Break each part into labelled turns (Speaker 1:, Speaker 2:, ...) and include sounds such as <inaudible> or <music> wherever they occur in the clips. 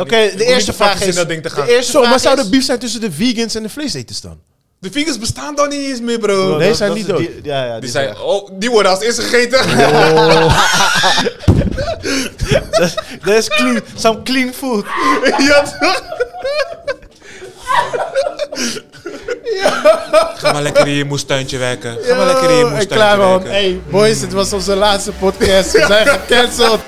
Speaker 1: Oké, de eerste vraag is...
Speaker 2: dat ding te gaan.
Speaker 1: De
Speaker 2: De,
Speaker 1: eerste
Speaker 3: Zo, maar
Speaker 1: vraag
Speaker 3: zou
Speaker 1: is-
Speaker 3: er beef zijn tussen de vegans en de vleeseters dan?
Speaker 2: vingers bestaan dan niet eens meer, bro.
Speaker 3: Nee, zijn
Speaker 4: Oh, dat
Speaker 3: niet
Speaker 4: is
Speaker 3: dood.
Speaker 4: Die, ja, ja, die,
Speaker 2: Die
Speaker 4: zijn
Speaker 2: zijn, oh, die worden als eerste gegeten.
Speaker 4: weg. Dat is clean. Some clean food.
Speaker 2: ja, toch?
Speaker 5: Ga maar lekker in je moestuintje werken. Ga maar lekker in je
Speaker 1: en
Speaker 5: moestuintje
Speaker 1: klaar man.
Speaker 5: werken.
Speaker 1: eh, Hey boys, het was onze laatste podcast. We zijn gecanceld.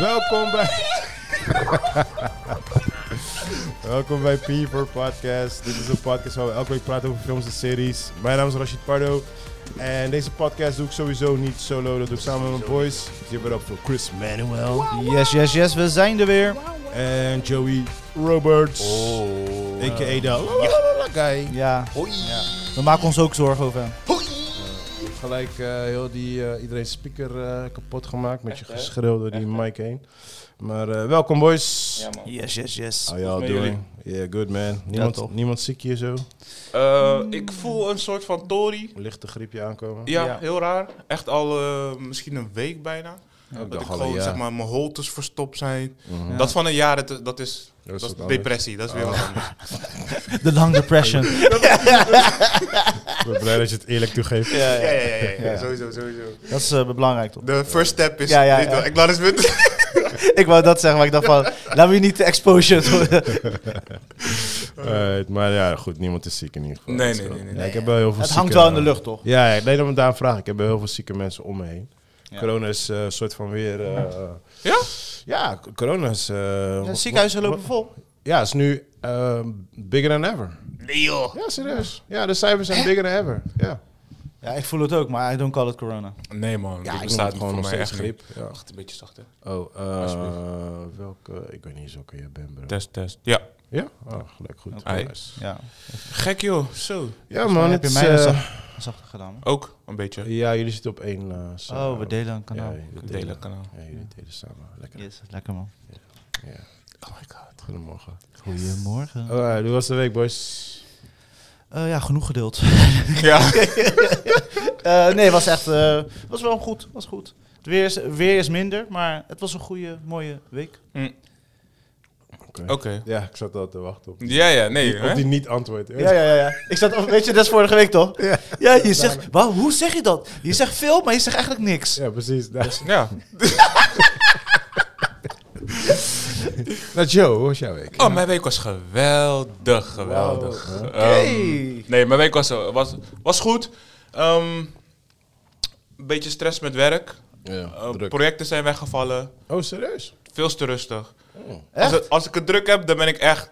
Speaker 3: Welkom bij. Welkom bij P4 Podcast. Dit is een podcast waar we elke week praten over films en series. Mijn naam is Rashid Pardo. En deze podcast doe ik sowieso niet solo, dat doe ik samen met mijn boys. Give it up voor Chris Manuel
Speaker 4: Yes, yes, yes. We zijn er weer.
Speaker 3: en Joey Roberts. A.k.a. de la la la la guy.
Speaker 4: Ja. Ja. We maken ons ook zorgen over hem.
Speaker 3: Gelijk eh, heel die, eh, iedereen speaker eh, kapot gemaakt met je geschreeuw door die mic heen. Maar eh, welkom boys.
Speaker 4: Yes, yes, yes.
Speaker 3: How y'all
Speaker 2: met
Speaker 3: doing? Yeah, good man. Niemand,
Speaker 4: toch?
Speaker 3: niemand ziek hier zo?
Speaker 2: Eh, ik voel een soort van tori.
Speaker 3: Lichte griepje aankomen?
Speaker 2: Ja,
Speaker 4: Ja.
Speaker 2: heel raar. Echt al eh, misschien een week bijna. dat ik
Speaker 3: dacht al een
Speaker 2: gewoon,
Speaker 3: jaar.
Speaker 2: zeg maar, mijn holtes verstopt zijn.
Speaker 3: Mhm.
Speaker 2: Dat van een jaar, dat, dat is, dat is
Speaker 3: wat anders.
Speaker 2: depressie. Dat is weer wat anders.
Speaker 4: The long depression.
Speaker 3: Ik ben blij dat je het eerlijk toegeeft.
Speaker 4: ja,
Speaker 2: Ja,
Speaker 4: ja.
Speaker 2: ja, ja, ja, Sowieso, sowieso.
Speaker 4: Dat is eh, belangrijk toch?
Speaker 2: De first step is
Speaker 4: Ja, ja,
Speaker 2: dit
Speaker 4: ja.
Speaker 2: wel acknowledgement.
Speaker 4: Ik wou dat zeggen, maar ik dacht van, <laughs> laten we je niet de exposure worden.
Speaker 3: Eh, maar ja, goed, niemand is ziek in ieder geval.
Speaker 5: Nee,
Speaker 3: Dat is
Speaker 5: nee,
Speaker 3: wel-
Speaker 5: nee, nee,
Speaker 3: Ja,
Speaker 5: nee.
Speaker 3: ik heb wel heel veel
Speaker 4: <laughs> Het
Speaker 3: zieke-
Speaker 4: hangt wel in de lucht toch?
Speaker 3: Ja, ja, nee, dat daarom vraag ik. Ik heb wel heel veel zieke mensen om me heen. Corona is een soort van weer... eh,
Speaker 2: Ja?
Speaker 3: Ja, c- corona is... eh,
Speaker 4: Ja,
Speaker 3: wat-
Speaker 4: ziekenhuizen
Speaker 3: wat-
Speaker 4: lopen vol.
Speaker 3: Ja, het is nu eh, bigger than ever.
Speaker 2: Nee, joh.
Speaker 3: Ja, serieus. Ja, de cijfers zijn bigger than ever. Ja,
Speaker 4: Ja, ik voel het ook, maar I don't call it corona.
Speaker 5: <laughs> Nee man,
Speaker 3: ja
Speaker 5: dit
Speaker 3: ik noem
Speaker 5: bestaat
Speaker 3: het
Speaker 5: voor
Speaker 3: gewoon nog
Speaker 5: mij
Speaker 3: steeds
Speaker 5: echt niet.
Speaker 3: griep. Ja.
Speaker 2: Wacht, een beetje zachter.
Speaker 3: Oh, eh welke? Ik weet niet eens welke je bent, bro.
Speaker 5: Test, test. Ja.
Speaker 3: Ja? Oh, gelijk goed.
Speaker 5: Ai.
Speaker 3: Nice.
Speaker 4: Ja. Dus
Speaker 5: Gek joh, zo.
Speaker 3: Ja, man.
Speaker 4: heb
Speaker 3: Het
Speaker 4: je
Speaker 3: is,
Speaker 4: mij
Speaker 3: eh,
Speaker 4: zacht gedaan? man.
Speaker 5: Ook een beetje.
Speaker 3: ja, jullie zitten op één. eh, samen.
Speaker 4: Oh, we delen een
Speaker 3: Ja,
Speaker 4: kanaal.
Speaker 3: jullie delen.
Speaker 5: Delen kanaal.
Speaker 3: Ja, jullie delen samen. Lekker.
Speaker 4: Yes, lekker man.
Speaker 3: Ja. Oh my god. Goedemorgen.
Speaker 4: Goedemorgen.
Speaker 3: Alright, hoe was de week, boys?
Speaker 4: Eh, ja, genoeg gedeeld.
Speaker 5: <laughs> Ja.
Speaker 4: Eh, nee, was echt. eh, was wel goed. Was goed. Het weer is, weer is minder, maar het was een goede, mooie week.
Speaker 5: Oké.
Speaker 3: <laughs> Ja, ik zat al te wachten op,
Speaker 5: Ja, ja, nee.
Speaker 3: op
Speaker 5: Hè?
Speaker 3: die niet-antwoord.
Speaker 4: Ja, ja, ja. ja. Ik zat, op- weet je, dat is vorige week toch? Ja, je zegt. Wauw, hoe zeg je dat? Je zegt veel, maar je zegt eigenlijk niks.
Speaker 3: Ja, precies. Nou,
Speaker 5: Ja.
Speaker 3: nou, Joe, hoe was jouw week?
Speaker 5: Oh, mijn week was geweldig, geweldig.
Speaker 3: Wow.
Speaker 5: Ehm,
Speaker 4: Hey.
Speaker 5: nee, mijn week was, was, was goed. Ehm, een beetje stress met werk.
Speaker 3: Ja,
Speaker 5: Eh,
Speaker 3: druk.
Speaker 5: projecten zijn weggevallen.
Speaker 3: Oh, serieus?
Speaker 5: Veel te rustig.
Speaker 3: Oh,
Speaker 5: Als,
Speaker 4: Echt?
Speaker 5: het- als ik het druk heb, dan ben ik echt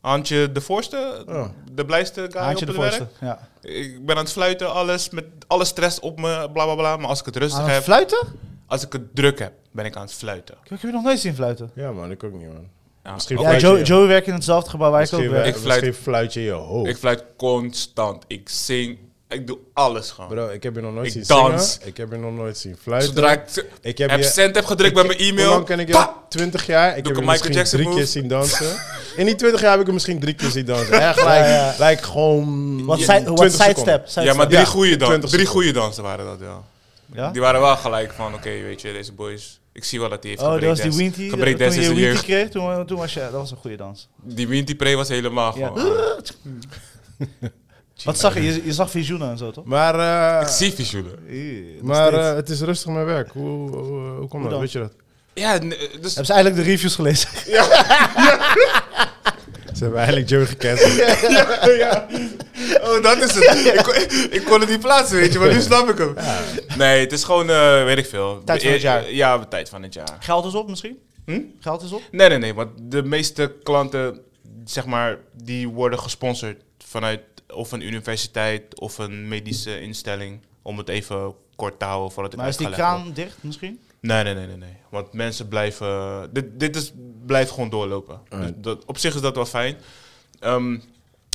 Speaker 5: handje de voorste.
Speaker 3: Ja.
Speaker 5: De blijste guy
Speaker 4: Haantje
Speaker 5: op
Speaker 4: de
Speaker 5: het
Speaker 4: voorste. Ja.
Speaker 5: werk. Ik ben aan het fluiten, alles. Met alle stress op me, bla bla bla. Maar als ik het rustig
Speaker 4: Aan het
Speaker 5: heb,
Speaker 4: fluiten?
Speaker 5: als ik het druk heb, ben ik aan het fluiten.
Speaker 4: Ik heb je nog nooit zien fluiten.
Speaker 3: Ja, man, ik ook niet, man.
Speaker 5: Ja.
Speaker 3: Misschien
Speaker 4: Ja,
Speaker 3: fluit je-
Speaker 4: Joe, Joe werkt in hetzelfde gebouw waar ik ook
Speaker 3: Misschien,
Speaker 4: werk.
Speaker 3: eh,
Speaker 5: Ik fluit-
Speaker 3: misschien fluit je je hoofd.
Speaker 5: Ik fluit constant. Ik zing. Ik doe alles gewoon.
Speaker 3: Bro, ik heb je nog nooit
Speaker 5: Ik
Speaker 3: zien
Speaker 5: dans.
Speaker 3: zingen. Ik heb je nog nooit zien fluiten.
Speaker 5: Zodra ik,
Speaker 3: Ik heb je-
Speaker 5: absent heb gedrukt bij mijn
Speaker 3: Hoe
Speaker 5: e-mail.
Speaker 3: lang ken ik
Speaker 5: pa!
Speaker 3: jou? 20 jaar. Ik
Speaker 5: Doe
Speaker 3: heb
Speaker 5: ik
Speaker 3: hem
Speaker 5: een Michael
Speaker 3: misschien
Speaker 5: Jackson
Speaker 3: drie
Speaker 5: move?
Speaker 3: keer zien dansen.
Speaker 5: <laughs>
Speaker 3: In die 20 jaar heb ik hem misschien drie keer zien dansen. Echt, like,
Speaker 4: ja.
Speaker 3: like gewoon...
Speaker 4: Wat,
Speaker 3: 20
Speaker 4: side, wat
Speaker 3: seconden.
Speaker 4: sidestep?
Speaker 5: Ja, maar
Speaker 4: sidestep.
Speaker 5: drie
Speaker 3: Ja,
Speaker 5: goede dan,
Speaker 3: 20
Speaker 5: drie
Speaker 3: seconden.
Speaker 5: goede dansen waren dat wel.
Speaker 4: Ja?
Speaker 5: Die waren wel gelijk van, oké, weet je, deze boys. Ik zie wel dat die heeft
Speaker 4: Oh, dat was die
Speaker 5: gebreakdanced.
Speaker 4: Winty. Toen
Speaker 5: Gebreakdanced
Speaker 4: je
Speaker 5: is de
Speaker 4: Winty
Speaker 5: jeugd.
Speaker 4: kreeg, toen, toen was je... Dat was een goede dans.
Speaker 5: Die Winty Pre was helemaal
Speaker 4: Ja.
Speaker 5: gewoon... ah.
Speaker 4: <laughs> Wat zag je? Je, je zag visioenen en zo, toch?
Speaker 3: Maar, eh,
Speaker 5: Ik zie visuelen.
Speaker 3: maar eh, het is rustig mijn werk. Hoe, hoe, hoe komt dat?
Speaker 4: dan?
Speaker 3: Weet je dat?
Speaker 5: Ja, n- dus...
Speaker 4: Hebben ze eigenlijk de reviews gelezen?
Speaker 3: Ze hebben eigenlijk Joe
Speaker 4: <laughs>
Speaker 3: gecanceld.
Speaker 5: <laughs> Oh, dat is het. ik, kon, ik kon het niet plaatsen, weet je, maar nu snap ik hem. Nee, het is gewoon, eh, weet ik veel.
Speaker 4: Tijd van het jaar.
Speaker 5: Ja, tijd van het jaar.
Speaker 4: <laughs> Geld is op misschien?
Speaker 5: Hm?
Speaker 4: Geld is op?
Speaker 5: Nee, nee, nee. Want de meeste klanten, zeg maar, die worden gesponsord vanuit of een universiteit of een medische instelling. Om het even kort te houden voordat ik
Speaker 4: Maar is die
Speaker 5: uit ga leggen.
Speaker 4: kraan dicht misschien?
Speaker 5: Nee, nee, nee, nee, nee. Want mensen blijven... Dit, dit is, blijft gewoon doorlopen. Dus dat, op zich is dat wel fijn. Ehm,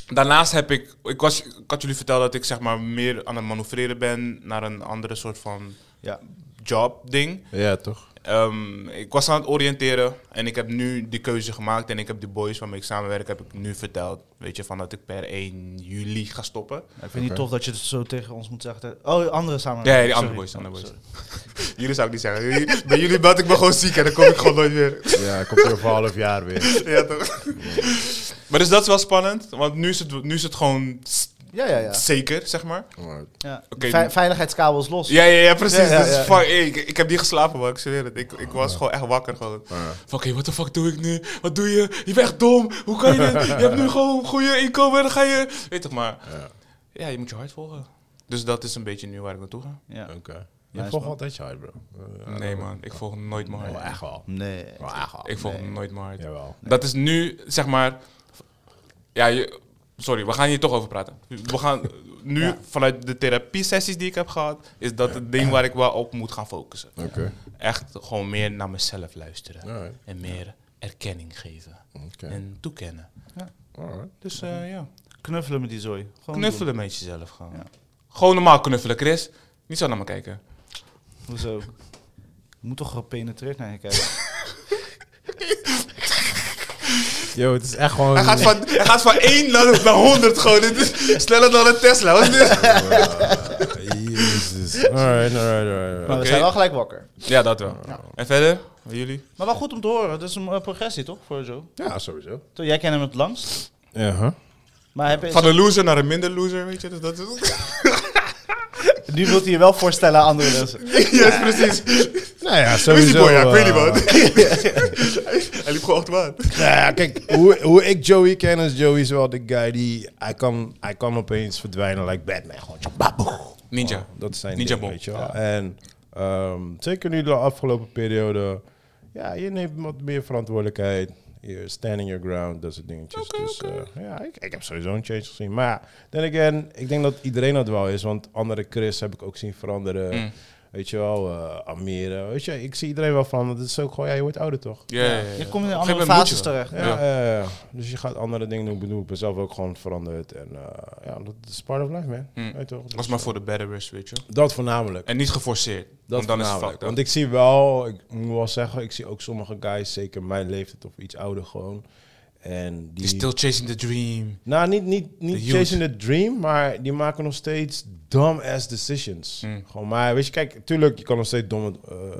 Speaker 5: daarnaast heb ik... Ik, was, ik had jullie verteld dat ik zeg maar meer aan het manoeuvreren ben... naar een andere soort van
Speaker 4: Ja.
Speaker 5: job ding.
Speaker 6: Ja, toch?
Speaker 5: Ehm, ik was aan het oriënteren en ik heb nu de keuze gemaakt en ik heb de boys waarmee ik samenwerk, heb ik nu verteld. Weet je, van dat ik per 1 juli ga stoppen.
Speaker 4: Ik vind het niet tof dat je het zo tegen ons moet zeggen. Oh, andere samen.
Speaker 5: Nee, die andere boys, andere boys. jullie zou ik niet zeggen. <laughs> Jullie- Bij jullie belt ik me gewoon ziek en dan kom ik gewoon nooit meer. <laughs>
Speaker 3: Ja, komt er over half jaar weer.
Speaker 5: ja, toch? <laughs> Maar dus dat is wel spannend, want nu is het, nu is het gewoon s-
Speaker 4: Ja, ja, ja.
Speaker 5: zeker, zeg maar.
Speaker 4: ja.
Speaker 5: Oké,
Speaker 4: Ve-
Speaker 5: nu-
Speaker 4: veiligheidskabels los.
Speaker 5: Ja, ja, ja, precies.
Speaker 4: Ja, ja,
Speaker 5: Dus
Speaker 4: ja.
Speaker 5: fuck, hey, ik, ik heb niet geslapen, man. Ik zweer het. Ik, ik was gewoon echt wakker. Gewoon.
Speaker 3: eh,
Speaker 5: Van, oké, wat de fuck doe ik nu? Wat doe je? Je bent echt dom. Hoe kan je dit? Je hebt nu gewoon goede inkomen en dan ga je... Weet toch maar. Ja. je moet je hart volgen. Dus dat is een beetje nu waar ik naartoe ga.
Speaker 4: Ja.
Speaker 6: Oké. Je
Speaker 4: Ah, Nice,
Speaker 6: volgt
Speaker 4: man.
Speaker 6: altijd je hart, bro. Eh,
Speaker 5: Nee, man. Ik volg nooit mijn
Speaker 3: Oh,
Speaker 5: hart.
Speaker 6: Wel echt wel.
Speaker 4: Nee.
Speaker 6: Wel echt wel.
Speaker 5: Ik volg
Speaker 4: Nee.
Speaker 5: nooit mijn hart.
Speaker 6: Jawel.
Speaker 5: Dat is nu, zeg maar... Ja, je, sorry. We gaan hier toch over praten. We gaan nu, vanuit de therapie-sessies die ik heb gehad... is dat het ding waar ik wel op moet gaan focussen.
Speaker 6: Oké.
Speaker 5: echt gewoon meer naar mezelf luisteren.
Speaker 6: Alright.
Speaker 5: En meer erkenning geven.
Speaker 6: Oké.
Speaker 5: En toekennen.
Speaker 6: Alright.
Speaker 5: Dus eh, ja,
Speaker 4: Knuffelen met die zooi. Gewoon
Speaker 5: knuffelen met jezelf gewoon.
Speaker 4: Ja.
Speaker 5: Gewoon normaal knuffelen, Chris. Niet zo naar me kijken.
Speaker 4: doen. Hoezo? Je moet toch gepenetreerd naar je kijken.
Speaker 3: Yo, het is echt gewoon...
Speaker 5: Hij gaat van, hij gaat van 1 naar, naar 100 gewoon. Dit is sneller dan een Tesla. Wat is dit?
Speaker 3: Jezus. <laughs> Alright, alright, alright.
Speaker 4: Maar
Speaker 3: alright.
Speaker 4: we
Speaker 5: Oké.
Speaker 4: zijn wel gelijk wakker.
Speaker 5: <laughs> Ja, dat wel. En verder? Bij jullie?
Speaker 4: Maar wel goed om te horen. Dat is een eh, progressie toch voor Joe?
Speaker 6: Ja, sowieso.
Speaker 4: Toch, Jij kent hem het langst.
Speaker 3: Ja, huh?
Speaker 4: Maar heb je,
Speaker 5: Van een loser naar een minder loser, weet je. Dus dat is... <laughs>
Speaker 4: nu wilt hij je wel voorstellen aan andere mensen.
Speaker 5: yes, precies.
Speaker 3: Nou
Speaker 5: Wie
Speaker 3: ja,
Speaker 5: is die
Speaker 3: sowieso...
Speaker 5: boy? Ja, ik weet
Speaker 3: eh,
Speaker 5: niet, man. eh, <laughs> hij liep gewoon achteraan.
Speaker 3: <laughs> Nou ja, kijk, hoe, hoe ik Joey ken is Joey is wel de guy die... Hij kan, hij kan opeens verdwijnen like Batman. Gewoon tjababoe.
Speaker 5: Ninja.
Speaker 3: Dat zijn
Speaker 5: Ninja
Speaker 3: dingen,
Speaker 5: Bomb.
Speaker 3: weet je wel. En ehm, zeker nu de afgelopen periode... Ja, je neemt wat meer verantwoordelijkheid. Je standing your ground, dat soort dingetjes. dus eh, ja, ik, ik heb sowieso een change gezien. Maar ja, then again, ik denk dat iedereen dat wel is. Want andere Chris heb ik ook zien veranderen.
Speaker 5: Mm.
Speaker 3: Weet je wel, eh Amira. Weet je, ik zie iedereen wel veranderen. Het is ook gewoon, ja, je wordt ouder toch?
Speaker 5: Ja, ja, ja.
Speaker 4: Je komt in andere
Speaker 5: Op gegeven moment moet je
Speaker 4: fases
Speaker 5: wel.
Speaker 4: terecht.
Speaker 3: Ja, ja, ja. dus je gaat andere dingen doen. Ik bedoel, ik ben zelf ook gewoon veranderd. En eh, ja, dat is part of life, man.
Speaker 5: Mm.
Speaker 3: Weet je toch? Dus,
Speaker 5: was maar voor de betterers, weet je.
Speaker 3: eh, dat voornamelijk.
Speaker 5: En niet geforceerd.
Speaker 3: Dat
Speaker 5: want dan is het
Speaker 3: voornamelijk.
Speaker 5: fucked up.
Speaker 3: Want ik zie wel, ik moet wel zeggen, ik zie ook sommige guys, zeker mijn leeftijd of iets ouder gewoon. En die...
Speaker 5: You're still chasing the dream.
Speaker 3: nou, niet, niet,
Speaker 5: The
Speaker 3: niet
Speaker 5: youth.
Speaker 3: chasing the dream, maar die maken nog steeds dumb-ass decisions.
Speaker 5: Mm.
Speaker 3: Gewoon, maar weet je, kijk, tuurlijk, je kan nog steeds domme eh, eh,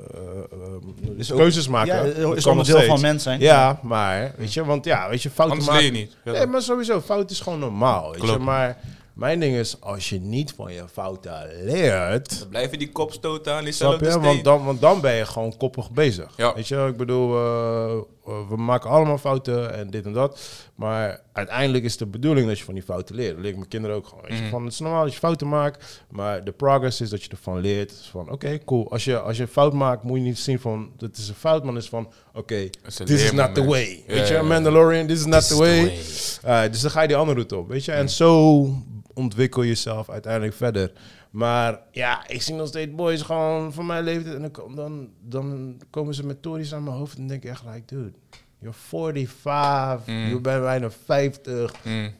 Speaker 3: eh,
Speaker 4: Is ook-
Speaker 3: keuzes maken.
Speaker 4: Ja,
Speaker 3: Dat
Speaker 4: is
Speaker 3: kan nog
Speaker 4: onderdeel van
Speaker 3: steeds.
Speaker 4: mens zijn.
Speaker 3: Ja, maar, weet je, want ja, weet je, fouten
Speaker 5: Anders leer je
Speaker 3: maken...
Speaker 5: niet. Ja,
Speaker 3: Nee, maar sowieso, fout is gewoon normaal. Weet je?
Speaker 5: Klopt.
Speaker 3: Maar mijn ding is, als je niet van je fouten leert,
Speaker 5: Dan blijven die kopstoten aan
Speaker 3: snap
Speaker 5: diezelfde
Speaker 3: je?
Speaker 5: steen.
Speaker 3: Want dan, want dan ben je gewoon koppig bezig.
Speaker 5: Ja.
Speaker 3: Weet je, ik bedoel, eh, eh, we maken allemaal fouten en dit en dat. Maar uiteindelijk is de bedoeling dat je van die fouten leert. Dat leer ik mijn kinderen ook gewoon. Weet je?
Speaker 5: Mhm.
Speaker 3: Van, het is normaal dat je fouten maakt, maar de progress is dat je ervan leert. Dus van, oké, cool. Als je, als je een fout maakt, moet je niet zien van, dat is een fout, maar het is van, oké,
Speaker 5: is een
Speaker 3: this is not
Speaker 5: leermoment.
Speaker 3: the way.
Speaker 5: Ja,
Speaker 3: weet je,
Speaker 5: ja, ja.
Speaker 3: Mandalorian, this is not
Speaker 5: This
Speaker 3: the
Speaker 5: is the
Speaker 3: way.
Speaker 5: way.
Speaker 3: Uh, dus dan ga je die andere route op, weet je. En zo ontwikkel je jezelf uiteindelijk verder. Maar ja, ik zie nog steeds boys gewoon van mijn leeftijd. En dan, kom- dan, dan komen ze met tories aan mijn hoofd en denk ik echt like, dude, you're 45, je bent bijna 50.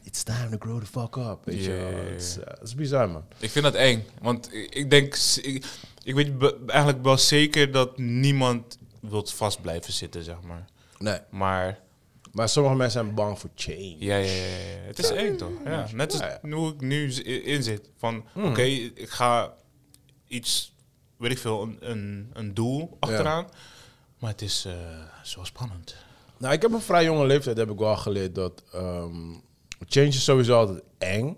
Speaker 3: It's time to grow the fuck up, weet je wel.
Speaker 5: Yeah.
Speaker 3: Het is, eh, het is bizar, man.
Speaker 5: Ik vind dat eng. Want ik ik denk... s- Ik, ik weet be- eigenlijk wel zeker dat niemand wilt vast blijven zitten, zeg maar.
Speaker 3: Nee.
Speaker 5: Maar...
Speaker 3: Maar sommige mensen zijn bang voor change.
Speaker 5: Ja, ja, ja, ja, ja. Het is eng, toch? Ja. Hmm. Net als
Speaker 3: Ja,
Speaker 5: hoe ik nu z- i- in zit. Van, oké, ik ga iets... Weet ik veel, een, een, een doel achteraan. Maar het is eh, zo spannend.
Speaker 3: Nou, ik heb een vrij jonge leeftijd heb ik wel geleerd dat ehm, change is sowieso altijd eng,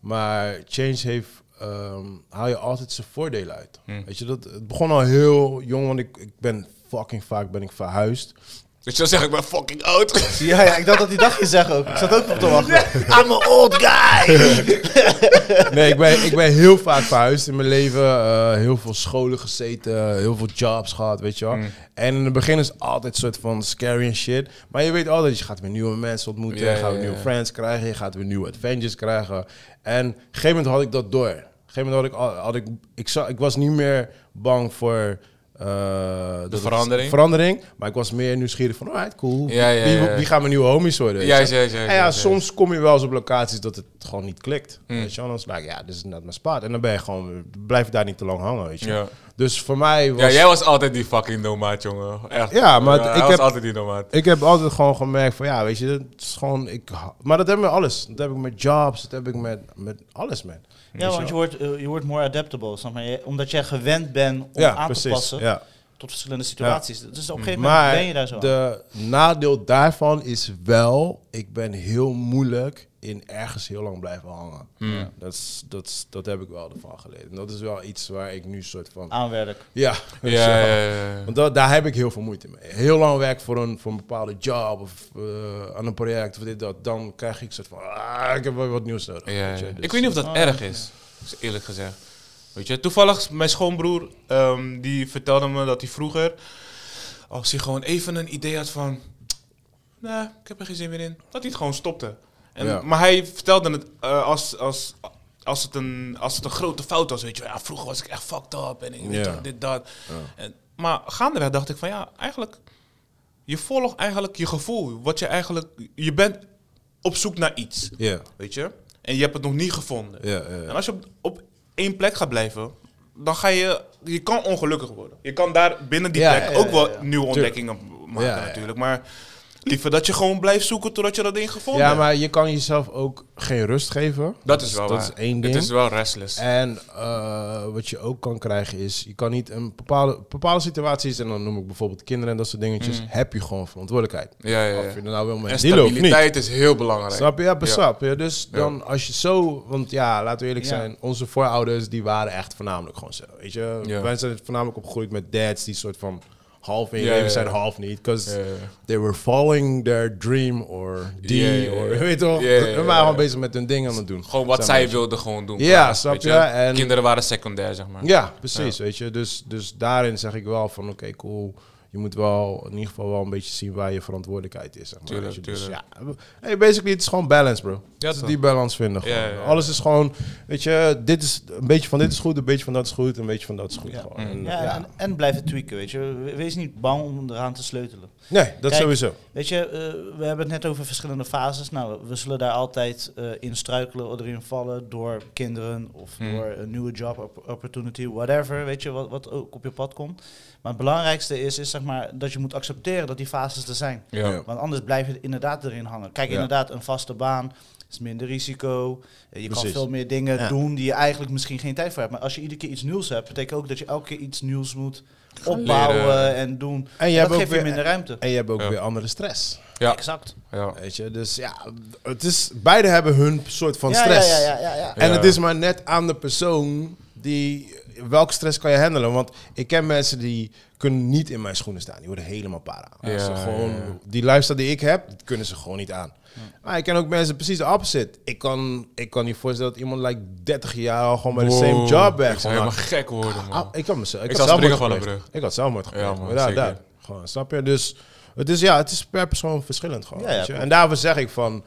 Speaker 3: maar change heeft ehm, haal je altijd zijn voordelen uit. Weet je dat? Het begon al heel jong, want ik, ik ben fucking vaak ben ik verhuisd.
Speaker 5: Dus dan zeg ik, ben fucking oud. <laughs>
Speaker 4: Ja, ja, ik dacht dat hij dat ging zeggen ook. Ik zat ook op te wachten.
Speaker 3: I'm an old guy. <laughs> nee, ik ben, ik ben heel vaak verhuisd in mijn leven. eh, heel veel scholen gezeten, heel veel jobs gehad, weet je
Speaker 5: Mm.
Speaker 3: wel. En in het begin is het altijd soort van scary en shit. Maar je weet altijd, je gaat weer nieuwe mensen ontmoeten.
Speaker 5: Ja,
Speaker 3: je gaat
Speaker 5: ja,
Speaker 3: weer nieuwe
Speaker 5: ja.
Speaker 3: friends krijgen. Je gaat weer nieuwe adventures krijgen. En op een gegeven moment had ik dat door. Op een gegeven moment had ik... al- Had ik, ik, zag, ik was niet meer bang voor... eh, eh, dat het-
Speaker 5: verandering.
Speaker 3: verandering. Maar ik was meer nieuwsgierig van, alright, cool.
Speaker 5: Ja, ja,
Speaker 3: wie,
Speaker 5: ja.
Speaker 3: wie gaan mijn nieuwe homies worden? weet je?
Speaker 5: Juist, juist, juist,
Speaker 3: En ja,
Speaker 5: juist,
Speaker 3: soms kom je wel eens op locaties dat het gewoon niet klikt.
Speaker 5: Hmm.
Speaker 3: Weet je, wel. dan is het like, ja, dit is net mijn spot. En dan ben je gewoon, blijf daar niet te lang hangen, weet je.
Speaker 5: Ja.
Speaker 3: Dus voor mij was...
Speaker 5: Ja, jij was altijd die fucking nomaat, jongen. Echt.
Speaker 3: Ja, maar
Speaker 5: hij
Speaker 3: ik
Speaker 5: was
Speaker 3: heb-
Speaker 5: altijd die nomaat.
Speaker 3: Ik heb altijd gewoon gemerkt van, ja, weet je, het is gewoon... Ik, ha- maar dat heb ik met alles. Dat heb ik met jobs, dat heb ik met, met alles, man. Weet
Speaker 4: Ja, want je
Speaker 3: wel.
Speaker 4: wordt, eh, je wordt more adaptable, snap maar. Je- Omdat jij gewend bent om
Speaker 3: Ja,
Speaker 4: aan te
Speaker 3: precies.
Speaker 4: passen
Speaker 3: Ja. Mm.
Speaker 4: tot verschillende situaties. Dus op een gegeven moment
Speaker 3: Maar
Speaker 4: ben je daar zo aan.
Speaker 3: de nadeel daarvan is wel, ik ben heel moeilijk in ergens heel lang blijven hangen.
Speaker 5: Hmm.
Speaker 3: Ja, Dat, is, dat, is- dat heb ik wel ervan geleerd. En dat is wel iets waar ik nu soort van...
Speaker 4: aanwerk.
Speaker 3: Ja, <laughs>
Speaker 5: Ja,
Speaker 3: zo.
Speaker 5: Ah. ja, ja, ja.
Speaker 3: Want dat, daar heb ik heel veel moeite mee. Heel lang werk voor een, voor een bepaalde job of eh, aan een project of dit, dat. Dan krijg ik soort van, ah, ik heb wel wat nieuws nodig.
Speaker 5: Ja,
Speaker 3: weet je.
Speaker 5: ja.
Speaker 3: Dus-
Speaker 5: ik weet niet of dat erg is, is eerlijk gezegd. Weet je, toevallig mijn schoonbroer, ehm, die vertelde me dat hij vroeger, als hij gewoon even een idee had van, nou, ik heb er geen zin meer in, dat hij het gewoon stopte. En,
Speaker 3: Ja.
Speaker 5: Maar hij vertelde het eh, als, als, als, het een, als het een grote fout was, weet je, wel. ja, vroeger was ik echt fucked up en ik weet
Speaker 3: Ja.
Speaker 5: toch, dit, dat. En, maar gaandeweg dacht ik van, ja, eigenlijk, je volgt eigenlijk je gevoel, wat je eigenlijk, je bent op zoek naar iets.
Speaker 3: Ja,
Speaker 5: Weet je? En je hebt het nog niet gevonden.
Speaker 3: ja, ja.
Speaker 5: En als je op, op één plek gaat blijven, dan ga je... Je kan ongelukkig worden. Je kan daar binnen die
Speaker 3: Ja,
Speaker 5: plek
Speaker 3: ja,
Speaker 5: ook wel nieuwe ontdekkingen maken
Speaker 3: Ja, ja.
Speaker 5: natuurlijk. Maar liever dat je gewoon blijft zoeken totdat je dat ding gevonden
Speaker 3: Ja,
Speaker 5: hebt.
Speaker 3: maar je kan jezelf ook geen rust geven.
Speaker 5: Dat is wel
Speaker 3: Dat
Speaker 5: waar.
Speaker 3: is één ding.
Speaker 5: Het is wel restless.
Speaker 3: En eh, wat je ook kan krijgen is, je kan niet een bepaalde, bepaalde situaties, en dan noem ik bijvoorbeeld kinderen en dat soort dingetjes, heb je gewoon verantwoordelijkheid.
Speaker 5: Mm. ja, ja, ja.
Speaker 3: Of je er nou wel mee
Speaker 5: En
Speaker 3: dealen of niet.
Speaker 5: stabiliteit is heel belangrijk.
Speaker 3: Snap je? Ja, besap. Ja, dus dan als je zo, want ja, laten we eerlijk
Speaker 4: Ja.
Speaker 3: zijn, onze voorouders die waren echt voornamelijk gewoon zo. Weet je,
Speaker 5: Ja.
Speaker 3: wij zijn voornamelijk opgegroeid met dads die soort van half in je
Speaker 5: Ja,
Speaker 3: leven
Speaker 5: ja,
Speaker 3: zijn,
Speaker 5: ja.
Speaker 3: half niet. Because
Speaker 5: Ja, ja.
Speaker 3: they were following their dream or D
Speaker 5: Ja, ja, ja.
Speaker 3: or <laughs> weet je toch?
Speaker 5: Ja, ja, ja,
Speaker 3: We waren
Speaker 5: ja.
Speaker 3: gewoon bezig met hun ding aan het doen.
Speaker 5: Gewoon wat
Speaker 3: Zeg maar.
Speaker 5: zij wilden gewoon doen.
Speaker 3: Ja,
Speaker 5: Weet
Speaker 3: snap je? En-
Speaker 5: Kinderen waren secundair, zeg maar.
Speaker 3: Ja, precies, weet je. Dus, dus daarin zeg ik wel van, oké, cool. Je moet wel in ieder geval wel een beetje zien waar je verantwoordelijkheid is. Zeg maar.
Speaker 5: Tuurlijk,
Speaker 3: Weet je,
Speaker 5: tuurlijk.
Speaker 3: Dus, ja. Hey, basically, het is gewoon balance, bro.
Speaker 5: Ja,
Speaker 3: Het is
Speaker 5: toch.
Speaker 3: die balans vinden.
Speaker 5: Ja,
Speaker 3: gewoon.
Speaker 5: ja, ja.
Speaker 3: Alles is gewoon, weet je, dit is een beetje van dit is goed, een beetje van dat is goed, een beetje van dat is goed.
Speaker 4: Ja.
Speaker 3: Gewoon.
Speaker 5: Mm.
Speaker 3: En,
Speaker 4: Ja,
Speaker 3: ja.
Speaker 4: En, en blijven tweaken, weet je. We- Wees niet bang om eraan te sleutelen.
Speaker 3: Nee, dat
Speaker 4: Kijk,
Speaker 3: sowieso.
Speaker 4: Weet je, eh, we hebben het net over verschillende fases. Nou, we zullen daar altijd eh, in struikelen of erin vallen door kinderen of
Speaker 3: Hmm.
Speaker 4: door een nieuwe job op- opportunity, whatever, weet je, wat, wat ook op je pad komt. Maar het belangrijkste is, is zeg maar, dat je moet accepteren dat die fases er zijn.
Speaker 5: Ja.
Speaker 4: Want anders blijf je inderdaad erin hangen. Kijk,
Speaker 3: Ja.
Speaker 4: inderdaad, een vaste baan is minder risico. Eh, Je
Speaker 3: Precies.
Speaker 4: kan veel meer dingen doen die je eigenlijk misschien geen tijd voor hebt. Maar als je iedere keer iets nieuws hebt, betekent ook dat je elke keer iets nieuws moet opbouwen
Speaker 5: leren.
Speaker 4: en doen.
Speaker 3: En je
Speaker 4: dat
Speaker 3: hebt ook
Speaker 4: geeft je
Speaker 3: weer-
Speaker 4: minder ruimte.
Speaker 3: En je hebt ook
Speaker 5: Ja.
Speaker 3: weer andere stress.
Speaker 5: Ja.
Speaker 4: Exact.
Speaker 5: ja.
Speaker 3: Weet je, dus ja, het is, beide hebben hun soort van
Speaker 4: Ja,
Speaker 3: stress.
Speaker 4: Ja, ja, ja, ja, ja.
Speaker 3: En
Speaker 5: Ja.
Speaker 3: het is maar net aan de persoon die. Welke stress kan je handelen? Want ik ken mensen die kunnen niet in mijn schoenen staan. Die worden helemaal para.
Speaker 5: Ja,
Speaker 3: Als ze gewoon,
Speaker 5: ja, ja.
Speaker 3: Die lifestyle die ik heb, dat kunnen ze gewoon niet aan. Maar ik ken ook mensen precies de opposite. Ik kan, ik kan niet voorstellen dat iemand like 30 jaar al gewoon bij de same job
Speaker 5: Ik
Speaker 3: werkt.
Speaker 5: zou
Speaker 3: Gewoon,
Speaker 5: helemaal gek worden,
Speaker 3: ah,
Speaker 5: <laughs> man.
Speaker 3: ik kan mezelf. Ik,
Speaker 5: Ik
Speaker 3: had
Speaker 5: zou springen
Speaker 3: zelfmoord
Speaker 5: van een
Speaker 3: gepleegd.
Speaker 5: brug.
Speaker 3: Ik had zelfmoord gepleegd.
Speaker 5: Ja, man,
Speaker 3: Maar daar-
Speaker 5: zeker.
Speaker 3: daar. Gewoon, snap je? Dus het is, ja, het is per persoon verschillend gewoon.
Speaker 4: Ja, ja,
Speaker 3: weet je?
Speaker 4: klopt.
Speaker 3: En daarvoor zeg ik van,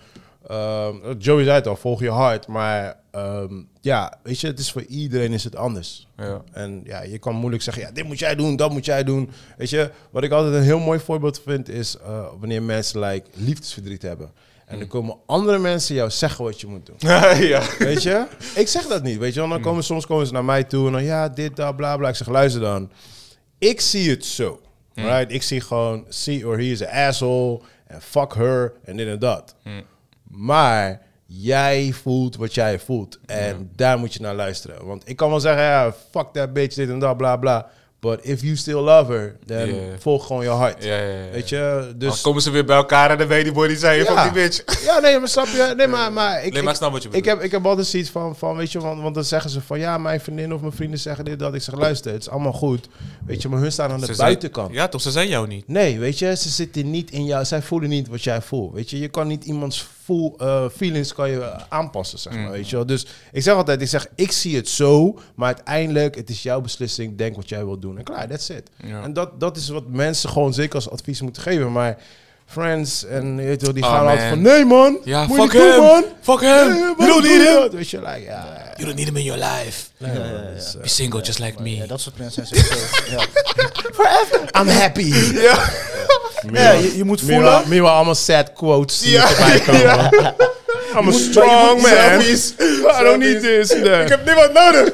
Speaker 3: ehm, Joey zei het al, volg je hart. Maar ehm, ja, weet je, het is voor iedereen is het anders.
Speaker 5: Ja.
Speaker 3: En ja, je kan moeilijk zeggen, ja, dit moet jij doen, dat moet jij doen. Weet je, wat ik altijd een heel mooi voorbeeld vind is eh, wanneer mensen like, liefdesverdriet hebben.
Speaker 5: Hmm.
Speaker 3: En dan komen andere mensen jou zeggen wat je moet doen.
Speaker 5: ja.
Speaker 3: Weet je? Ik zeg dat niet, weet je wel.
Speaker 5: Hmm.
Speaker 3: Dan komen, soms komen ze naar mij toe en dan, ja, dit, dat, bla, bla. Ik zeg, luister dan. Ik zie het zo,
Speaker 5: Hmm.
Speaker 3: right? Ik zie gewoon, see or he is an asshole. En fuck her, en dit en dat.
Speaker 5: Hmm.
Speaker 3: Maar jij voelt wat jij voelt. En daar moet je naar luisteren. Want ik kan wel zeggen, ja, fuck that bitch, dit en dat, bla, bla. But if you still love her, then
Speaker 5: Ja.
Speaker 3: volg gewoon je hart.
Speaker 5: Ja, ja, ja, ja.
Speaker 3: Weet je?
Speaker 5: Dan
Speaker 3: Dus...
Speaker 5: komen ze weer bij elkaar en dan weet die boy die zei, je fuck die bitch.
Speaker 3: <laughs> Ja, nee, maar snap je? Nee, maar, maar ik,
Speaker 5: Nee, maar ik snap wat je
Speaker 3: ik
Speaker 5: bedoelt.
Speaker 3: heb, ik heb altijd zoiets van, van weet je, want, want dan zeggen ze van, ja, mijn vriendin of mijn vrienden zeggen dit, dat. Ik zeg, luister, het is allemaal goed. Weet je, maar hun staan aan de
Speaker 5: Ze zijn-
Speaker 3: buitenkant.
Speaker 5: Ja, toch? Ze zijn jou niet.
Speaker 3: Nee, weet je, ze zitten niet in jou, zij voelen niet wat jij voelt. Weet je, je kan niet iemands voel, eh, feelings kan je eh, aanpassen, zeg
Speaker 5: Mm.
Speaker 3: maar, weet je wel. Dus ik zeg altijd, ik zeg, ik zie het zo, maar uiteindelijk, het is jouw beslissing, denk wat jij wilt doen. En klaar, that's it.
Speaker 5: Ja.
Speaker 3: En dat, dat is wat mensen gewoon zeker als advies moeten geven, maar... friends en je weet wel, die
Speaker 5: Oh,
Speaker 3: gaan altijd
Speaker 5: man.
Speaker 3: van, nee man,
Speaker 5: Ja,
Speaker 3: moet je
Speaker 5: fuck
Speaker 3: niet doen, man.
Speaker 5: hem. Fuck hem.
Speaker 3: Nee,
Speaker 5: You
Speaker 3: waarom
Speaker 5: don't
Speaker 3: doe
Speaker 5: need
Speaker 3: je
Speaker 5: him.
Speaker 3: dat? Weet je, like, ja. dus,
Speaker 5: You don't need him in your life.
Speaker 4: Ja, ja, ja, ja.
Speaker 5: Be single just like
Speaker 4: Ja,
Speaker 5: me.
Speaker 4: dat soort mensen zijn <laughs> sowieso. ja.
Speaker 3: eh, I'm happy.
Speaker 5: <laughs>
Speaker 4: Ja, je, je moet voelen.
Speaker 3: Meanwhile, meanwhile, allemaal sad quotes die erbij komen.
Speaker 5: <laughs>
Speaker 3: I'm a strong
Speaker 7: maar je
Speaker 3: man.
Speaker 7: moet
Speaker 3: I don't need this. <laughs> Nee.
Speaker 7: Ik heb niemand nodig.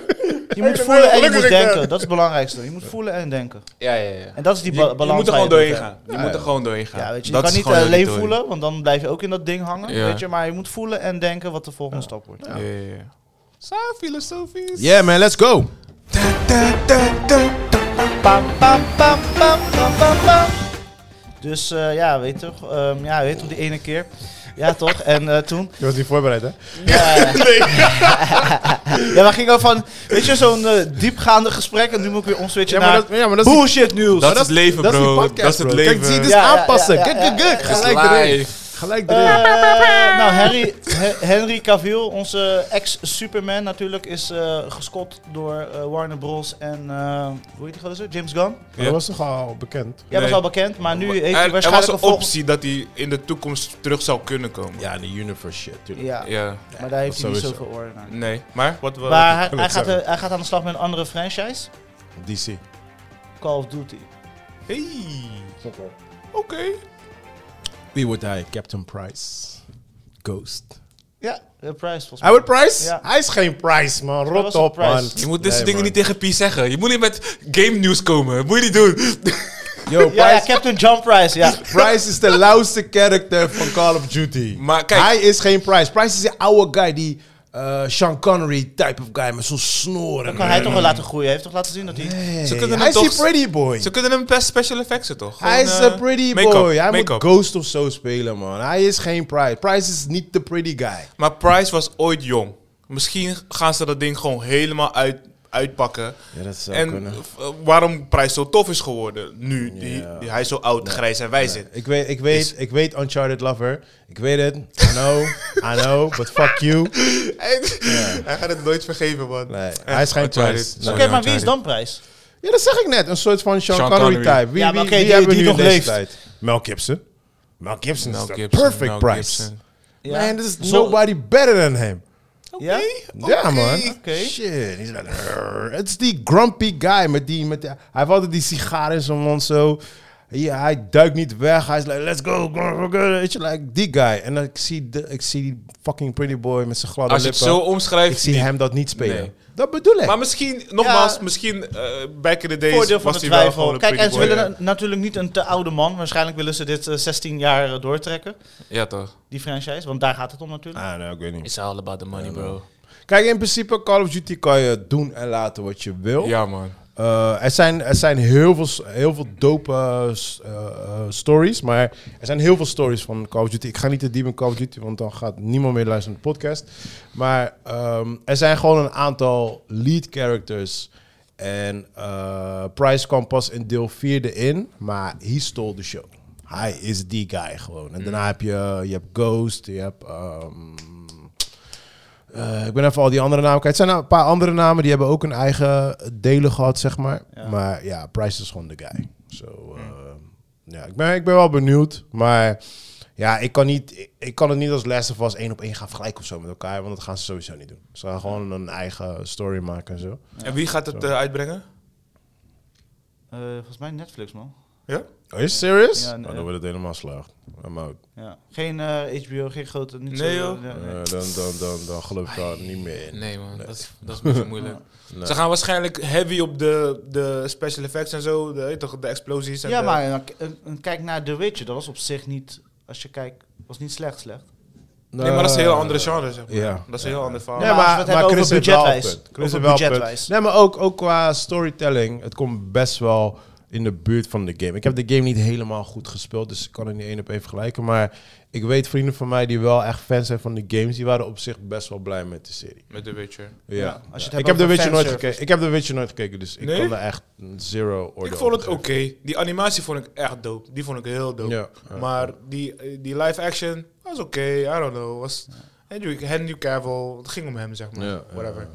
Speaker 4: Je moet voelen en je moet
Speaker 7: Gelukkig, eh,
Speaker 4: denken. Dat is het belangrijkste. Je moet voelen en denken.
Speaker 5: Ja, ja, ja.
Speaker 4: En dat is die ba-
Speaker 5: Je, je
Speaker 4: balans.
Speaker 5: moet er
Speaker 4: waar
Speaker 5: gewoon doorheen
Speaker 4: moet
Speaker 5: gaan. Je moet er gewoon doorheen gaan.
Speaker 4: hebben. Ja, weet je, je
Speaker 5: Dat
Speaker 4: kan
Speaker 5: is
Speaker 4: niet
Speaker 5: gewoon
Speaker 4: alleen
Speaker 5: hoe je het
Speaker 4: voelen, want dan blijf je ook in dat ding hangen.
Speaker 5: Ja.
Speaker 4: Weet je, maar je moet voelen en denken wat de volgende stap wordt.
Speaker 5: doet. Ja, ja, ja. Zo, filosofisch.
Speaker 3: Yeah man, let's go.
Speaker 4: Pam, pam, pam, pam, pam, pam, pam. Dus eh, ja, weet je toch? Ehm, ja, weet je toch, die ene keer. Ja, toch? En eh, toen.
Speaker 3: Je was niet voorbereid hè?
Speaker 4: Ja, ja, maar ging al van. Weet je, zo'n eh, diepgaande gesprek. En nu moet ik weer omswitchen
Speaker 3: Ja, maar
Speaker 4: naar.
Speaker 3: dat, ja, maar dat is die-
Speaker 4: bullshit nieuws.
Speaker 5: Dat is het leven,
Speaker 3: dat is die
Speaker 5: bro.
Speaker 3: podcast,
Speaker 5: Dat is het
Speaker 3: bro.
Speaker 5: leven.
Speaker 3: Kijk, zie, dit is
Speaker 4: Ja, ja,
Speaker 3: aanpassen.
Speaker 4: ja,
Speaker 3: Kijk,
Speaker 4: ja,
Speaker 3: kijk, kijk.
Speaker 5: Het is
Speaker 3: Gelijk erin.
Speaker 5: live.
Speaker 3: Gelijk
Speaker 4: Eh,
Speaker 3: erin.
Speaker 4: nou, Harry, He- Henry Cavill, onze ex-Superman natuurlijk, is eh, gespot door eh, Warner Bros. en, eh, hoe heet die gozer? James Gunn.
Speaker 3: Maar Dat was toch al bekend?
Speaker 4: Ja,
Speaker 5: Nee.
Speaker 4: was al bekend, maar nu heeft hij
Speaker 5: er, er was
Speaker 4: waarschijnlijk
Speaker 5: een
Speaker 4: een volgende...
Speaker 5: optie dat hij in de toekomst terug zou kunnen komen.
Speaker 3: Ja, de universe shit. tuurlijk.
Speaker 4: Ja,
Speaker 5: Ja,
Speaker 4: maar daar heeft hij
Speaker 3: dat
Speaker 4: niet
Speaker 3: sowieso.
Speaker 4: zoveel oren naar.
Speaker 5: nee. Maar wat we.
Speaker 4: Maar hij, hij
Speaker 3: ik
Speaker 4: gaat,
Speaker 3: zeggen.
Speaker 4: eh, hij gaat aan de slag met een andere franchise,
Speaker 3: DC.
Speaker 4: Call of Duty.
Speaker 5: Hey. Oké.
Speaker 3: Wie wordt hij? Captain Price. Ghost.
Speaker 4: Ja, de prijs volgens mij.
Speaker 3: Hij wordt Price?
Speaker 4: Ja.
Speaker 3: Hij is geen Price, man.
Speaker 4: Hij
Speaker 3: Rot
Speaker 4: was
Speaker 3: op,
Speaker 4: een Price.
Speaker 3: man.
Speaker 5: Je moet dit soort
Speaker 3: Nee,
Speaker 5: dingen niet
Speaker 3: man.
Speaker 5: tegen P zeggen. Je moet niet met game news komen. Moet je niet doen. <laughs>
Speaker 3: Yo,
Speaker 4: Ja, ja,
Speaker 3: Price,
Speaker 4: Captain John Price, ja.
Speaker 3: Price is de lauwste character van Call of Duty.
Speaker 5: Maar kijk-
Speaker 3: Hij is geen Price. Price is die oude guy, die eh, Sean Connery type of guy met zo'n snor.
Speaker 4: Dan kan hij toch wel laten groeien. Hij heeft toch laten zien dat hij...
Speaker 5: Ze kunnen
Speaker 3: hij
Speaker 5: hem
Speaker 3: is die
Speaker 5: toch...
Speaker 3: pretty boy.
Speaker 5: Ze kunnen hem best special effects toch? Gewoon,
Speaker 3: Hij is
Speaker 5: eh,
Speaker 3: een pretty
Speaker 5: make-up,
Speaker 3: boy. Hij moet
Speaker 5: make-up.
Speaker 3: Ghost of zo spelen, man. Hij is geen Price. Price is niet de pretty guy.
Speaker 5: Maar Price was ooit jong. Misschien gaan ze dat ding gewoon helemaal uit, uitpakken.
Speaker 3: Ja, dat zou
Speaker 5: en
Speaker 3: kunnen.
Speaker 5: v- waarom Price zo tof is geworden nu. Die, die hij zo oud, grijs en wijs is.
Speaker 3: Ik weet, ik, weet, ik weet Uncharted Lover. Ik weet het. I know. I know. But fuck you.
Speaker 5: Hij, hij gaat het nooit vergeven, man.
Speaker 3: Nee, hij is geen
Speaker 5: Uncharted.
Speaker 3: Price.
Speaker 4: Oké,
Speaker 5: Sorry,
Speaker 4: maar wie is
Speaker 5: Uncharted.
Speaker 4: dan prijs?
Speaker 3: Ja, dat zeg ik net. Een soort van Sean,
Speaker 5: Sean
Speaker 3: Connery,
Speaker 5: Connery.
Speaker 3: type. Wie,
Speaker 4: Ja, maar
Speaker 3: wie,
Speaker 4: oké,
Speaker 3: wie
Speaker 4: die-
Speaker 3: hebben we
Speaker 4: die
Speaker 3: nu in
Speaker 4: nog
Speaker 3: deze
Speaker 4: leeft.
Speaker 3: tijd? Mel Gibson. Mel Gibson
Speaker 5: Mel
Speaker 3: is de
Speaker 5: Gibson,
Speaker 3: perfect
Speaker 5: Mel
Speaker 3: Price.
Speaker 5: Gibson.
Speaker 4: Ja.
Speaker 3: Man, this is
Speaker 4: Zo-
Speaker 3: nobody better than him.
Speaker 4: Ja?
Speaker 3: Ja, man.
Speaker 4: Oké.
Speaker 3: Shit. He's like, "Arr." Het is die grumpy guy. Met die, met die- hij heeft altijd die sigaar in zijn mond zo. Ja, hij duikt niet weg. Hij is like, let's go. go, go, go. Weet je, like, die guy. En dan ik zie, de, ik zie die fucking pretty boy met zijn gladde
Speaker 5: Als je het
Speaker 3: lippen.
Speaker 5: zo omschrijft.
Speaker 3: ik zie
Speaker 5: niet.
Speaker 3: hem dat niet spelen.
Speaker 5: Nee.
Speaker 3: Dat bedoel ik.
Speaker 5: <laughs> Maar misschien, nogmaals, misschien eh back in the days
Speaker 4: voordeel van
Speaker 5: was
Speaker 4: de
Speaker 5: hij wel
Speaker 4: twijfel.
Speaker 5: gewoon
Speaker 4: Kijk,
Speaker 5: een
Speaker 4: en ze
Speaker 5: pretty
Speaker 4: willen
Speaker 5: boy.
Speaker 4: na- natuurlijk niet een te oude man. Waarschijnlijk willen ze dit eh, 16 jaar eh, doortrekken,
Speaker 5: Ja, toch?
Speaker 4: die franchise. Want daar gaat het om natuurlijk.
Speaker 3: Ah, nee, ik weet niet.
Speaker 5: It's all about the money, bro.
Speaker 3: Kijk, in principe Call of Duty kan je doen en laten wat je wil.
Speaker 5: Ja, man.
Speaker 3: Eh, er zijn, er zijn heel, veel, s- heel veel dope eh, s- eh, eh, stories, maar er zijn heel veel stories van Call of Duty. Ik ga niet te diep in Call of Duty, want dan gaat niemand meer luisteren naar de podcast. Maar ehm, er zijn gewoon een aantal lead characters. En eh, Price kwam pas in deel 4 in, maar he stole the show. Hij is die guy gewoon. En daarna heb je, je hebt Ghost, je hebt ehm, eh, ik ben even al die andere namen kwijt. Er zijn nou een paar andere namen die hebben ook een eigen delen gehad, zeg maar. Maar ja, Price is gewoon de guy. Zo, eh, ja, ik, ben, ik ben wel benieuwd. Maar ja, ik kan, niet, ik, ik kan het niet als Last of Us één op één gaan vergelijken of zo met elkaar. Want dat gaan ze sowieso niet doen. Ze gaan gewoon een eigen story maken en zo.
Speaker 5: En wie gaat het eh, uitbrengen? Ah.
Speaker 4: Eh, volgens mij Netflix, man.
Speaker 5: Ja?
Speaker 3: Are you serious?
Speaker 4: Ja, nee.
Speaker 3: Oh, dan wordt het helemaal slecht. I'm out.
Speaker 4: Ja. Geen eh, HBO, geen grote... Niet
Speaker 5: Nee,
Speaker 4: zo-
Speaker 5: joh.
Speaker 4: ja,
Speaker 3: Eh,
Speaker 4: nee.
Speaker 3: dan, dan, dan, dan geloof ik daar niet meer in.
Speaker 5: Nee, man. Dat is, dat is misschien
Speaker 4: <laughs>
Speaker 5: moeilijk. Ze gaan waarschijnlijk heavy op de, de special effects en zo. De, toch, de explosies. En
Speaker 4: Ja,
Speaker 5: de-
Speaker 4: maar eh, k- een- een kijk naar The Witcher. Dat was op zich niet... Als je kijkt, was niet slecht slecht.
Speaker 5: Nee, maar dat is
Speaker 3: Eh,
Speaker 5: een heel andere genre, zeg maar.
Speaker 3: ja.
Speaker 5: Dat is een heel ander verhaal.
Speaker 4: Eh, Ja,
Speaker 3: Nee,
Speaker 4: Oh, maar als
Speaker 3: maar,
Speaker 4: we het
Speaker 3: maar
Speaker 4: hebben over
Speaker 3: Chris heeft wel een
Speaker 4: budgetwijs.
Speaker 3: punt. Chris
Speaker 4: Over
Speaker 3: heeft wel een
Speaker 4: budgetwijs.
Speaker 3: punt. Nee, maar ook, ook qua storytelling. Het komt best wel in de buurt van de game. Ik heb de game niet helemaal goed gespeeld, dus ik kan het niet één op één vergelijken. Maar ik weet vrienden van mij die wel echt fans zijn van de games, die waren op zich best wel blij met de serie.
Speaker 5: Met The Witcher.
Speaker 3: Ja.
Speaker 4: Ja, als je het
Speaker 3: Ja.
Speaker 4: hebt
Speaker 3: Ik heb de
Speaker 4: over
Speaker 3: Witcher nooit
Speaker 4: fanservice.
Speaker 3: gekeken. Ik heb de Witcher nooit gekeken, dus
Speaker 5: Nee?
Speaker 3: ik kan er echt zero oordeel
Speaker 5: Ik vond het
Speaker 3: over
Speaker 5: oké.
Speaker 3: geven.
Speaker 5: Die animatie vond ik echt dope. Die vond ik heel dope.
Speaker 3: Ja, ja.
Speaker 5: Maar die, eh, die live action was oké. I don't know. Was Henry, Henry Cavill. Het ging om hem, zeg maar.
Speaker 3: Ja, ja,
Speaker 5: Whatever.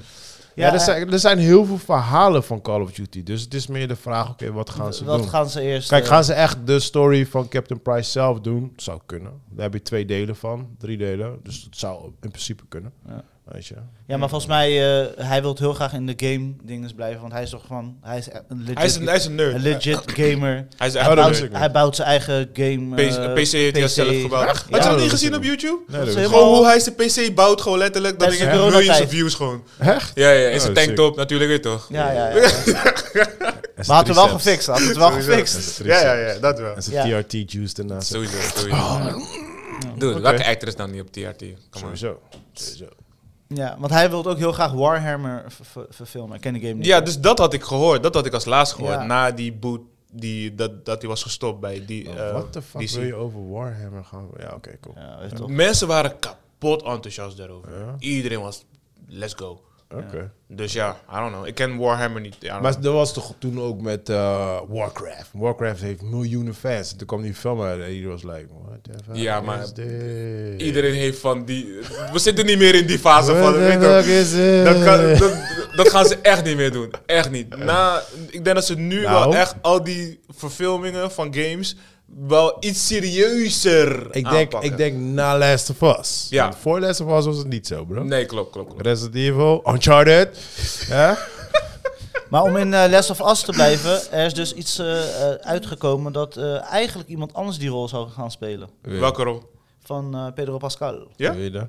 Speaker 3: Ja, er, zijn, er zijn heel veel verhalen van Call of Duty. Dus het is meer de vraag, oké, wat gaan ze
Speaker 4: wat
Speaker 3: doen?
Speaker 4: gaan ze eerst...
Speaker 3: Kijk,
Speaker 4: eh,
Speaker 3: gaan ze echt de story van Captain Price zelf doen? Zou kunnen. Daar heb je twee delen van, drie delen. Dus dat zou in principe kunnen.
Speaker 4: Ja.
Speaker 3: Weet je.
Speaker 4: Ja, maar volgens mij, eh, hij wil heel graag in de game dinges blijven. Want hij is toch gewoon... Hij is een legit,
Speaker 5: Hij is een, hij is een
Speaker 4: een
Speaker 5: nerd.
Speaker 4: legit gamer.
Speaker 5: Hij is echt
Speaker 8: Oh, dat
Speaker 5: een nerd.
Speaker 8: wist ik niet.
Speaker 4: Hij bouwt zijn eigen game.
Speaker 5: P-
Speaker 4: eh,
Speaker 5: PC heeft hij
Speaker 4: PC.
Speaker 5: zelf gebouwd. Had je
Speaker 4: Ja,
Speaker 5: dat
Speaker 3: dat
Speaker 5: niet
Speaker 3: is
Speaker 5: gezien
Speaker 3: het.
Speaker 5: op YouTube?
Speaker 3: Nee,
Speaker 4: is
Speaker 3: dat is-
Speaker 4: Helemaal-
Speaker 5: Gewoon hoe hij zijn PC bouwt, gewoon letterlijk. Dat
Speaker 4: Tijdens
Speaker 5: ding
Speaker 4: de
Speaker 5: heeft miljoens
Speaker 4: coronatijd.
Speaker 5: of views gewoon.
Speaker 3: Echt?
Speaker 5: Ja, ja, en zijn
Speaker 8: Oh, sick.
Speaker 5: tanktop natuurlijk, weet je toch?
Speaker 4: Ja, <laughs> ja, ja. Maar had het wel gefixt. Had het wel gefixt.
Speaker 5: Ja, ja, ja, dat wel.
Speaker 8: En
Speaker 4: Ja.
Speaker 8: zijn TRT juice daarnaast.
Speaker 5: Sowieso, sowieso. Dude, welke actor is nou niet op TRT? Come on.
Speaker 3: Sowieso. Sowieso.
Speaker 4: Ja, want hij wilde ook heel graag Warhammer ver- ver- verfilmen. Ik ken de game niet.
Speaker 5: Ja, dus dat had ik gehoord. Dat had ik als laatst gehoord.
Speaker 4: Ja.
Speaker 5: Na die boot, die, dat, dat die was gestopt bij die... eh,
Speaker 3: Wat de Oh, fuck
Speaker 5: DC.
Speaker 3: wil je over Warhammer gaan? Ja, oké, cool.
Speaker 4: Ja, weet je toch.
Speaker 5: Mensen waren kapot enthousiast daarover. Iedereen was, let's go.
Speaker 3: Oké.
Speaker 5: Dus ja, I don't know. Ik ken Warhammer niet. I don't
Speaker 3: Maar dat was toch toen ook met eh, Warcraft. Warcraft heeft miljoenen fans. En toen kwam die film uit en iedereen was like, what the fuck
Speaker 5: Ja,
Speaker 3: is
Speaker 5: maar-
Speaker 3: dit?
Speaker 5: Iedereen heeft van die. We zitten niet meer in die fase
Speaker 3: What
Speaker 5: van.
Speaker 3: the
Speaker 5: weet je wel.
Speaker 3: fuck is dit?
Speaker 5: dat, kan, dat, dat gaan ze echt niet meer doen. Echt niet. Na, ik denk dat ze nu
Speaker 3: Nou.
Speaker 5: wel echt al die verfilmingen van games wel iets serieuzer
Speaker 3: Ik denk,
Speaker 5: aanpakken.
Speaker 3: ik denk na Last of Us.
Speaker 5: Ja.
Speaker 3: Want Voor Last of Us was het niet zo, bro.
Speaker 5: Nee, klopt, klopt. klopt.
Speaker 3: Resident Evil, Uncharted. ja?
Speaker 4: Maar om in eh Last of Us te blijven, er is dus iets eh, eh, uitgekomen dat eh, eigenlijk iemand anders die rol zou gaan spelen.
Speaker 5: Welke rol?
Speaker 4: Van eh, Pedro Pascal.
Speaker 5: Ja?
Speaker 3: Wil je dat?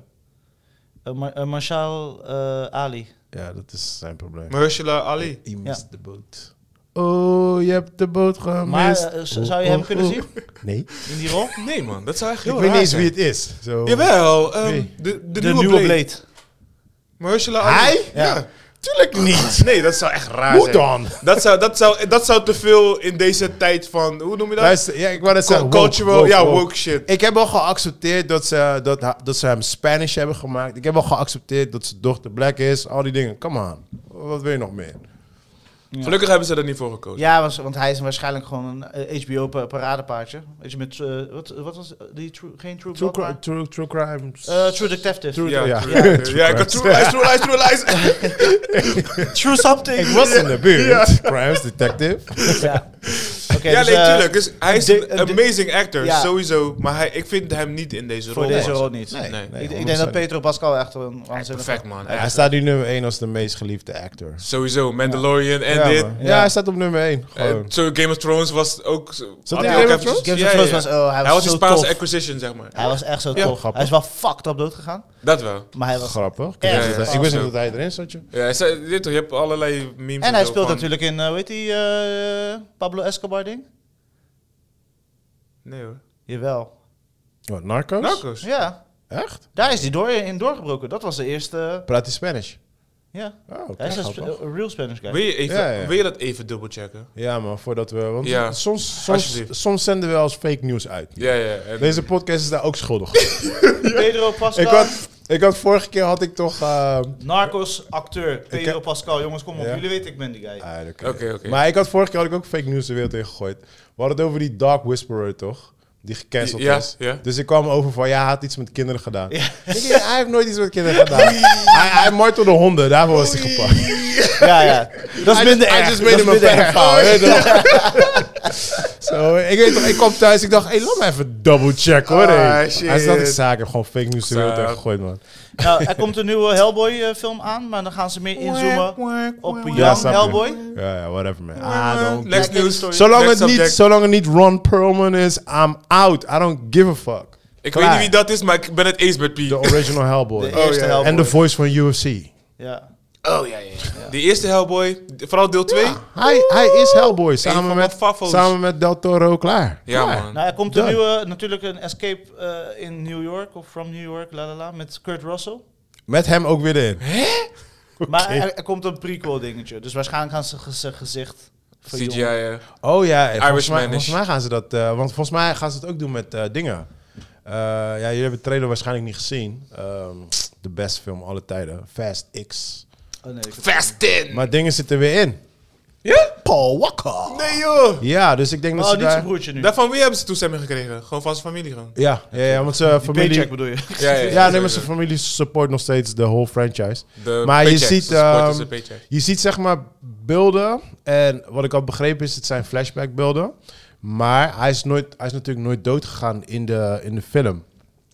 Speaker 4: Eh, Mar- eh, Marshal eh, Ali.
Speaker 3: Ja, dat is zijn probleem.
Speaker 5: Mahershala Ali.
Speaker 3: Je mist de boot. Oh, je hebt de boot gemist.
Speaker 4: Maar eh, z- zou je hem
Speaker 3: Oh,
Speaker 4: kunnen
Speaker 3: oh,
Speaker 4: zien
Speaker 3: oh. Nee.
Speaker 4: in die rol?
Speaker 5: Nee, man, dat zou echt
Speaker 3: Ik
Speaker 5: heel
Speaker 3: weet niet
Speaker 5: raar
Speaker 3: eens
Speaker 5: zijn.
Speaker 3: wie het is. Zo.
Speaker 5: Jawel, ehm,
Speaker 3: Wie?
Speaker 5: de, de,
Speaker 4: De,
Speaker 5: nieuwe, Blade. Mahershala Ali.
Speaker 3: Hij?
Speaker 4: Ja.
Speaker 3: Tuurlijk niet.
Speaker 5: <laughs> Nee, dat zou echt raar
Speaker 3: Hoe
Speaker 5: zijn.
Speaker 3: dan?
Speaker 5: Dat zou, dat, zou, dat zou te veel in deze tijd van. Hoe noem je dat?
Speaker 3: Luister, ja, ik wou dat
Speaker 5: Co-
Speaker 3: zeggen. woke,
Speaker 5: cultural,
Speaker 3: woke,
Speaker 5: ja,
Speaker 3: woke.
Speaker 5: woke, shit.
Speaker 3: Ik heb wel geaccepteerd dat ze, dat, ha- dat ze hem Spanish hebben gemaakt. Ik heb wel geaccepteerd dat zijn dochter black is. Al die dingen. Come on. Wat wil je nog meer?
Speaker 5: Gelukkig hebben ze er niet voor gekozen.
Speaker 4: Ja, was- want hij is waarschijnlijk gewoon een eh, HBO-paradepaardje. Weet je, met... eh, wat, wat was die? True- geen True
Speaker 3: True,
Speaker 4: Blood,
Speaker 3: cri-
Speaker 4: maar...
Speaker 3: true, true crimes.
Speaker 4: Eh, true Detective.
Speaker 3: True-
Speaker 5: Ja,
Speaker 3: Ja.
Speaker 5: ja. ja. ik had true lies, true lies, true
Speaker 4: <laughs>
Speaker 5: lies.
Speaker 4: True Something.
Speaker 3: ik was in de buurt. Crimes detective.
Speaker 4: Ja, Oké,
Speaker 5: ja,
Speaker 4: dus,
Speaker 5: nee,
Speaker 4: eh,
Speaker 5: tuurlijk. Dus hij is
Speaker 4: de-
Speaker 5: een
Speaker 4: een di-
Speaker 5: amazing actor,
Speaker 4: Ja.
Speaker 5: sowieso. Maar hij, ik vind hem niet in deze
Speaker 4: Voor
Speaker 5: rol.
Speaker 4: deze
Speaker 5: passen.
Speaker 4: rol niet.
Speaker 5: Nee,
Speaker 3: Nee.
Speaker 4: ik, ik denk
Speaker 3: 100%
Speaker 4: dat Pedro Pascal echt een waanzinnig...
Speaker 5: Perfect, man.
Speaker 3: Hij
Speaker 5: Echt.
Speaker 3: staat nu nummer 1 als de meest geliefde actor.
Speaker 5: Sowieso, Mandalorian en dit.
Speaker 3: man.
Speaker 4: Ja.
Speaker 3: ja, hij staat op nummer 1.
Speaker 5: Eh,
Speaker 3: Gewoon.
Speaker 5: zo Game of Thrones was ook... zo-
Speaker 3: Zat
Speaker 5: had
Speaker 3: hij
Speaker 5: hij
Speaker 3: in
Speaker 5: ook
Speaker 3: Game of
Speaker 5: even-
Speaker 4: Game
Speaker 5: Ja,
Speaker 4: of Thrones
Speaker 5: ja, ja.
Speaker 4: was... Oh, hij
Speaker 5: Hij was
Speaker 4: was
Speaker 5: een
Speaker 4: zo
Speaker 5: Spaanse
Speaker 4: tof.
Speaker 5: acquisition, zeg maar.
Speaker 4: Hij was echt zo
Speaker 5: Ja.
Speaker 4: tof.
Speaker 3: Grappig.
Speaker 4: Hij is wel fucked up dood gegaan.
Speaker 5: Dat wel.
Speaker 4: Maar hij was...
Speaker 3: Grappig.
Speaker 4: Ja,
Speaker 3: Ik wist
Speaker 5: ja,
Speaker 3: niet dat-
Speaker 5: ja.
Speaker 3: Ik wist niet
Speaker 5: Zo.
Speaker 3: dat hij erin zat, joh.
Speaker 5: Ja, hij zei- dit, toch, je hebt allerlei memes.
Speaker 4: En hij
Speaker 5: zo
Speaker 4: speelt
Speaker 5: van-
Speaker 4: natuurlijk in, eh, hoe heet die, eh, Pablo Escobar ding?
Speaker 5: Nee hoor.
Speaker 4: Jawel.
Speaker 3: Wat, Narcos?
Speaker 5: Narcos.
Speaker 4: Ja,
Speaker 3: Echt?
Speaker 4: daar is hij door, in doorgebroken. Dat was de eerste, eh,
Speaker 3: Praat hij Spanish?
Speaker 4: ja.
Speaker 3: Oh, oké,
Speaker 4: Hij is een sp-
Speaker 3: grappig.
Speaker 4: een real Spanish guy.
Speaker 5: Wil je, even,
Speaker 3: Ja, ja.
Speaker 5: wil je dat even dubbelchecken?
Speaker 3: Ja, man, voordat we... Want
Speaker 5: Ja.
Speaker 3: soms, soms,
Speaker 5: Alsjeblieft.
Speaker 3: soms zenden we als fake news uit.
Speaker 5: Ja, ja. en-
Speaker 3: Deze podcast is daar ook schuldig. aan.
Speaker 4: Pedro Pascal,
Speaker 3: ik, had, ik had vorige keer had ik toch... eh,
Speaker 4: narcos, acteur. Pedro
Speaker 3: heb-
Speaker 4: Pascal, jongens, kom op.
Speaker 3: Ja.
Speaker 4: Jullie weten, ik ben die guy.
Speaker 3: ah, oké.
Speaker 5: Oké, oké.
Speaker 3: Maar ik had vorige keer had ik ook fake news de wereld in gegooid. We hadden het over die Dark Whisperer, toch? Die gecanceld
Speaker 5: Ja,
Speaker 3: is.
Speaker 5: ja.
Speaker 3: Dus ik kwam over van, ja, hij had iets met kinderen gedaan. Ik denk, hij heeft nooit iets met kinderen gedaan. hij, hij martelde honden, daarvoor was hij gepakt.
Speaker 4: Ja, ja. Dat is minder
Speaker 3: Hij
Speaker 4: erg.
Speaker 3: just
Speaker 4: Dat
Speaker 3: made
Speaker 4: is
Speaker 3: him a
Speaker 4: minder
Speaker 3: bad
Speaker 4: erg.
Speaker 3: foul. weet je toch? <laughs> Zo, ik weet toch, ik kwam thuis, ik dacht, hey, laat me even double check hoor.
Speaker 5: Ah,
Speaker 3: hey.
Speaker 5: shit.
Speaker 3: Hij staat ik zaken, gewoon fake news de wereld
Speaker 5: Zaak.
Speaker 3: in gegooid, man.
Speaker 4: Nou, er komt een nieuwe Hellboy-film aan, maar dan gaan ze meer inzoomen op Young
Speaker 3: Ja, snap je.
Speaker 4: Hellboy.
Speaker 3: Ja, ja, whatever man. Ah, I don't
Speaker 5: Next
Speaker 3: give-
Speaker 5: news.
Speaker 3: Zolang
Speaker 5: Next
Speaker 3: het, niet,
Speaker 5: subject.
Speaker 3: zolang het niet Ron Perlman is, I'm out. I don't give a fuck.
Speaker 5: Ik
Speaker 3: Klaar.
Speaker 5: weet niet wie dat is, maar ik ben het eens met P.
Speaker 3: De original Hellboy.
Speaker 4: De eerste
Speaker 5: ja.
Speaker 4: Hellboy.
Speaker 3: En de voice van UFC.
Speaker 4: Ja.
Speaker 5: Oh ja, ja. ja. De eerste Hellboy, de- vooral deel 2. Ja,
Speaker 3: Hij, hij is Hellboy,
Speaker 5: van
Speaker 3: samen
Speaker 5: mijn
Speaker 3: met,
Speaker 5: favos.
Speaker 3: samen met Del Toro, klaar. Klaar.
Speaker 5: man.
Speaker 4: Nou, er komt een
Speaker 3: Done.
Speaker 4: nieuwe, natuurlijk een escape eh, in New York, of from New York, la la la, met Kurt Russell.
Speaker 3: Met hem ook weer in.
Speaker 4: Maar er, er komt een prequel dingetje, dus waarschijnlijk gaan ze ge- zijn gezicht verjongen.
Speaker 5: CGI. eh.
Speaker 3: Oh ja, en volgens
Speaker 5: Irishman
Speaker 3: mij,
Speaker 5: is-
Speaker 3: volgens mij gaan ze dat. eh, want volgens mij gaan ze het ook doen met eh, dingen. Eh, ja, jullie hebben de trailer waarschijnlijk niet gezien. Ehm, de beste film alle tijden, Fast X.
Speaker 4: Oh, nee, ik-
Speaker 5: Fast 10.
Speaker 3: Maar dingen zitten weer in.
Speaker 5: Ja?
Speaker 3: Paul Walker.
Speaker 5: Nee joh!
Speaker 3: Ja, dus ik denk dat
Speaker 4: Oh,
Speaker 3: ze
Speaker 4: niet zijn
Speaker 3: daar...
Speaker 4: broertje nu.
Speaker 5: Daarvan wie hebben ze toestemming gekregen? Gewoon van zijn familie gewoon.
Speaker 3: Ja, ja, ja, want zijn familie...
Speaker 4: Paycheck bedoel je? <laughs>
Speaker 5: Ja,
Speaker 3: Ja, nee, maar zijn familie support nog steeds de whole franchise.
Speaker 5: De
Speaker 3: maar je
Speaker 5: paycheck,
Speaker 3: ziet,
Speaker 5: ze supporten
Speaker 3: ehm,
Speaker 5: zijn paycheck.
Speaker 3: Je ziet zeg maar beelden. En wat ik al begrepen is, het zijn flashback beelden. Maar hij is, nooit, hij is natuurlijk nooit doodgegaan in de, in de film.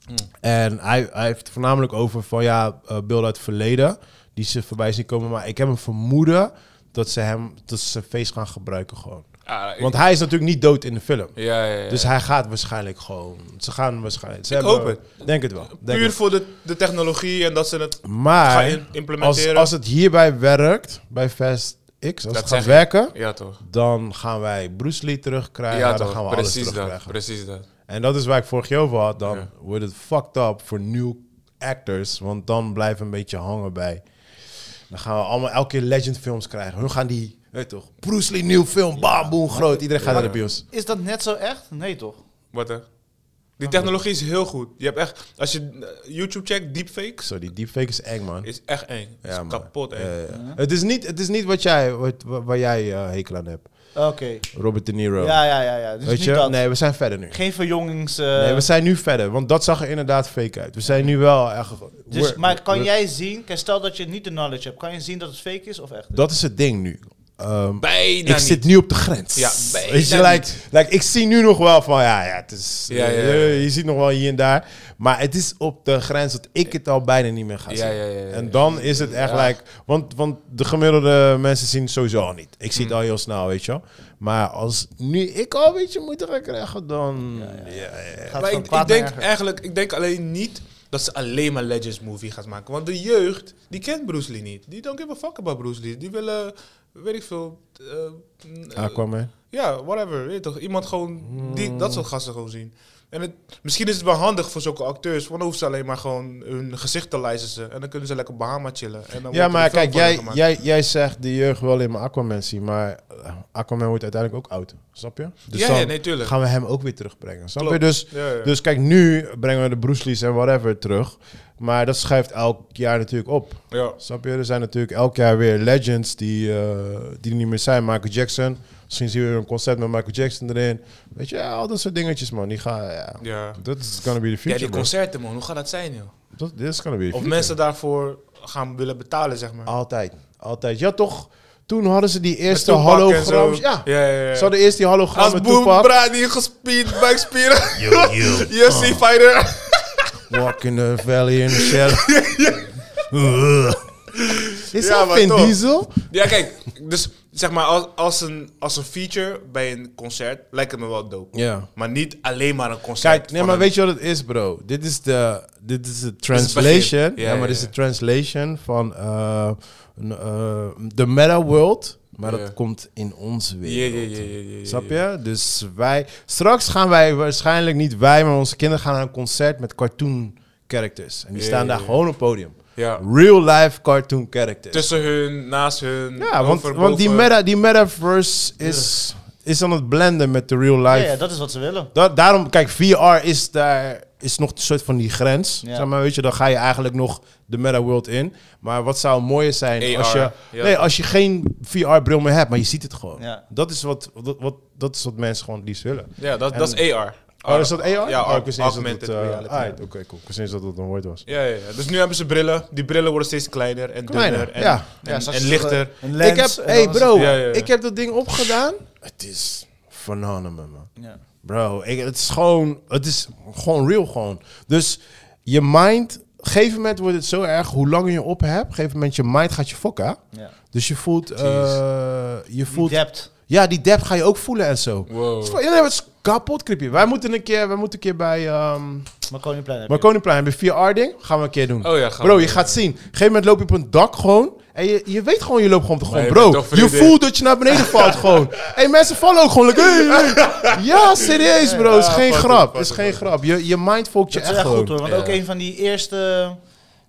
Speaker 5: Hmm.
Speaker 3: En hij, hij heeft het voornamelijk over van ja, eh, beelden uit het verleden. Die ze voorbij zien komen. Maar ik heb een vermoeden dat ze hem, dat ze zijn face gaan gebruiken gewoon.
Speaker 5: Ah, ik-
Speaker 3: Want hij is natuurlijk niet dood in de film.
Speaker 5: ja, ja, ja.
Speaker 3: Dus hij gaat waarschijnlijk gewoon. Ze gaan waarschijnlijk. Ze
Speaker 5: Ik
Speaker 3: hebben-
Speaker 5: hoop
Speaker 3: Denk het wel. Denk het wel.
Speaker 5: Puur voor de, de technologie en dat ze het
Speaker 3: Maar
Speaker 5: gaan in-
Speaker 3: als,
Speaker 5: implementeren.
Speaker 3: als het hierbij werkt, bij Fast X, als
Speaker 5: Dat
Speaker 3: het gaat
Speaker 5: zeg ik.
Speaker 3: werken,
Speaker 5: Ja toch.
Speaker 3: dan gaan wij Bruce Lee terugkrijgen.
Speaker 5: Ja,
Speaker 3: dan
Speaker 5: toch.
Speaker 3: gaan we alles
Speaker 5: precies dat.
Speaker 3: terugkrijgen.
Speaker 5: Precies dat.
Speaker 3: En dat is waar ik vorig jaar over had. Dan
Speaker 5: Ja.
Speaker 3: wordt het fucked up voor new actors, want dan blijven we een beetje hangen bij. Dan gaan we allemaal elke keer legend films krijgen. Hun gaan die, weet toch, Bruce Lee nieuw film, bam, boom, groot. Iedereen gaat naar de bios.
Speaker 4: Is dat net zo echt? Nee, toch?
Speaker 5: Wat hè? Die technologie is heel goed. Je hebt echt, als je eh, YouTube checkt, deepfakes,
Speaker 3: Zo, die deepfake is eng, man.
Speaker 5: is echt eng. Is
Speaker 3: Ja, man.
Speaker 5: kapot eng.
Speaker 3: Ja, ja. Het, is niet, het is niet wat jij, wat, wa- waar jij eh, hekel aan hebt.
Speaker 4: Oké.
Speaker 3: Robert De Niro.
Speaker 4: Ja, ja, ja. ja. Dus
Speaker 3: Weet
Speaker 4: niet
Speaker 3: je?
Speaker 4: dat.
Speaker 3: Nee, we zijn verder nu.
Speaker 4: Geen verjongings... eh,
Speaker 3: Nee, we zijn nu verder, want dat zag er inderdaad fake uit. We zijn nu wel echt.
Speaker 4: dus,
Speaker 3: we're-
Speaker 4: maar kan
Speaker 3: we're-
Speaker 4: jij zien... Kijk, stel dat je niet de knowledge hebt. Kan je zien dat het fake is of echt?
Speaker 3: Dat is het ding nu. Ehm,
Speaker 5: Bijna
Speaker 3: ik zit nu op de grens.
Speaker 5: Ja, bijna
Speaker 3: Weet je,
Speaker 5: niet.
Speaker 3: like, like, ik zie nu nog wel van, ja, ja, het is,
Speaker 5: Ja, ja,
Speaker 3: eh,
Speaker 5: ja, ja.
Speaker 3: je ziet nog wel hier en daar. Maar het is op de grens dat ik het al bijna niet meer ga
Speaker 5: Ja,
Speaker 3: zien.
Speaker 5: ja, ja, ja, ja.
Speaker 3: En dan is het echt,
Speaker 5: Ja.
Speaker 3: like, want, want de gemiddelde mensen zien het sowieso al niet. Ik
Speaker 5: Hmm.
Speaker 3: zie het al heel snel, weet je wel. Maar als nu ik al een beetje moeite ga krijgen, dan... ja, ja, ja.
Speaker 4: Gaat van
Speaker 5: Maar ik, ik
Speaker 4: kwaad naar
Speaker 5: denk
Speaker 4: erger.
Speaker 5: eigenlijk, ik denk alleen niet dat ze alleen maar Legends movie gaat maken. Want de jeugd, die kent Bruce Lee niet. Die don't give a fuck about Bruce Lee. Die willen, weet ik veel, eh, eh,
Speaker 3: Aquaman.
Speaker 5: ja, whatever. Weet je toch? Iemand gewoon, die, dat soort gasten gewoon zien. En het, misschien is het wel handig voor zulke acteurs, want dan hoeven ze alleen maar gewoon hun gezicht te licensen. En dan kunnen ze lekker Bahama chillen. En dan
Speaker 3: Ja, maar kijk, jij,
Speaker 5: ja
Speaker 3: jij, jij zegt de jeugd wil in mijn Aquaman zien, maar eh, Aquaman wordt uiteindelijk ook oud, snap je? Dus
Speaker 5: Ja,
Speaker 3: dan
Speaker 5: ja, nee, tuurlijk.
Speaker 3: gaan we hem ook weer terugbrengen, snap je?
Speaker 5: Klopt.
Speaker 3: Dus,
Speaker 5: Ja, ja.
Speaker 3: dus kijk, nu brengen we de Bruce Lee's en whatever terug, maar dat schuift elk jaar natuurlijk op,
Speaker 5: Ja.
Speaker 3: snap je? Er zijn natuurlijk elk jaar weer legends die, eh, die er niet meer zijn. Michael Jackson, misschien zien we weer een concert met Michael Jackson erin. Weet je, ja, al dat soort dingetjes, man. Die gaan, ja.
Speaker 5: Ja.
Speaker 3: Dat is gonna be the
Speaker 5: ja,
Speaker 3: future,
Speaker 5: die
Speaker 3: bro.
Speaker 5: concerten man, hoe gaat dat zijn joh?
Speaker 3: Dat, dit is gonna be the
Speaker 5: Of
Speaker 3: future. Ah,
Speaker 5: mensen daarvoor gaan willen betalen, zeg maar.
Speaker 3: Altijd, altijd. Ja, toch? Toen hadden ze die eerste
Speaker 5: Tupac en zo.
Speaker 3: holograms. Ja.
Speaker 5: Ja, ja, ja.
Speaker 3: Ze hadden eerst die
Speaker 5: Als
Speaker 3: hologrammen
Speaker 5: Boom
Speaker 3: Tupac.
Speaker 5: Brady gespierd, buikspieren. <laughs> UFC fighter.
Speaker 3: Walk in the valley
Speaker 5: <laughs>
Speaker 3: in the shell. Is
Speaker 5: Ja,
Speaker 3: dat
Speaker 5: maar
Speaker 3: Vin
Speaker 5: toch.
Speaker 3: Diesel?
Speaker 5: ja, kijk. Dus zeg maar, als, als, een, als een feature bij een concert lijkt het me wel dope.
Speaker 3: Ja.
Speaker 5: Maar niet alleen maar een concert.
Speaker 3: Kijk, nee, maar weet je wat het is, bro? Dit is de, dit is de translation.
Speaker 5: begin. Ja,
Speaker 3: ja, maar
Speaker 5: ja,
Speaker 3: dit is
Speaker 5: ja.
Speaker 3: de translation van eh, n- eh, de meta world. Maar
Speaker 5: Ja.
Speaker 3: dat komt in onze wereld.
Speaker 5: Ja, ja, ja, ja, ja, ja,
Speaker 3: Snap je? Dus wij... Straks gaan wij waarschijnlijk niet wij, maar onze kinderen gaan naar een concert met cartoon characters. En die
Speaker 5: Ja,
Speaker 3: staan
Speaker 5: ja,
Speaker 3: daar
Speaker 5: ja.
Speaker 3: gewoon op podium.
Speaker 5: Ja.
Speaker 3: Real life cartoon characters.
Speaker 5: Tussen hun, naast hun.
Speaker 3: ja, want,
Speaker 5: over,
Speaker 3: want die,
Speaker 5: boven.
Speaker 3: meta, die metaverse is, is aan het blenden met de real
Speaker 4: Ja,
Speaker 3: life.
Speaker 4: ja, dat is wat ze willen.
Speaker 3: Da- daarom, kijk, VR is daar is nog een soort van die grens.
Speaker 4: Ja.
Speaker 3: Zeg maar, weet je, dan ga je eigenlijk nog de meta world in. Maar wat zou mooier zijn
Speaker 5: AR,
Speaker 3: als je,
Speaker 5: ja.
Speaker 3: nee, als je geen VR-bril meer hebt, maar je ziet het gewoon.
Speaker 4: Ja.
Speaker 3: Dat, is wat, dat, wat, dat is wat mensen gewoon het liefst willen.
Speaker 5: Ja, dat, dat is AR.
Speaker 3: Oh, is dat AR?
Speaker 5: Ja,
Speaker 3: oh, ik wist niet eens dat
Speaker 5: augmented
Speaker 3: dat, eh,
Speaker 5: reality.
Speaker 3: ah, Oké, cool. Ik wist niet eens dat dat een woord was.
Speaker 5: Ja, ja, ja. Dus nu hebben ze brillen. Die brillen worden steeds kleiner en
Speaker 3: Kleiner,
Speaker 5: dunner. En,
Speaker 3: ja.
Speaker 5: en,
Speaker 4: straks
Speaker 5: en
Speaker 4: is er
Speaker 5: lichter.
Speaker 4: Een lens.
Speaker 3: ik heb,
Speaker 4: en
Speaker 3: hey
Speaker 4: dan is
Speaker 3: bro,
Speaker 5: Ja, ja, ja.
Speaker 3: ik heb dat ding opgedaan. Het is phenomenal, man.
Speaker 4: het- Ja.
Speaker 3: Bro, ik, het is gewoon, het is gewoon real gewoon. Dus je mind, op een gegeven moment wordt het zo erg, hoe langer je op hebt, op een gegeven moment je mind gaat je fokken.
Speaker 4: Ja.
Speaker 3: Dus je voelt, eh, je
Speaker 4: Die
Speaker 3: voelt,
Speaker 4: dept.
Speaker 3: ja, die depth ga je ook voelen en zo.
Speaker 5: Wow.
Speaker 3: Het is van- Ja, nee, maar het is kapot creepy. Wij moeten een keer, wij moeten een keer bij, ehm
Speaker 4: Marconiplein heb je.
Speaker 3: Marconiplein, bij VR ding, gaan we een keer doen.
Speaker 5: Oh ja, gaan
Speaker 3: bro,
Speaker 5: we,
Speaker 3: je
Speaker 5: ja.
Speaker 3: gaat zien. Op een gegeven moment loop je op een dak gewoon. En je, je weet gewoon, je loopt gewoon op de grond.
Speaker 5: je
Speaker 3: Bro,
Speaker 5: bent toch
Speaker 3: je
Speaker 5: vriendin.
Speaker 3: voelt dat je naar beneden
Speaker 5: <laughs>
Speaker 3: valt gewoon. hey, mensen vallen ook gewoon. like, hey, hey. Ja, serieus bro. is geen grap. is geen grap. Je, je mind volgt je
Speaker 4: Dat is
Speaker 3: echt
Speaker 4: echt goed
Speaker 3: gewoon.
Speaker 4: hoor. Want
Speaker 5: Ja.
Speaker 4: ook een van die eerste...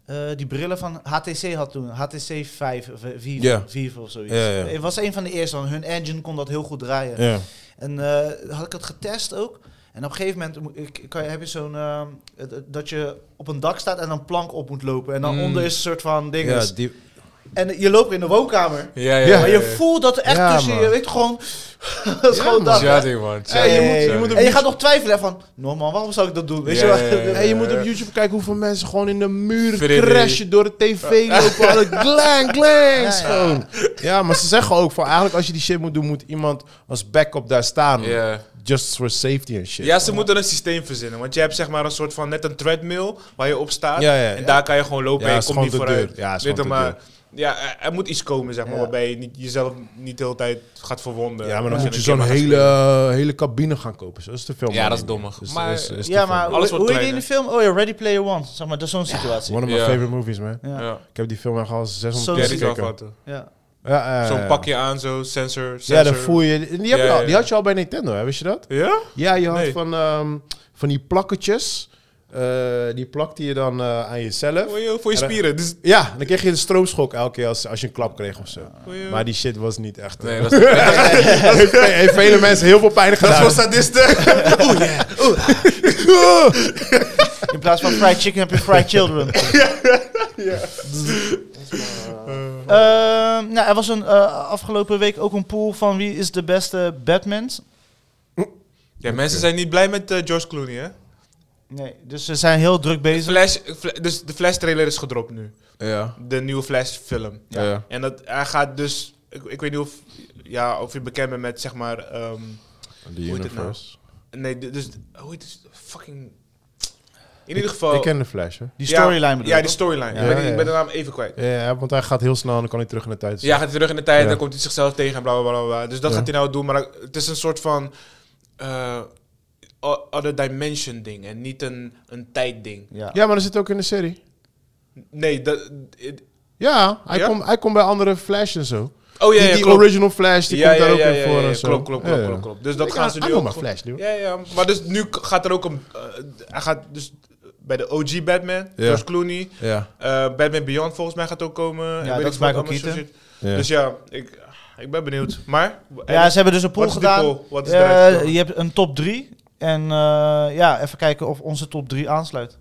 Speaker 4: eh, die brillen van HTC had toen. HTC 5, of, eh, Vive,
Speaker 3: Ja.
Speaker 4: Vive of zoiets.
Speaker 3: Ja, ja.
Speaker 4: Het was een van de eerste, want hun engine kon dat heel goed draaien.
Speaker 3: Ja.
Speaker 4: En eh, had ik het getest ook. En op een gegeven moment moet ik, kan, je- heb je zo'n... ehm, het- het- dat je op een dak staat en een plank op moet lopen. En dan onder is een soort van ding.
Speaker 3: Mm. Ja,
Speaker 4: Dus
Speaker 3: die,
Speaker 4: En je loopt in de woonkamer.
Speaker 5: Ja, ja.
Speaker 3: Ja.
Speaker 4: Maar je voelt dat er echt
Speaker 3: Ja,
Speaker 4: tussen je,
Speaker 3: man.
Speaker 4: weet je, gewoon... <laughs> dat is gewoon dat.
Speaker 5: Ja,
Speaker 4: hè.
Speaker 5: ding, man.
Speaker 3: Hey, je moet- je
Speaker 4: Hey,
Speaker 3: moet op
Speaker 4: en je gaat nog twijfelen hè, van, no man, waarom zou ik dat doen? Weet
Speaker 5: Ja,
Speaker 4: je <laughs>
Speaker 5: ja, ja, ja.
Speaker 3: Hey, je moet op YouTube kijken hoeveel mensen gewoon in de muur
Speaker 5: Freddy.
Speaker 3: crashen door de tv
Speaker 5: <laughs>
Speaker 3: lopen. Alle glang, glang,
Speaker 4: ja.
Speaker 3: schoon. Ja, maar ze zeggen ook van eigenlijk als je die shit moet doen, moet iemand als backup daar staan.
Speaker 5: Ja.
Speaker 3: Just for safety en shit.
Speaker 9: Ja, ze moeten een systeem verzinnen. Want je hebt zeg maar een soort van net een treadmill waar je op staat.
Speaker 3: Ja, ja, ja.
Speaker 9: En daar kan je gewoon lopen
Speaker 3: Ja,
Speaker 9: en
Speaker 3: is
Speaker 9: je komt
Speaker 3: gewoon
Speaker 9: niet
Speaker 3: de
Speaker 9: vooruit.
Speaker 3: deur. Ja, is
Speaker 9: Weet
Speaker 3: gewoon de
Speaker 9: je, maar, ja, er- er moet iets komen zeg maar,
Speaker 4: Ja.
Speaker 9: waarbij je niet, jezelf niet de hele tijd gaat verwonden.
Speaker 3: Ja, maar dan moet
Speaker 9: En
Speaker 3: je
Speaker 9: eh, een
Speaker 3: zo'n
Speaker 9: keer maar
Speaker 3: hele, eh,
Speaker 9: gaan
Speaker 3: hele cabine gaan kopen. Zo is te veel.
Speaker 5: Ja, dat is dommig.
Speaker 3: Dus-
Speaker 5: Maar-
Speaker 3: is- is te
Speaker 4: Ja,
Speaker 3: veel.
Speaker 4: maar
Speaker 5: Alles
Speaker 4: hoe, hoe
Speaker 5: wordt
Speaker 4: heet die in de film? Oh ja, Ready Player One. Zeg maar, dat is zo'n situatie.
Speaker 3: One of my
Speaker 5: Ja.
Speaker 3: favorite movies, man.
Speaker 4: Ja.
Speaker 5: Ja.
Speaker 3: Ik heb die film echt al
Speaker 4: Zo-
Speaker 3: 600
Speaker 9: spelen.
Speaker 3: keer
Speaker 9: Ja, die
Speaker 4: Zeker.
Speaker 3: gekeken.
Speaker 9: zelf wat.
Speaker 4: Ja.
Speaker 3: Ja, ja, ja,
Speaker 9: Zo'n
Speaker 3: ja.
Speaker 9: pakje aan, zo, sensor, sensor.
Speaker 3: Ja, dat voel je. Die, heb je
Speaker 5: Ja,
Speaker 3: al-
Speaker 5: ja.
Speaker 3: die had je al bij Nintendo, hè? wist je dat?
Speaker 9: Ja?
Speaker 3: Ja, je had
Speaker 9: Nee.
Speaker 3: van, ehm, van die plakketjes. eh, die plakte je dan eh, aan jezelf.
Speaker 9: Voor je, voor je
Speaker 3: Ja, dat-
Speaker 9: spieren. Dus,
Speaker 3: Ja, dan kreeg je een stroomschok elke keer als, als je een klap kreeg of zo.
Speaker 9: voor je-
Speaker 3: Maar die shit was niet echt. eh,
Speaker 5: Nee,
Speaker 9: <laughs>
Speaker 5: dat is
Speaker 3: <laughs> heeft, heeft vele mensen heel veel pijn gedaan.
Speaker 9: voor sadisten.
Speaker 4: In plaats van fried chicken heb je fried children. Ehm, nou, er was een, eh, afgelopen week ook een pool van wie is de beste Batman.
Speaker 5: Ja, mensen zijn...
Speaker 9: Ze zijn niet blij met eh, George Clooney, hè?
Speaker 4: Nee, dus ze zijn heel druk bezig.
Speaker 9: Flash, Fla- dus de Flash trailer is gedropt nu.
Speaker 3: Ja.
Speaker 9: De nieuwe Flash film.
Speaker 3: Ja. Ja.
Speaker 9: En dat, hij gaat dus... Ik, ik weet niet of, ja, of je bekend bent met, zeg maar... ehm,
Speaker 3: The
Speaker 9: heet het
Speaker 3: Universe.
Speaker 9: nee, de- dus... Hoe heet het? Fucking... In ieder geval...
Speaker 3: Ik ken de Flash, hè?
Speaker 4: Die
Speaker 9: ja,
Speaker 4: storyline bedoel
Speaker 9: Ja,
Speaker 4: je,
Speaker 9: die
Speaker 4: toch?
Speaker 9: storyline.
Speaker 3: Ja,
Speaker 9: ik, ben,
Speaker 3: ja.
Speaker 9: ik ben de naam even kwijt.
Speaker 3: Ja, want hij gaat heel snel en dan kan hij terug in de tijd.
Speaker 5: Ja, gaat hij terug in de tijd,
Speaker 3: Ja.
Speaker 5: dan komt hij zichzelf tegen en bla
Speaker 9: bla bla bla, bla. Dus dat
Speaker 3: Ja.
Speaker 9: gaat hij nou doen, maar het is een soort van eh, o- other dimension ding en niet een, een tijd ding.
Speaker 4: Ja.
Speaker 3: ja maar dat zit ook in de serie.
Speaker 9: Nee, dat. it-
Speaker 3: Ja, hij
Speaker 9: Ja?
Speaker 3: komt hij komt bij andere Flash en zo.
Speaker 9: oh ja,
Speaker 3: die
Speaker 9: ja,
Speaker 3: die
Speaker 9: klopt.
Speaker 3: original Flash, die
Speaker 9: Ja,
Speaker 3: komt
Speaker 9: ja,
Speaker 3: daar ook
Speaker 9: ja,
Speaker 3: in
Speaker 9: ja,
Speaker 3: voor
Speaker 9: ja,
Speaker 3: en
Speaker 9: ja,
Speaker 3: zo.
Speaker 9: Klopt, klopt,
Speaker 3: Ja,
Speaker 9: klopt,
Speaker 3: ja.
Speaker 9: klopt, klopt. Dus dat
Speaker 3: Ik-
Speaker 9: gaan ze
Speaker 3: I
Speaker 9: nu
Speaker 3: know
Speaker 9: ook.
Speaker 3: my
Speaker 9: gewoon-
Speaker 3: Flash, dude.
Speaker 9: ja, ja, maar dus nu k- gaat er ook een. eh, hij gaat dus bij de OG Batman,
Speaker 3: Ja.
Speaker 9: George Clooney,
Speaker 3: Ja.
Speaker 9: eh, Batman Beyond volgens mij gaat ook komen. en
Speaker 4: dat
Speaker 9: weet ik
Speaker 4: is
Speaker 9: wat
Speaker 4: Michael
Speaker 9: allemaal,
Speaker 4: Keaton.
Speaker 9: zo'n shit. Dus ja, ik, ik ben benieuwd. Maar.
Speaker 4: Ja, ze hebben dus een pool
Speaker 9: Wat is die
Speaker 4: gedaan.
Speaker 9: pool? Wat is
Speaker 4: Eh,
Speaker 9: eruit?
Speaker 4: je hebt een top 3. En eh, ja, even kijken of onze top 3 aansluit.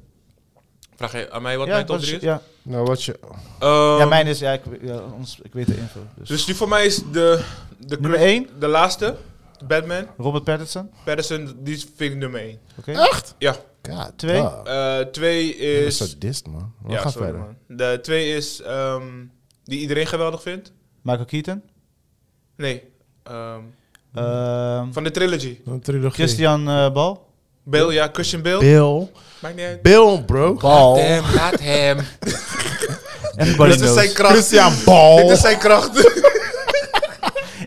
Speaker 5: Vraag je aan mij wat
Speaker 4: ja,
Speaker 5: mijn top
Speaker 4: dat
Speaker 5: 3 is?
Speaker 4: Ja.
Speaker 3: Nou, wat je...
Speaker 5: Ehm,
Speaker 4: ja, mijn is... Ja, ik, ja, ons, ik weet de info. Dus.
Speaker 9: Dus die voor mij is de. de
Speaker 4: nummer 1,
Speaker 9: De laatste, Batman,
Speaker 4: Robert Pattinson.
Speaker 9: Patterson, die vind ik nummer 1.
Speaker 4: Oké.
Speaker 9: Ja.
Speaker 3: God,
Speaker 4: Twee?
Speaker 3: damn.
Speaker 9: Eh, twee
Speaker 3: Je bent
Speaker 9: is...
Speaker 3: sadist, man. We
Speaker 9: ja,
Speaker 3: gaan
Speaker 9: sorry,
Speaker 3: verder.
Speaker 9: man. De twee is... ehm, die iedereen geweldig vindt?
Speaker 4: Michael Keaton.
Speaker 9: Nee. ehm,
Speaker 4: Ehm,
Speaker 9: van de trilogy.
Speaker 3: Een trilogie.
Speaker 4: Christian eh, Bal.
Speaker 9: Bill, ja, Christian Bill.
Speaker 3: Bill.
Speaker 9: Maakt niet uit.
Speaker 3: Bill, bro.
Speaker 5: Laat hem, laat hem.
Speaker 4: Everybody
Speaker 9: Dit is
Speaker 4: knows.
Speaker 9: zijn kracht.
Speaker 3: Christian Ball.
Speaker 9: <laughs> Dit is zijn kracht. <laughs>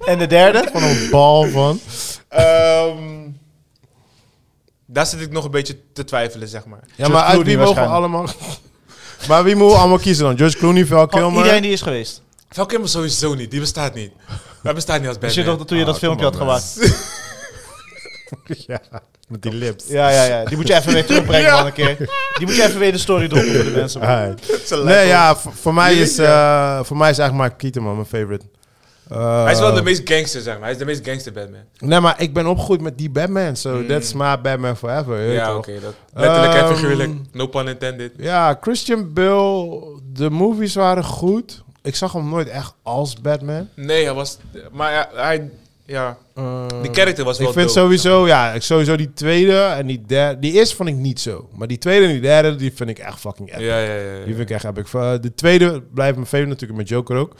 Speaker 4: En de derde?
Speaker 3: Van een bal van.
Speaker 9: Ehm, daar zit ik nog een beetje te twijfelen, zeg maar.
Speaker 3: Ja, maar uit wie mogen we
Speaker 4: waarschijnlijk.
Speaker 3: allemaal... maar wie moeten we allemaal kiezen dan? George Clooney, Val
Speaker 4: Van
Speaker 3: Kilmer?
Speaker 4: Oh, iedereen die is geweest.
Speaker 5: Val Kilmer sowieso niet, die bestaat niet. Hij bestaat niet als
Speaker 4: Dus je
Speaker 5: Batman.
Speaker 4: dacht, toen je dat
Speaker 3: Ah,
Speaker 4: filmpje
Speaker 3: kom
Speaker 4: had
Speaker 3: op,
Speaker 4: gemaakt.
Speaker 3: <laughs> ja, met die lips.
Speaker 4: Ja, ja, ja. Die moet je even weer terugbrengen man een keer. Die moet je even weer de story droppen voor de mensen. man.
Speaker 3: Alright.
Speaker 9: Ze lijken
Speaker 3: Nee,
Speaker 9: op-
Speaker 3: ja, v- voor mij,
Speaker 9: Jullie?
Speaker 3: is, eh, voor mij is eigenlijk Mark Keaton, man, mijn favorite. Eh,
Speaker 5: Hij is wel de meest gangster, zeg maar. Hij is de meest gangster Batman.
Speaker 3: Nee, maar ik ben opgegroeid met die Batman. So that's my Batman forever. je weet
Speaker 5: Hmm. Ja,
Speaker 3: toch?
Speaker 5: oké. dat- letterlijk
Speaker 3: Ehm,
Speaker 5: en figuurlijk. No pun intended.
Speaker 3: Ja, Christian Bale, de movies waren goed. Ik zag hem nooit echt als Batman.
Speaker 5: Nee, hij was... Maar ja, hij... Ja,
Speaker 3: Eh,
Speaker 5: die character was wel
Speaker 3: ik vind
Speaker 5: dope.
Speaker 3: sowieso, ja, ik- sowieso die tweede en die derde. Die eerste vond ik niet zo. Maar die tweede en die derde, die vind ik echt fucking epic.
Speaker 5: Ja, ja, ja.
Speaker 3: Die vind ik echt epic. Eh, De tweede blijft mijn favorite natuurlijk met Joker ook.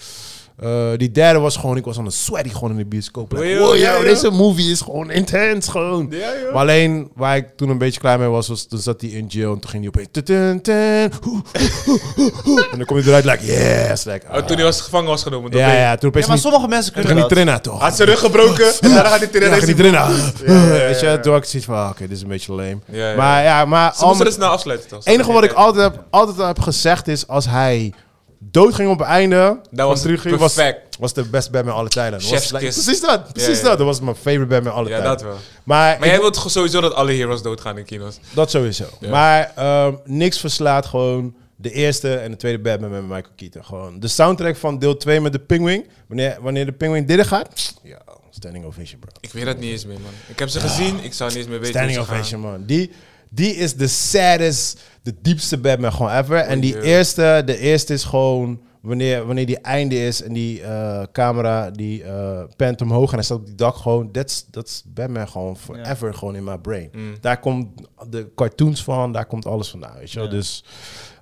Speaker 3: Eh, die derde was gewoon, ik was aan het sweaty gewoon in de bioscoop. Like,
Speaker 5: Yo,
Speaker 3: wow,
Speaker 5: ja,
Speaker 3: yo,
Speaker 5: ja.
Speaker 3: deze movie is gewoon intens gewoon.
Speaker 5: Ja, joh.
Speaker 3: Maar alleen waar ik toen een beetje klaar mee was, was toen zat hij in jail en toen ging hij opeens. tutun, tun, hoe, hoe, hoe, hoe. En dan kom je eruit, like, yes. Like, ah.
Speaker 5: Oh, toen hij was gevangen was genomen. door
Speaker 3: ja,
Speaker 5: Bane.
Speaker 3: ja, toen opeens.
Speaker 4: Ja, maar
Speaker 3: ging-
Speaker 4: sommige mensen
Speaker 3: toen
Speaker 4: kunnen
Speaker 3: ging hij
Speaker 4: dat.
Speaker 3: trainen
Speaker 5: Ah,
Speaker 3: toch?
Speaker 9: Had zijn rug gebroken en daarna gaat hij
Speaker 3: <laughs> Ja,
Speaker 9: tegen
Speaker 3: ging hij
Speaker 9: deze...
Speaker 3: trainen. Weet je, toen had ik zoiets van, ah, oké, dit is een beetje lame.
Speaker 5: Ja, ja.
Speaker 3: Maar ja, maar.
Speaker 5: Ze
Speaker 3: al
Speaker 5: moesten
Speaker 3: met-
Speaker 5: het snel afsluiten. toch?
Speaker 3: het enige wat ik
Speaker 5: Ja, ja.
Speaker 3: altijd heb, altijd heb gezegd is, als hij doodging op het einde,
Speaker 5: Dat was
Speaker 3: van de trilogie,
Speaker 5: perfect.
Speaker 3: was, was de best Batman alle tijden. Dat
Speaker 5: Chef's
Speaker 3: Was, like,
Speaker 5: kiss.
Speaker 3: precies dat, precies
Speaker 5: ja.
Speaker 3: dat. Dat was mijn favorite Batman
Speaker 5: Ja,
Speaker 3: alle tijden.
Speaker 5: dat wel.
Speaker 3: Maar,
Speaker 5: Maar jij
Speaker 3: ik-
Speaker 5: wilt gewoon sowieso dat alle heroes doodgaan in kino's.
Speaker 3: dat sowieso.
Speaker 5: Ja.
Speaker 3: Maar ehm, niks verslaat gewoon de eerste en de tweede Batman met Michael Keaton. Gewoon de soundtrack van deel 2 met de Penguin. Wanneer, wanneer de Penguin dit gaat, ja, standing ovation bro.
Speaker 5: Ik weet dat niet eens meer, man. Ik heb ze gezien, ik zou niet eens meer weten
Speaker 3: Standing
Speaker 5: hoe ze gaan.
Speaker 3: ovation, man. Die, die is de saddest, de diepste Batman gewoon ever. En die
Speaker 5: joh.
Speaker 3: eerste, de eerste is gewoon wanneer, wanneer die einde is en die eh, camera die eh pent omhoog en hij staat op die dak gewoon, that's- dat is Batman gewoon forever gewoon in mijn brain.
Speaker 5: Mm.
Speaker 3: Daar komt de cartoons van, daar komt alles vandaan, weet je wel. Dus,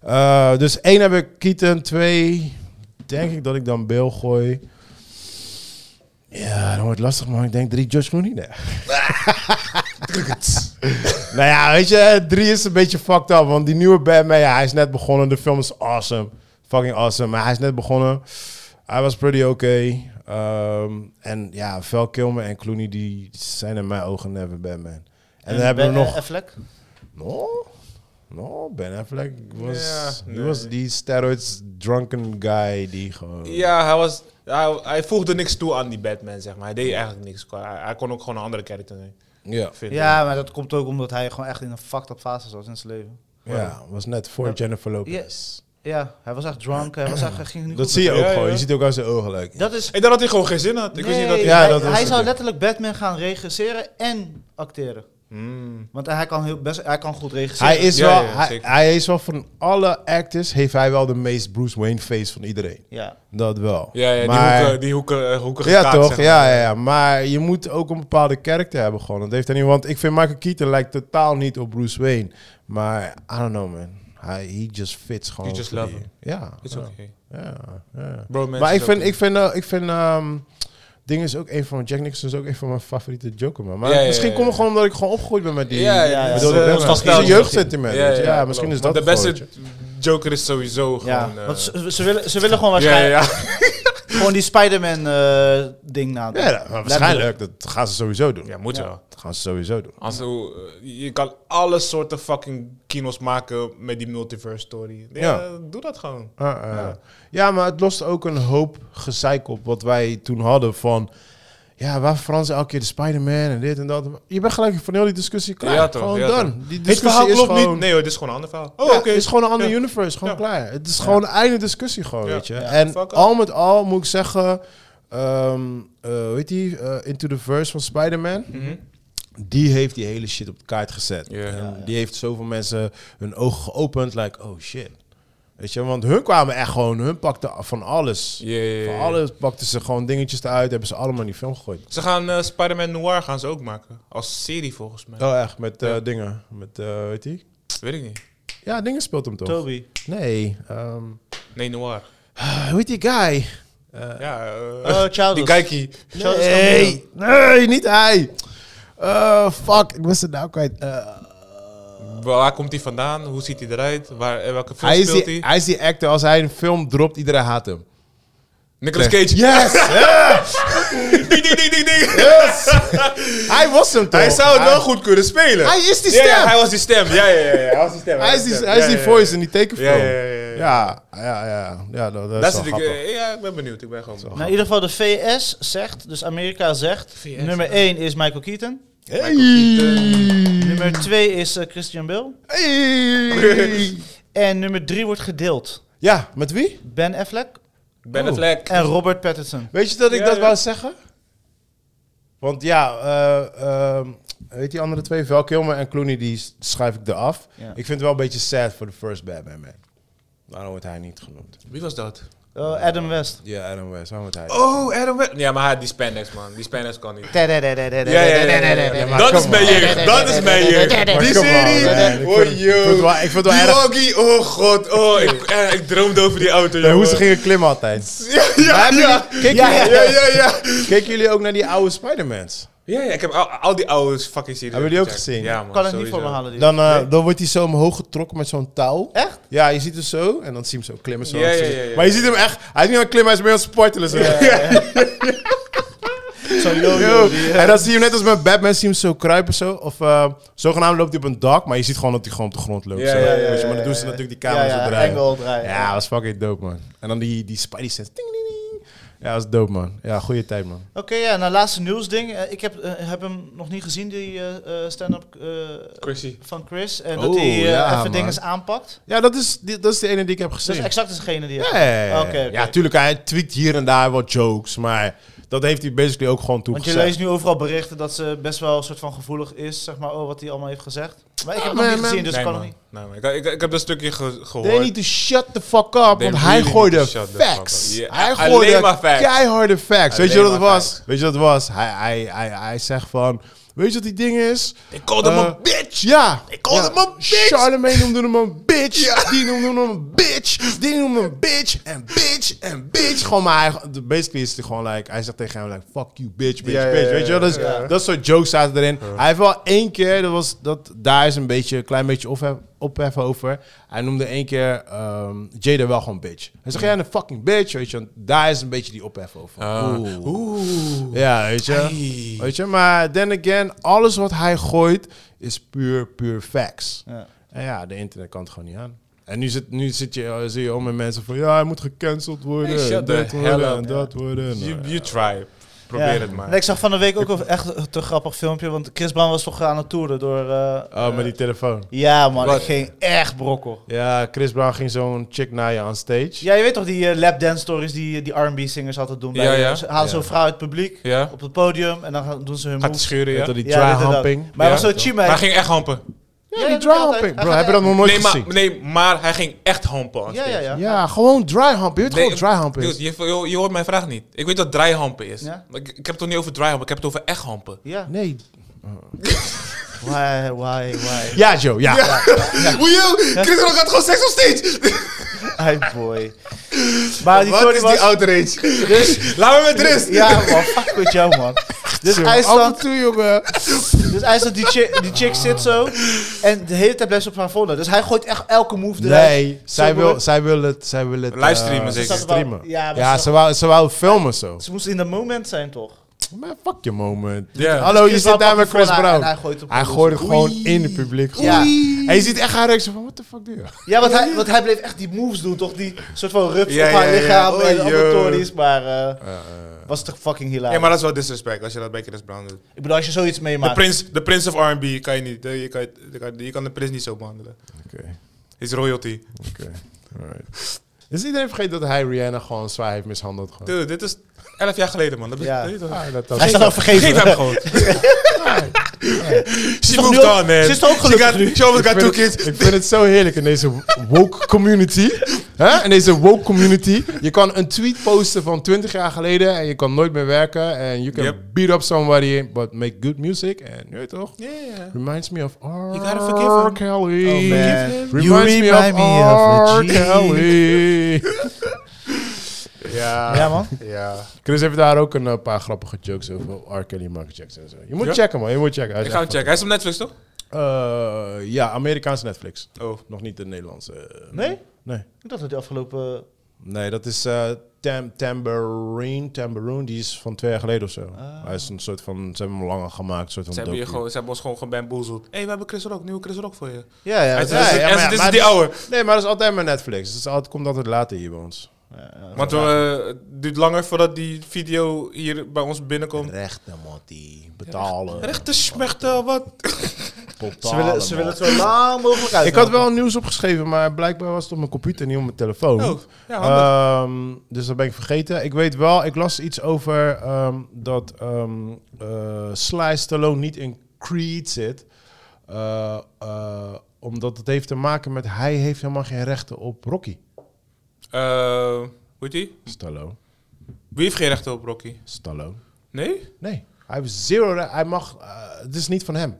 Speaker 3: eh, dus één heb ik Keaton, twee denk ik dat ik dan Bill gooi. Ja, dan wordt het lastig, maar ik denk drie Josh Clooney. Nee. <laughs> nou ja, weet je, drie is een beetje fucked up. Want die nieuwe Batman, ja, hij is net begonnen. De film is awesome. Fucking awesome. Maar hij is net begonnen. Hij was pretty okay. Ehm, en ja, Val Kilmer en Clooney, die zijn in mijn ogen never Batman. En, dan hebben we
Speaker 4: Ben-
Speaker 3: nog...
Speaker 4: eh, Affleck?
Speaker 3: No? No, Ben Affleck was...
Speaker 5: Ja,
Speaker 3: He was die steroids drunken guy die gewoon...
Speaker 5: Ja, hij, was, hij, hij voegde niks toe aan die Batman, zeg maar. Hij deed eigenlijk niks. Hij, hij kon ook gewoon een andere karakter zijn.
Speaker 3: Ja.
Speaker 5: vinden.
Speaker 4: Ja, maar dat komt ook omdat hij gewoon echt in een fucked up fase zat in zijn leven.
Speaker 3: Ja, was net voor Jennifer Lopez.
Speaker 4: Yes. Ja, hij was echt drunk. Hij was echt, hij ging niet
Speaker 3: Dat
Speaker 4: goed
Speaker 3: zie je ook
Speaker 5: Ja,
Speaker 3: gewoon.
Speaker 5: ja.
Speaker 3: Je ziet ook aan zijn ogen gelijk.
Speaker 4: met- Dat is...
Speaker 5: Ik dacht dat hij gewoon geen zin had. Ik wist niet dat
Speaker 4: Nee,
Speaker 5: hij...
Speaker 3: Ja,
Speaker 4: hij,
Speaker 3: dat was
Speaker 4: hij
Speaker 3: het,
Speaker 4: zou
Speaker 3: ja.
Speaker 4: letterlijk Batman gaan regisseren en acteren.
Speaker 5: Hmm.
Speaker 4: Want hij kan, heel best, hij kan goed regisseren.
Speaker 3: Hij is,
Speaker 5: Ja,
Speaker 3: wel,
Speaker 5: ja, ja,
Speaker 3: hij,
Speaker 5: zeker.
Speaker 3: hij is wel van alle actors, heeft hij wel de meest Bruce Wayne face van iedereen.
Speaker 4: Ja.
Speaker 3: Dat wel.
Speaker 10: Ja, ja,
Speaker 3: Maar-
Speaker 10: die hoeken, die hoeken, eh, hoeken
Speaker 3: Ja,
Speaker 10: gekaakt,
Speaker 3: toch?
Speaker 10: zeg maar.
Speaker 3: ja, ja, ja. Maar je moet ook een bepaalde karakter hebben gewoon. Dat heeft hij niet. Want ik vind Michael Keaton lijkt totaal niet op Bruce Wayne. Maar I don't know, man. Hij, he just fits gewoon.
Speaker 5: You just
Speaker 3: voor
Speaker 5: love
Speaker 3: die-
Speaker 5: him.
Speaker 3: Ja.
Speaker 5: It's
Speaker 3: ja,
Speaker 5: okay.
Speaker 3: ja, ja.
Speaker 5: Bro,
Speaker 3: Maar ik vind, ik vind, eh, ik vind ehm, Ding is ook een van Jack Nicholson is ook een van mijn favoriete Joker man. Maar
Speaker 5: Ja, ja, ja,
Speaker 3: misschien komt het
Speaker 5: ja.
Speaker 3: gewoon omdat ik gewoon opgegroeid ben met die.
Speaker 5: Ja, ja,
Speaker 4: ja.
Speaker 5: ja.
Speaker 4: Ik
Speaker 3: bedoel,
Speaker 5: Dat is,
Speaker 3: dat
Speaker 5: eh,
Speaker 3: is
Speaker 5: nostalgisch.
Speaker 3: een jeugdsentiment, weet je. Ja,
Speaker 5: klopt.
Speaker 3: misschien is
Speaker 5: Want
Speaker 3: dat
Speaker 5: De
Speaker 3: het
Speaker 5: beste Joker is sowieso
Speaker 4: Ja,
Speaker 5: gewoon... eh,
Speaker 4: want ze, ze willen, ze willen gewoon
Speaker 10: Ja, ja,
Speaker 4: waarschijnlijk
Speaker 10: ja.
Speaker 4: gewoon die Spider-Man eh, ding nadoen.
Speaker 3: Ja, nou, maar waarschijnlijk. Dat gaan ze sowieso doen.
Speaker 5: ja, moet wel.
Speaker 3: Dat gaan ze sowieso doen.
Speaker 5: Als, hoe- eh, je kan alle soorten fucking kino's maken met die multiverse story. Ja,
Speaker 3: Ja.
Speaker 5: doe dat gewoon.
Speaker 3: Ah, ah. ja. maar het lost ook een hoop gezeik op wat wij toen hadden van... Ja, waar Frans elke keer de Spider-Man en dit en dat. Je bent gelijk van heel die discussie klaar.
Speaker 5: Ja, toch,
Speaker 3: Gewoon
Speaker 5: ja,
Speaker 3: dan.
Speaker 5: toch.
Speaker 3: Die
Speaker 5: Het
Speaker 3: discussie
Speaker 5: verhaal
Speaker 3: is
Speaker 5: klopt
Speaker 3: gewoon...
Speaker 5: niet. Nee hoor, dit is gewoon een ander verhaal. Oh,
Speaker 3: Ja,
Speaker 5: oké.
Speaker 3: Het is gewoon een ander
Speaker 5: Ja.
Speaker 3: universe, gewoon
Speaker 5: Ja.
Speaker 3: klaar. Het is gewoon een einde discussie gewoon,
Speaker 5: Ja.
Speaker 3: weet je.
Speaker 5: Ja.
Speaker 3: En
Speaker 5: Fuck
Speaker 3: al met al moet ik zeggen... ehm eh, hoe heet die? Eh, Into the Verse van Spider-Man.
Speaker 5: Mhm.
Speaker 3: Die heeft die hele shit op de kaart gezet.
Speaker 10: Ja.
Speaker 3: En Die heeft zoveel mensen hun ogen geopend. Like, oh shit. Weet je, want hun kwamen echt gewoon... Hun pakten van alles.
Speaker 10: Ja, ja, ja.
Speaker 3: Van alles pakten ze gewoon dingetjes eruit. Hebben ze allemaal in die film gegooid.
Speaker 5: Ze gaan eh, Spider-Man Noir gaan ze ook maken. Als serie volgens mij.
Speaker 3: Oh, echt. Met eh, dingen. Met, eh weet die?
Speaker 5: Weet ik niet.
Speaker 3: Ja, dingen speelt hem toch?
Speaker 4: Toby.
Speaker 3: Nee. ehm,
Speaker 5: Nee, Noir.
Speaker 3: hoe heet die guy?
Speaker 5: ja, eh,
Speaker 4: Oh, Childish.
Speaker 5: die Geikie.
Speaker 4: Childish
Speaker 3: Nee, nee, niet hij. Eh, fuck, ik was het nou kwijt. Eh,
Speaker 5: Waar komt hij vandaan? Hoe ziet hij eruit? Waar, in welke film
Speaker 3: hij, is
Speaker 5: speelt
Speaker 3: die,
Speaker 5: hij?
Speaker 3: hij is die actor, als hij een film dropt, iedereen haat hem.
Speaker 5: Nicolas Cage.
Speaker 3: <laughs> Yes,
Speaker 5: <laughs> Ding, ding, ding, ding, ding.
Speaker 3: yes. hij was hem toch?
Speaker 5: Hij zou het
Speaker 3: Hij-
Speaker 5: wel goed kunnen spelen.
Speaker 3: Hij is die
Speaker 5: Ja,
Speaker 3: stem.
Speaker 5: ja, hij was die stem. Ja, ja, ja. ja, Hij was die stem.
Speaker 3: hij is die,
Speaker 5: stem.
Speaker 3: hij is
Speaker 5: Ja,
Speaker 3: die
Speaker 5: ja,
Speaker 3: voice in die tekenfilm.
Speaker 5: Ja, ja, ja, ja, ja.
Speaker 3: Ja, ja, ja. ja dat, dat
Speaker 5: ja. Dat
Speaker 3: is
Speaker 5: zit
Speaker 3: wel
Speaker 5: ik,
Speaker 3: grappig.
Speaker 5: eh, ja, ik ben benieuwd. Ik ben gewoon benieuwd.
Speaker 4: Nou, in ieder geval de VS zegt, dus Amerika zegt, nummer 1 is Michael Keaton.
Speaker 5: eh,
Speaker 3: Hey.
Speaker 4: Nummer 2 is eh, Christian Bale.
Speaker 3: Hey.
Speaker 4: En nummer 3 wordt gedeeld.
Speaker 3: ja, met wie?
Speaker 4: Ben Affleck
Speaker 5: Ben Affleck.
Speaker 4: en Robert Pattinson.
Speaker 3: Weet je dat ik
Speaker 5: Ja,
Speaker 3: dat
Speaker 5: ja.
Speaker 3: wou zeggen? Want ja, eh, ehm, weet die andere twee, Val Kilmer en Clooney, die s- schrijf ik eraf.
Speaker 4: Ja.
Speaker 3: Ik vind het wel een beetje sad voor de first Batman, man. Waarom wordt hij niet genoemd?
Speaker 5: Wie was dat?
Speaker 4: Oh, Adam West.
Speaker 3: Ja, Adam West, waarom wordt hij
Speaker 5: Oh, Adam West. Ja, maar hij had die spandex, man. Die spandex kan niet.
Speaker 4: Ja,
Speaker 5: Ja, ja, ja, ja, ja, ja.
Speaker 3: maar
Speaker 5: Dat
Speaker 3: kom
Speaker 5: is mijn
Speaker 3: op.
Speaker 5: jeugd. Dat is mijn jeugd. Die
Speaker 3: come on,
Speaker 5: serie.
Speaker 3: man. Ik vind-
Speaker 5: Oh,
Speaker 3: ik vind het
Speaker 5: yo.
Speaker 3: wel- ik vind het wel
Speaker 5: Die
Speaker 3: erg.
Speaker 5: Rocky. Oh, god. Oh, ik, eh, ik droomde over die auto,
Speaker 3: Nee, hoe
Speaker 5: jongen.
Speaker 3: ze gingen klimmen
Speaker 5: <laughs>
Speaker 3: altijd.
Speaker 5: Ja, ja, ja.
Speaker 3: Keken,
Speaker 5: Ja, ja,
Speaker 3: jullie-
Speaker 5: ja, ja.
Speaker 3: keken jullie ook naar die oude Spider-Mans?
Speaker 5: Ja, ja, ik heb al, al die oude fucking series.
Speaker 3: Hebben jullie ook
Speaker 5: gecheckt.
Speaker 3: gezien?
Speaker 5: Ja, man.
Speaker 4: Ik kan het niet
Speaker 5: sowieso.
Speaker 4: voor me halen. Die.
Speaker 3: Dan, eh, dan wordt hij zo omhoog getrokken met zo'n touw.
Speaker 4: Echt?
Speaker 3: Ja, je ziet hem zo en dan zie je hem zo klimmen. Zo
Speaker 5: Ja, ja, ja, ja.
Speaker 3: Maar je ziet hem echt, hij is niet aan het klimmen, hij is meer aan het spartelen. Zo.
Speaker 4: Zo yo,
Speaker 3: Yo,
Speaker 4: yo, die, eh.
Speaker 3: En dan zie je hem net als met Batman, zie je hem zo kruipen zo. Of eh, zogenaamd loopt hij op een dak, maar je ziet gewoon dat hij gewoon op de grond loopt.
Speaker 5: Ja,
Speaker 3: zo.
Speaker 5: ja, ja,
Speaker 3: Weet
Speaker 4: ja,
Speaker 3: je, maar dan
Speaker 4: ja,
Speaker 3: doen ze
Speaker 4: ja.
Speaker 3: natuurlijk die
Speaker 4: Ja,
Speaker 3: camera zo
Speaker 4: ja,
Speaker 3: draaien.
Speaker 4: angle draaien.
Speaker 3: Ja, dat was fucking dope, man. En dan die, die Spidey sense. Ding, ding, ding. Ja, dat is dope, man. Ja, goede tijd, man.
Speaker 4: Oké, ja, nou laatste nieuwsding. Eh, ik heb, eh, heb hem nog niet gezien, die eh, eh, stand-up eh,
Speaker 5: Chrissy.
Speaker 4: van Chris. En
Speaker 3: Oh,
Speaker 4: dat hij eh,
Speaker 3: ja, man.
Speaker 4: even dingen aanpakt.
Speaker 3: Ja, dat is, die, dat is de ene die ik heb
Speaker 4: Dus
Speaker 3: gezien.
Speaker 4: exact is degene die...
Speaker 3: Ja, ja, ja, ja.
Speaker 4: Oké, oké.
Speaker 3: Ja, tuurlijk, hij tweet hier en daar wat jokes, maar dat dat heeft hij basically ook gewoon
Speaker 4: Want je
Speaker 3: toegezegd.
Speaker 4: leest nu overal berichten dat ze best wel een soort van gevoelig is, zeg maar, oh, wat hij allemaal heeft gezegd. Maar ik heb het nog
Speaker 3: man,
Speaker 4: niet
Speaker 3: man.
Speaker 4: gezien, dus
Speaker 5: nee,
Speaker 4: kan
Speaker 5: man.
Speaker 4: het niet.
Speaker 5: Nee, man. Ik, ik, ik heb dat stukje ge- gehoord.
Speaker 3: They need to shut the fuck up, want
Speaker 5: really
Speaker 3: hij
Speaker 5: need to
Speaker 3: gooide
Speaker 5: shut the fuck
Speaker 3: facts.
Speaker 5: up. Ja,
Speaker 3: hij
Speaker 5: alleen
Speaker 3: gooide
Speaker 5: maar facts.
Speaker 3: keiharde facts. Weet je
Speaker 5: Alleen
Speaker 3: wat het
Speaker 5: maar
Speaker 3: was?
Speaker 5: facts.
Speaker 3: Weet je wat het was? Hij, hij, hij, hij zegt van, weet je wat die ding is?
Speaker 5: Ik called hem
Speaker 3: Eh,
Speaker 5: een bitch.
Speaker 3: Ja. Ik
Speaker 5: call hem een bitch.
Speaker 3: Charlemagne noemde hem een bitch. Die noemde hem een bitch. Die noemde hem een bitch. En bitch. En bitch. Gewoon maar hij... Basically is het gewoon like... Hij zegt tegen hem like... Fuck you bitch, bitch,
Speaker 8: Ja, ja,
Speaker 3: bitch.
Speaker 8: ja,
Speaker 3: Weet je wel?
Speaker 8: ja,
Speaker 3: Dus
Speaker 8: ja.
Speaker 3: Dat soort jokes zaten erin. Hij heeft wel één keer... Dat was, dat, daar is een beetje... Een klein beetje ophef, ophef over. Hij noemde één keer... ehm, Jada wel gewoon bitch. Hij zegt... Jij een fucking bitch. Weet je wel? Daar is een beetje die ophef over.
Speaker 8: Ah.
Speaker 3: Oeh. Ja, weet je. Weet je, maar then again, alles wat hij gooit is puur, puur facts.
Speaker 4: Ja.
Speaker 3: En ja, de internet kan het gewoon niet aan. En nu, zit, nu zit je, eh, zie je al met mensen van, ja, hij moet gecanceld worden.
Speaker 5: Hey, shut
Speaker 3: dit
Speaker 5: the
Speaker 3: worden,
Speaker 5: hell up.
Speaker 3: en dat worden. Nou,
Speaker 5: You,
Speaker 3: ja.
Speaker 5: you try. Probeer
Speaker 4: Ja.
Speaker 5: het maar.
Speaker 4: En ik zag van de week ook een echt een te grappig filmpje, want Chris Brown was toch aan het toeren door... eh,
Speaker 3: Oh, met die telefoon.
Speaker 4: Ja man,
Speaker 5: Wat?
Speaker 4: ik ging echt brokkel.
Speaker 3: Ja, Chris Brown ging zo'n chick naaien aan stage.
Speaker 4: Ja, je weet toch die eh, lapdance stories die, die R&B singers altijd doen? Bij
Speaker 5: Ja, ja.
Speaker 4: Ze halen
Speaker 3: Ja.
Speaker 4: zo'n vrouw uit het publiek
Speaker 5: Ja.
Speaker 4: op het podium en dan gaan- doen ze hun
Speaker 5: Gaat hij
Speaker 4: moves.
Speaker 5: schuren, ja?
Speaker 3: Met al die
Speaker 4: Ja, dit en
Speaker 3: dry
Speaker 4: dat.
Speaker 3: humping.
Speaker 4: Maar hij was
Speaker 5: Ja.
Speaker 4: zo cheap,
Speaker 5: Maar hij
Speaker 4: hij-
Speaker 5: ging echt hampen.
Speaker 3: Ja,
Speaker 4: dat
Speaker 3: die
Speaker 4: doe ik
Speaker 3: dry
Speaker 4: altijd.
Speaker 3: humping.
Speaker 4: Hij
Speaker 3: Bro,
Speaker 4: gaat
Speaker 3: heb je dat nog nooit
Speaker 5: Nee
Speaker 3: gezien?
Speaker 5: maar, nee, maar hij ging echt hampen. aan
Speaker 4: Ja,
Speaker 5: stage.
Speaker 4: ja, ja.
Speaker 3: Ja, gewoon dry humping. Je weet
Speaker 5: Nee,
Speaker 3: gewoon dry humping.
Speaker 5: Dude, je, je, je hoort mijn vraag niet. Ik weet wat draaihampen is.
Speaker 4: Ja?
Speaker 5: Maar Ik, ik heb het toch niet over draaihampen, ik heb het over echt hampen.
Speaker 4: Ja.
Speaker 3: Nee.
Speaker 4: Why, why, why?
Speaker 3: Ja, Joe, ja.
Speaker 5: Hoe je? Chris Rock had gewoon seks op stage.
Speaker 4: Hi boy. Maar Ah, die story was...
Speaker 3: outrage?
Speaker 4: dus,
Speaker 5: Laat me met rust.
Speaker 4: ja man, fuck met jou man. Dus
Speaker 3: Zo,
Speaker 4: hij
Speaker 3: af en
Speaker 4: staat,
Speaker 3: toe, jongen.
Speaker 4: dus hij staat die, chick, die chick zit zo en de hele tijd blijft ze op haar volle. Dus hij gooit echt elke move eruit.
Speaker 3: Nee, zij wil, zij wil het... Zij wil het
Speaker 5: Livestreamen,
Speaker 3: eh,
Speaker 5: zeker.
Speaker 4: Ze zat wel-
Speaker 3: streamen.
Speaker 4: ja,
Speaker 3: Ja,
Speaker 4: maar ze-
Speaker 3: ze, wou, ze wou filmen zo.
Speaker 4: Ze moest in de moment zijn toch?
Speaker 3: Maar fuck je moment.
Speaker 5: Ja.
Speaker 3: Hallo,
Speaker 4: Dus
Speaker 3: je
Speaker 4: Chris
Speaker 3: zit daar
Speaker 4: Brown
Speaker 3: met
Speaker 4: pakt
Speaker 3: Chris
Speaker 4: die
Speaker 3: Brown.
Speaker 4: voorna en hij gooit hem
Speaker 3: Hij
Speaker 4: op
Speaker 3: gooit het
Speaker 4: de
Speaker 3: gewoon in het publiek.
Speaker 4: Ja.
Speaker 3: Oei. En je ziet echt haar reactie van, what the fuck doe je?
Speaker 4: Ja, want hij, want hij bleef echt die moves doen, toch? Die soort van rups
Speaker 5: Ja,
Speaker 4: op haar
Speaker 5: ja, ja.
Speaker 4: lichaam
Speaker 5: Oh,
Speaker 4: en andere
Speaker 5: yo.
Speaker 4: tories. Maar eh, was toch fucking hilarisch.
Speaker 5: Ja, maar dat is wel disrespect als je dat bij Chris Brown doet.
Speaker 4: Ik bedoel, als je zoiets
Speaker 5: De
Speaker 4: meemaakt.
Speaker 5: prins, de prins of R&B kan je niet. eh, Je kan, je kan, je kan de prins niet zo behandelen.
Speaker 3: <laughs> Oké,
Speaker 5: Is royalty.
Speaker 3: oké. alright. Is iedereen vergeten dat hij Rihanna gewoon zwaar heeft mishandeld? Gewoon?
Speaker 5: Dude, dit is 11 jaar geleden, man. Dat is,
Speaker 4: Ja.
Speaker 5: dat is toch-
Speaker 3: Ah, dat, dat-
Speaker 4: Hij is dan ook vergeven.
Speaker 5: Geef hem gewoon. She
Speaker 4: toch
Speaker 5: moved
Speaker 4: nu ook-
Speaker 5: on, man.
Speaker 4: ze is toch ook
Speaker 5: She
Speaker 4: gelukkig
Speaker 5: got- She almost got
Speaker 3: Ik
Speaker 5: two
Speaker 3: vind,
Speaker 5: kids.
Speaker 3: het, ik vind het zo heerlijk in deze woke community. Hè? In deze woke community. Je kan een tweet posten van 20 jaar geleden en je kan nooit meer werken. En you can
Speaker 5: Yep.
Speaker 3: beat up somebody, but make good music. En je weet toch?
Speaker 5: Yeah.
Speaker 3: Reminds me of R.
Speaker 5: gotta forgive him.
Speaker 3: Kelly.
Speaker 4: Oh, man.
Speaker 3: Reminds
Speaker 4: You
Speaker 3: me
Speaker 4: remind
Speaker 3: of
Speaker 4: me of a
Speaker 3: R.
Speaker 4: G.
Speaker 3: Kelly. ja.
Speaker 4: Ja, man.
Speaker 5: Ja.
Speaker 3: Chris heeft daar ook een eh, paar grappige jokes over. R. Kelly, Michael Jackson en zo. Je moet
Speaker 5: Ja.
Speaker 3: checken, man. Je moet checken. Hij
Speaker 5: Ik
Speaker 3: is
Speaker 5: ga hem
Speaker 3: echt
Speaker 5: checken. Hij is op Netflix, toch?
Speaker 3: grappig. Eh, ja, Amerikaans Netflix.
Speaker 5: Oh.
Speaker 3: Nog niet de Nederlandse. eh,
Speaker 4: Nee?
Speaker 3: Nee.
Speaker 4: Ik dacht dat de afgelopen...
Speaker 3: Nee, dat is eh tam Tambourine. Tambourine, die is van twee jaar geleden of zo. Hij is een soort van, ze hebben hem langer gemaakt. Soort van
Speaker 5: Ze hebben,
Speaker 3: docu.
Speaker 5: hier gewoon, ze hebben ons gewoon gebamboezeld. Hé, hey, we hebben Chris Rock. Nieuwe Chris Rock voor je.
Speaker 4: Ja, ja.
Speaker 5: Hij
Speaker 4: dat-
Speaker 5: is-
Speaker 3: Ja,
Speaker 5: Dit
Speaker 3: ja, maar
Speaker 5: en
Speaker 3: ja,
Speaker 5: dit
Speaker 3: maar
Speaker 5: is die
Speaker 3: dat
Speaker 5: oude.
Speaker 3: Nee, maar dat is altijd met Netflix. Dus het komt altijd later hier bij ons.
Speaker 5: Want we, eh, het duurt langer voordat die video hier bij ons binnenkomt.
Speaker 3: Rechten, die Betalen.
Speaker 5: Rechte smechten, wat?
Speaker 4: Ze willen, ze willen het zo lang mogelijk uit.
Speaker 3: Ik had wel nieuws opgeschreven, maar blijkbaar was het op mijn computer, niet op mijn telefoon.
Speaker 5: Oh, ja, handig.
Speaker 3: Ehm, dus dat ben ik vergeten. Ik weet wel, ik las iets over ehm, dat ehm eh, Sly Stallone niet in Creed zit. Eh, eh, omdat het heeft te maken met hij heeft helemaal geen rechten op Rocky.
Speaker 5: Eh, hoe heet die?
Speaker 3: Stallone.
Speaker 5: Wie heeft geen rechten op Rocky?
Speaker 3: Stallone.
Speaker 5: Nee?
Speaker 3: Nee, hij heeft zero. re- Hij mag. eh, het is niet van hem.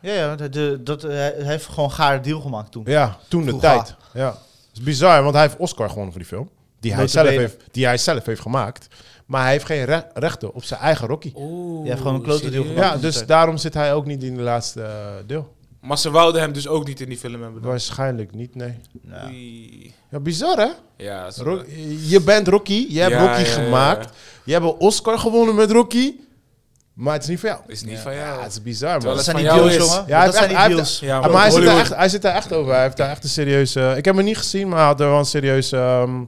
Speaker 4: Ja, ja. De, de- dat, eh, hij hij heeft gewoon gaar deal gemaakt toen.
Speaker 3: Ja, toen de
Speaker 4: Vroeger.
Speaker 3: tijd. Ja. Het is bizar, want hij heeft Oscar gewonnen voor die film. Die hij, zelf
Speaker 4: Notabene.
Speaker 3: heeft, die hij zelf heeft gemaakt. Maar hij heeft geen re- rechten op zijn eigen Rocky.
Speaker 5: Oeh.
Speaker 4: Je hebt gewoon een klote deal gemaakt.
Speaker 3: Ja, dus daarom zit hij ook niet in de laatste eh, deel.
Speaker 5: Maar ze wouden hem dus ook niet in die film hebben. dan.
Speaker 3: Waarschijnlijk niet, nee.
Speaker 4: Ja.
Speaker 5: Oei.
Speaker 3: Ja, bizar hè?
Speaker 5: Ja, ze-
Speaker 3: Ro- je bent Rocky, je hebt
Speaker 5: Ja,
Speaker 3: Rocky
Speaker 5: ja, ja, ja.
Speaker 3: gemaakt. Je hebt een Oscar gewonnen met Rocky. Maar het is niet van jou.
Speaker 5: is niet
Speaker 4: Ja.
Speaker 5: van jou.
Speaker 3: Ja, het is bizar man.
Speaker 5: Terwijl
Speaker 4: Dat
Speaker 5: het
Speaker 4: zijn
Speaker 5: van
Speaker 4: die
Speaker 5: jou
Speaker 4: deals,
Speaker 5: is.
Speaker 4: jongen.
Speaker 3: Ja, hij
Speaker 4: dat
Speaker 3: heeft
Speaker 4: zijn
Speaker 3: echt-
Speaker 4: die
Speaker 3: hij
Speaker 4: deals.
Speaker 5: Ja,
Speaker 3: Ah, maar hij zit, daar
Speaker 5: Hollywood.
Speaker 3: echt, hij zit daar echt over. Hij heeft daar echt een serieuze... Ik heb hem niet gezien, maar hij had er wel een serieuze... ehm,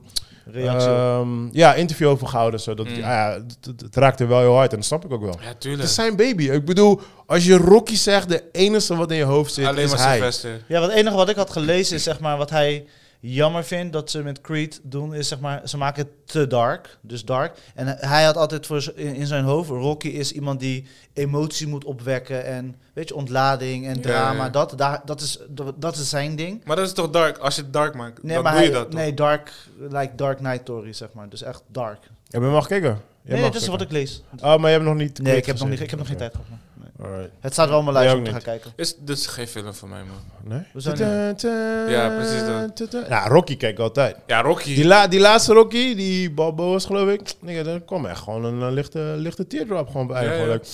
Speaker 4: Reactie.
Speaker 3: Ehm, ja, interview over gehouden. Zodat ik- ah ja, het- het, het raakte wel heel hard en dat snap ik ook wel.
Speaker 5: Mm. Ja,
Speaker 3: Het
Speaker 5: tuurlijk.
Speaker 3: is zijn baby. Ik bedoel, als je Rocky zegt, de enige wat in je hoofd zit,
Speaker 5: Alleen
Speaker 3: is
Speaker 5: maar
Speaker 3: hij.
Speaker 5: Sylvester.
Speaker 4: Ja, want het enige wat ik had gelezen is zeg maar wat hij jammer vind dat ze met Creed doen, is zeg maar, ze maken het te dark. Dus dark. En hij had altijd voor z- in, in zijn hoofd, Rocky is iemand die emotie moet opwekken en weet je, ontlading en drama.
Speaker 5: ja.
Speaker 4: Dat, daar, dat, is, dat is zijn ding.
Speaker 5: Maar dat is toch dark? Als je het dark maakt,
Speaker 4: Nee,
Speaker 5: dan
Speaker 4: maar
Speaker 5: doe
Speaker 4: hij,
Speaker 5: je dat toch?
Speaker 4: nee, dark, like Dark Knight Story, zeg maar. Dus echt dark.
Speaker 3: Heb je hem al gekeken? Jij
Speaker 4: Nee, dat is
Speaker 3: mag zeggen.
Speaker 4: wat ik lees.
Speaker 3: Oh, maar je hebt nog niet...
Speaker 4: Nee,
Speaker 3: Creed
Speaker 4: ik heb, nog
Speaker 3: gezien.
Speaker 4: niet, ik heb nog geen
Speaker 3: Oké.
Speaker 4: tijd gehad. man. Nee.
Speaker 3: Alright.
Speaker 4: Het staat wel op mijn lijst
Speaker 3: Nee,
Speaker 4: om te
Speaker 3: ook
Speaker 4: gaan kijken.
Speaker 5: Is, dus geen film voor mij, man.
Speaker 3: Nee?
Speaker 4: Hoezo niet?
Speaker 3: Ja,
Speaker 5: Ja, precies dat.
Speaker 3: Ja, Rocky kijk ik altijd.
Speaker 5: Ja,
Speaker 3: Die,
Speaker 5: Rocky.
Speaker 3: la, die laatste Rocky, die Balboa's geloof ik. Nigga, daar kwam echt gewoon een, eh, lichte, lichte teardrop gewoon bij.
Speaker 5: Ja, ja.
Speaker 3: Gewoon like,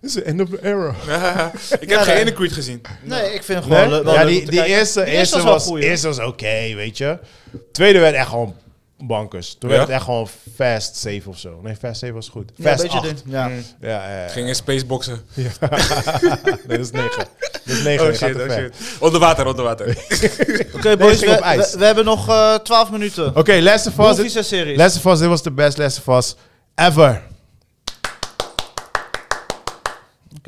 Speaker 3: This is the end of the era.
Speaker 5: <laughs> ik heb
Speaker 4: Ja,
Speaker 5: geen
Speaker 4: nee.
Speaker 5: ene Creed gezien.
Speaker 4: Nee, ik vind het
Speaker 3: Nee?
Speaker 4: gewoon le- wel
Speaker 3: ja,
Speaker 4: leuk
Speaker 3: die,
Speaker 4: om te
Speaker 3: die
Speaker 4: kijken.
Speaker 3: eerste,
Speaker 4: Die
Speaker 3: eerste
Speaker 4: wel
Speaker 3: was,
Speaker 4: goeie.
Speaker 3: eerste was oké, weet je. Tweede werd echt gewoon bankers. Toen
Speaker 5: Ja?
Speaker 3: werd het echt gewoon fast 7 of zo. Nee, fast 7 was goed.
Speaker 4: Ja, een
Speaker 3: Fast
Speaker 4: beetje
Speaker 3: 8.
Speaker 4: dun. Ja.
Speaker 3: Ja, ja, <laughs>
Speaker 5: <laughs>
Speaker 3: ja.
Speaker 5: Het ging in spaceboxen.
Speaker 3: Nee, dat is 9. Dat is 9.
Speaker 5: Oh shit, oh shit. Onder water, onder water.
Speaker 3: <laughs>
Speaker 4: Oké, boys,
Speaker 3: ging op
Speaker 4: we,
Speaker 3: ijs. Oh,
Speaker 4: we- we hebben nog eh 12 minuten.
Speaker 3: Oké, Last of Us.
Speaker 4: Movies en series.
Speaker 3: Last of Us, dit was de best Last of Us ever.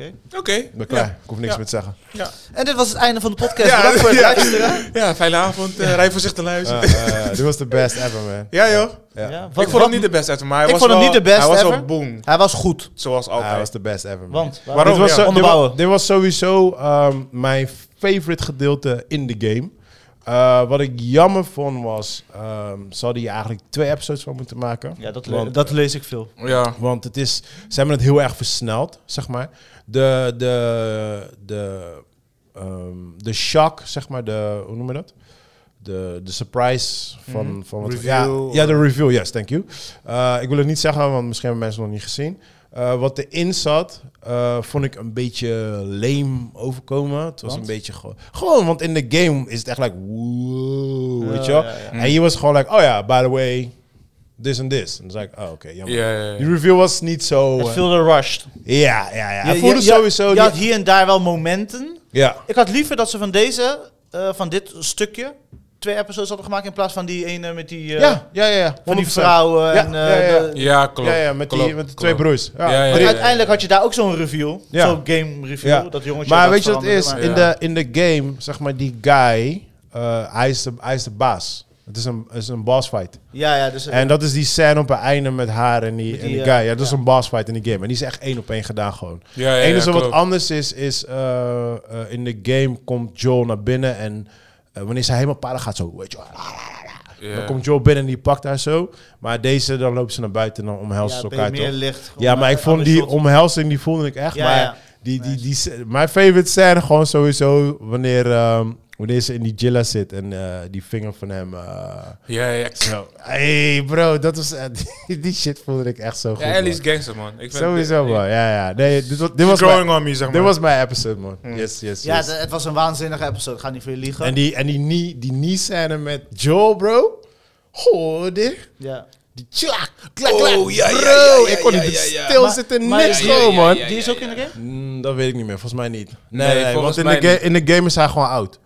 Speaker 4: Oké.
Speaker 5: Oké.
Speaker 3: Ik ben klaar. Ik hoef niks
Speaker 5: Ja.
Speaker 3: meer te zeggen.
Speaker 4: En dit was het einde van de podcast.
Speaker 5: Ja,
Speaker 4: Bedankt voor het
Speaker 5: ja.
Speaker 4: luisteren.
Speaker 5: Ja, fijne avond. eh, rij voorzichtig naar huis.
Speaker 3: Ja, ja, ja. <laughs> dit was de best ever, man.
Speaker 5: Ja, joh.
Speaker 3: Ja.
Speaker 4: Ja,
Speaker 5: ik vond hem niet de best uit, maar hij
Speaker 4: Ik
Speaker 5: was
Speaker 4: vond hem
Speaker 5: wel-
Speaker 4: niet de best
Speaker 5: Hij was
Speaker 4: ever.
Speaker 5: wel boem,
Speaker 4: Hij was goed.
Speaker 5: zoals
Speaker 3: Hij
Speaker 5: altijd.
Speaker 3: was de best ever, man.
Speaker 4: Want
Speaker 3: dit, was, zo- dit,
Speaker 4: Onderbouwen.
Speaker 3: was, dit was sowieso ehm, mijn favorite gedeelte in de game. Eh, wat ik jammer vond was, ehm ze hadden hier eigenlijk twee episodes van moeten maken.
Speaker 4: Ja, dat, le-
Speaker 3: Want- Oh,
Speaker 4: dat lees ik veel.
Speaker 5: ja.
Speaker 3: Want het is, ze hebben het heel erg versneld, zeg maar. De, de, de, ehm, de shock, zeg maar, de, hoe noem je dat? De, de surprise van,
Speaker 4: Mhm.
Speaker 3: van wat
Speaker 9: Reveal.
Speaker 3: Ja, ja, de review, yes, thank you. Eh, ik wil het niet zeggen, want misschien hebben mensen het nog niet gezien. Eh, wat erin zat, eh, vond ik een beetje leem overkomen. Het was
Speaker 4: Want?
Speaker 3: een beetje gewoon. Gewoon, want in de game is het echt like, wow, weet je wel?
Speaker 4: Ja, ja, ja.
Speaker 3: En hier was gewoon like, oh ja, by the way, this and this. En dan zei ik, oh oké, jammer.
Speaker 5: Ja, ja, ja.
Speaker 3: Die review was niet zo.
Speaker 4: Het
Speaker 3: eh,
Speaker 4: voelde rushed.
Speaker 3: ja, ja, ja. Hij
Speaker 4: Je-
Speaker 3: voelde
Speaker 4: je- je-
Speaker 3: sowieso.
Speaker 4: Je
Speaker 3: die-
Speaker 4: had hier en daar wel momenten.
Speaker 3: ja.
Speaker 4: Ik had liever dat ze van deze, eh, van dit stukje, twee episodes hadden gemaakt in plaats van die ene met die, eh,
Speaker 3: ja, ja, ja, ja.
Speaker 4: van die
Speaker 3: 100%.
Speaker 4: vrouwen.
Speaker 3: Ja,
Speaker 4: en,
Speaker 3: ja,
Speaker 4: eh,
Speaker 3: ja.
Speaker 4: de-
Speaker 5: Ja, klopt.
Speaker 3: Ja, ja, met, die,
Speaker 5: klopt,
Speaker 3: met de twee
Speaker 5: klopt.
Speaker 3: broers. Ja,
Speaker 5: Ja, ja,
Speaker 3: drie-
Speaker 5: ja.
Speaker 4: Uiteindelijk had je daar ook zo'n review,
Speaker 3: Ja.
Speaker 4: zo'n game review,
Speaker 3: Ja.
Speaker 4: dat jongetje.
Speaker 3: Maar
Speaker 4: dat
Speaker 3: weet je wat het is?
Speaker 4: veranderde, maar-
Speaker 5: Ja.
Speaker 3: In, de, in de game, zeg maar, die guy, eh, hij, is de, hij is de baas. Het is een, het is een boss fight.
Speaker 4: Ja, ja, dus
Speaker 3: En dat is die scène op het einde met haar en die,
Speaker 4: Met
Speaker 3: en
Speaker 4: die,
Speaker 3: die guy.
Speaker 4: eh,
Speaker 3: Ja, dat is
Speaker 4: ja.
Speaker 3: een boss fight in die game. En die is echt één op één gedaan gewoon.
Speaker 5: Ja, ja,
Speaker 3: Het
Speaker 5: ja,
Speaker 3: enige wat
Speaker 5: klopt.
Speaker 3: anders is, is eh, eh, in de game komt Joel naar binnen en eh, wanneer ze helemaal paarden gaat zo, weet je wel,
Speaker 5: Ja.
Speaker 3: Dan komt Joel binnen en die pakt haar zo. Maar deze, dan loopt ze naar buiten en dan
Speaker 4: ja,
Speaker 3: omhelst ze
Speaker 4: ben je
Speaker 3: elkaar
Speaker 4: meer
Speaker 3: toch?
Speaker 4: licht.
Speaker 3: Ja, maar ik vond die
Speaker 4: om
Speaker 3: omhelzing, die voelde ik echt.
Speaker 4: Ja,
Speaker 3: maar
Speaker 4: ja.
Speaker 3: Die, die, die, sc- mijn favorite scène gewoon sowieso wanneer, ehm, wanneer ze in die Jilla zit en eh, die vinger van hem... eh,
Speaker 5: Ja, ja.
Speaker 3: zo. Hey bro, dat was, eh, <laughs> die, die shit voelde ik echt zo goed.
Speaker 5: Ja, Ellie is
Speaker 3: man.
Speaker 5: gangster, man. Ik vind
Speaker 3: Sowieso
Speaker 5: ik-
Speaker 3: man, ja ja. Nee, dit, was- dit, was
Speaker 5: growing
Speaker 3: mijn,
Speaker 5: on me, zeg maar.
Speaker 3: dit was mijn episode man. Yes, yes,
Speaker 4: Hmm. Ja,
Speaker 3: yes.
Speaker 4: het, het was een waanzinnige episode, ik ga niet voor je liegen.
Speaker 3: en die, en die, knee, die knee scène met Joel bro. Goh, dit.
Speaker 4: ja.
Speaker 3: Die tjlak, klak, klak.
Speaker 5: Oh, ja, ja,
Speaker 3: Bro,
Speaker 5: ja, ja,
Speaker 3: ik kon
Speaker 5: ja,
Speaker 3: niet
Speaker 5: ja, ja.
Speaker 3: stilzitten,
Speaker 4: Maar-
Speaker 3: niks
Speaker 4: maar-
Speaker 3: gewoon, man.
Speaker 5: Ja,
Speaker 4: Die is
Speaker 5: ja,
Speaker 4: ook in de game?
Speaker 3: Mm, dat weet ik niet meer, volgens mij niet. Nee,
Speaker 5: Nee,
Speaker 3: nee, want
Speaker 5: volgens
Speaker 3: in,
Speaker 5: mij
Speaker 3: de
Speaker 5: niet.
Speaker 3: ga- in de game is hij gewoon oud.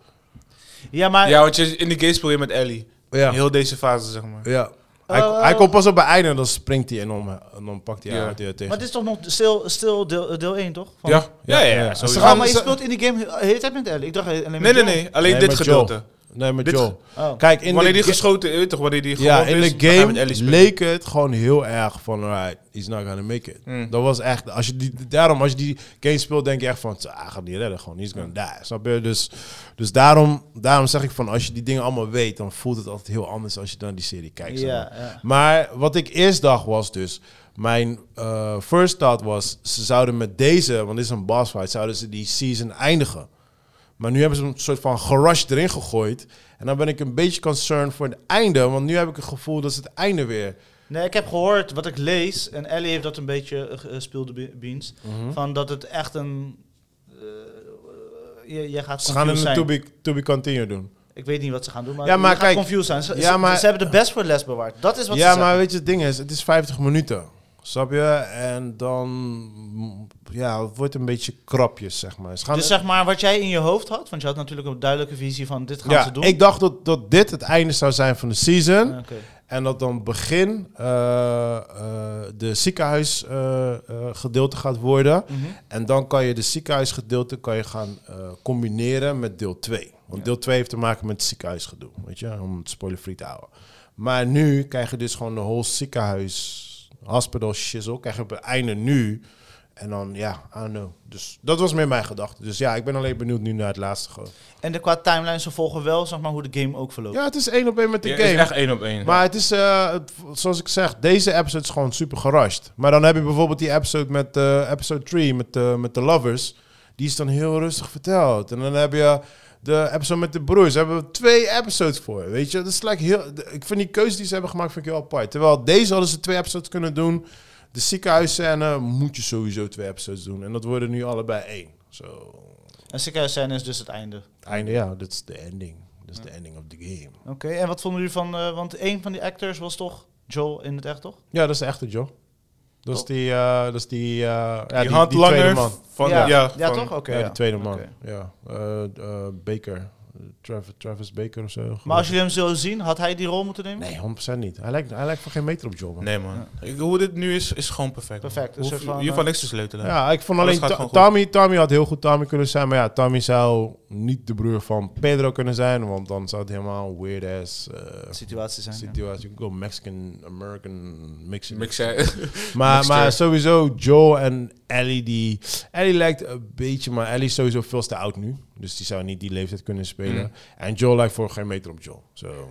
Speaker 4: Ja, maar...
Speaker 5: Ja, want je in de game speel je met Ellie.
Speaker 3: Ja.
Speaker 5: Heel deze fase, zeg maar.
Speaker 3: Ja. Hij,
Speaker 4: Oh,
Speaker 3: hij
Speaker 4: oh.
Speaker 3: komt pas op bij einde en dan springt hij en dan, en dan pakt hij
Speaker 5: Ja.
Speaker 3: haar uit tegen.
Speaker 4: Maar het is toch nog stil, stil deel, deel 1, toch? Van-
Speaker 5: Ja, ja, ja.
Speaker 3: ja.
Speaker 5: sowieso.
Speaker 3: Ze
Speaker 4: Oh,
Speaker 3: gaan-
Speaker 4: maar je
Speaker 3: ze-
Speaker 4: speelt in die game heel- de hele tijd met Ellie. Ik dacht alleen met
Speaker 5: Nee, nee,
Speaker 4: Joel.
Speaker 5: nee. Alleen
Speaker 3: Nee,
Speaker 5: dit
Speaker 3: met Joel.
Speaker 5: gedeelte.
Speaker 3: Nee, met
Speaker 5: Dit
Speaker 3: Joel.
Speaker 4: Oh.
Speaker 3: Kijk, in
Speaker 5: Wanneer
Speaker 3: de
Speaker 5: die
Speaker 3: ga-
Speaker 5: geschoten, weet je toch, wanneer die
Speaker 3: ja,
Speaker 5: gewond is,
Speaker 3: in de
Speaker 5: dan ga je met
Speaker 3: game
Speaker 5: Ellie spelen.
Speaker 3: leek het gewoon heel erg van, alright, he's not gonna make it.
Speaker 5: Mm.
Speaker 3: Dat was echt, als je die, daarom, als je die game speelt, denk je echt van, ah, hij gaat niet redden, gewoon, he's
Speaker 5: Hmm.
Speaker 3: gonna die. Snap je? Dus, dus daarom, daarom zeg ik van, als je die dingen allemaal weet, dan voelt het altijd heel anders als je dan die serie kijkt. zeg
Speaker 4: Ja,
Speaker 3: maar.
Speaker 4: ja.
Speaker 3: Maar wat ik eerst dacht was dus... Mijn eh, first thought was... ze zouden met deze, want dit is een boss fight... zouden ze die season eindigen. Maar nu hebben ze een soort van gerush erin gegooid. En dan ben ik een beetje concerned voor het einde... want nu heb ik het gevoel dat ze het einde weer...
Speaker 4: Nee, ik heb gehoord wat ik lees, en Ellie heeft dat een beetje eh, gespeelde be- beans,
Speaker 3: Mhm.
Speaker 4: van dat het echt een... eh, je, je gaat
Speaker 3: Ze gaan
Speaker 4: confused
Speaker 3: het een
Speaker 4: zijn.
Speaker 3: to be, to be continue doen.
Speaker 4: Ik weet niet wat ze gaan doen, maar,
Speaker 3: Ja, maar
Speaker 4: je gaat
Speaker 3: kijk,
Speaker 4: confused zijn. Ze,
Speaker 3: ja,
Speaker 4: ze-
Speaker 3: maar-
Speaker 4: ze hebben de best voor les bewaard. Dat is wat
Speaker 3: Ja,
Speaker 4: ze
Speaker 3: maar
Speaker 4: zeggen.
Speaker 3: weet je, het ding is... het is 50 minuten. Snap je? En dan... mm, Ja, het wordt een beetje krapjes, zeg maar. Ze gaan
Speaker 4: Dus zeg maar, wat jij in je hoofd had, want je had natuurlijk een duidelijke visie van dit gaan
Speaker 3: ja,
Speaker 4: ze doen.
Speaker 3: ik dacht dat, dat dit het einde zou zijn van de season.
Speaker 4: Ja, oké.
Speaker 3: En dat dan begin eh, eh, de ziekenhuisgedeelte gedeelte gaat worden.
Speaker 4: Mhm.
Speaker 3: En dan kan je de ziekenhuisgedeelte kan je gaan eh, combineren met deel 2. Want deel 2 heeft te maken met het ziekenhuisgedoe, weet je, om het spoilerfree te houden. Maar nu krijg je dus gewoon de whole ziekenhuis, hospital shizzle, krijg je op het einde nu. En dan, ja, I don't know. Dus dat was meer mijn gedachte. Dus ja, ik ben alleen benieuwd nu naar het laatste gewoon.
Speaker 4: En de, qua timeline, ze volgen wel zeg maar, hoe de game ook verloopt.
Speaker 3: Ja, het is één op één met de
Speaker 5: Ja,
Speaker 3: game.
Speaker 5: is echt één op één.
Speaker 3: Maar het is, eh, het- zoals ik zeg, deze episode is gewoon super gerushed. Maar dan heb je bijvoorbeeld die episode met eh, episode 3, met, eh, met de lovers. Die is dan heel rustig verteld. En dan heb je de episode met de broers. Daar hebben we twee episodes voor, weet je. Dat is like heel, de- ik vind die keuze die ze hebben gemaakt, vind ik heel apart. Terwijl deze hadden ze twee episodes kunnen doen. De ziekenhuisscène moet je sowieso twee episodes doen. En dat worden nu allebei één. Zo,
Speaker 4: En ziekenhuisscène is dus het einde.
Speaker 3: einde, ja, dat is de ending. Dat is de ending of the game.
Speaker 4: Oké, en wat vonden jullie van... eh, want een van die actors was toch Joel in het echt, toch?
Speaker 3: Ja, dat is de echte joh. Dat is die, eh, dat is die, eh, ja, die,
Speaker 5: die,
Speaker 3: die tweede
Speaker 5: handlanger
Speaker 3: man.
Speaker 5: van...
Speaker 4: ja,
Speaker 5: Ja,
Speaker 4: ja,
Speaker 5: van-
Speaker 4: toch? Oké,
Speaker 3: ja,
Speaker 4: ja.
Speaker 3: die tweede man.
Speaker 4: Oké.
Speaker 3: Ja, Eh, eh, Baker. Travis, Travis Baker of zo.
Speaker 4: Maar als jullie hem zo zien, had hij die rol moeten nemen?
Speaker 3: Nee, 100% niet. Hij lijkt, hij lijkt voor geen meter op Joel. man.
Speaker 5: Nee, man. Ik- hoe dit nu is, is gewoon perfect. man.
Speaker 4: Perfect, een
Speaker 5: Hoef-
Speaker 4: soort van,
Speaker 5: Je hoeft
Speaker 4: eh,
Speaker 5: van niks te sleutelen.
Speaker 3: Ja, ik vond alleen
Speaker 5: Alles gaat
Speaker 3: Ta-
Speaker 5: gewoon goed.
Speaker 3: Tommy, Tommy had heel goed Tommy kunnen zijn. Maar ja, Tommy zou niet de broer van Pedro kunnen zijn. Want dan zou het helemaal een weird ass eh,
Speaker 4: Situatie zijn. ja.
Speaker 3: situatie. You can go Mexican, American, mixing.
Speaker 5: Ik zei... <laughs>
Speaker 3: Maar,
Speaker 5: Mixture.
Speaker 3: maar sowieso, Joel en Ellie, die... Ellie lijkt een beetje, maar Ellie is sowieso veel te oud nu. Dus die zou niet die leeftijd kunnen spelen.
Speaker 5: Mm.
Speaker 3: En Joel lijkt voor geen meter op Joel. Zo.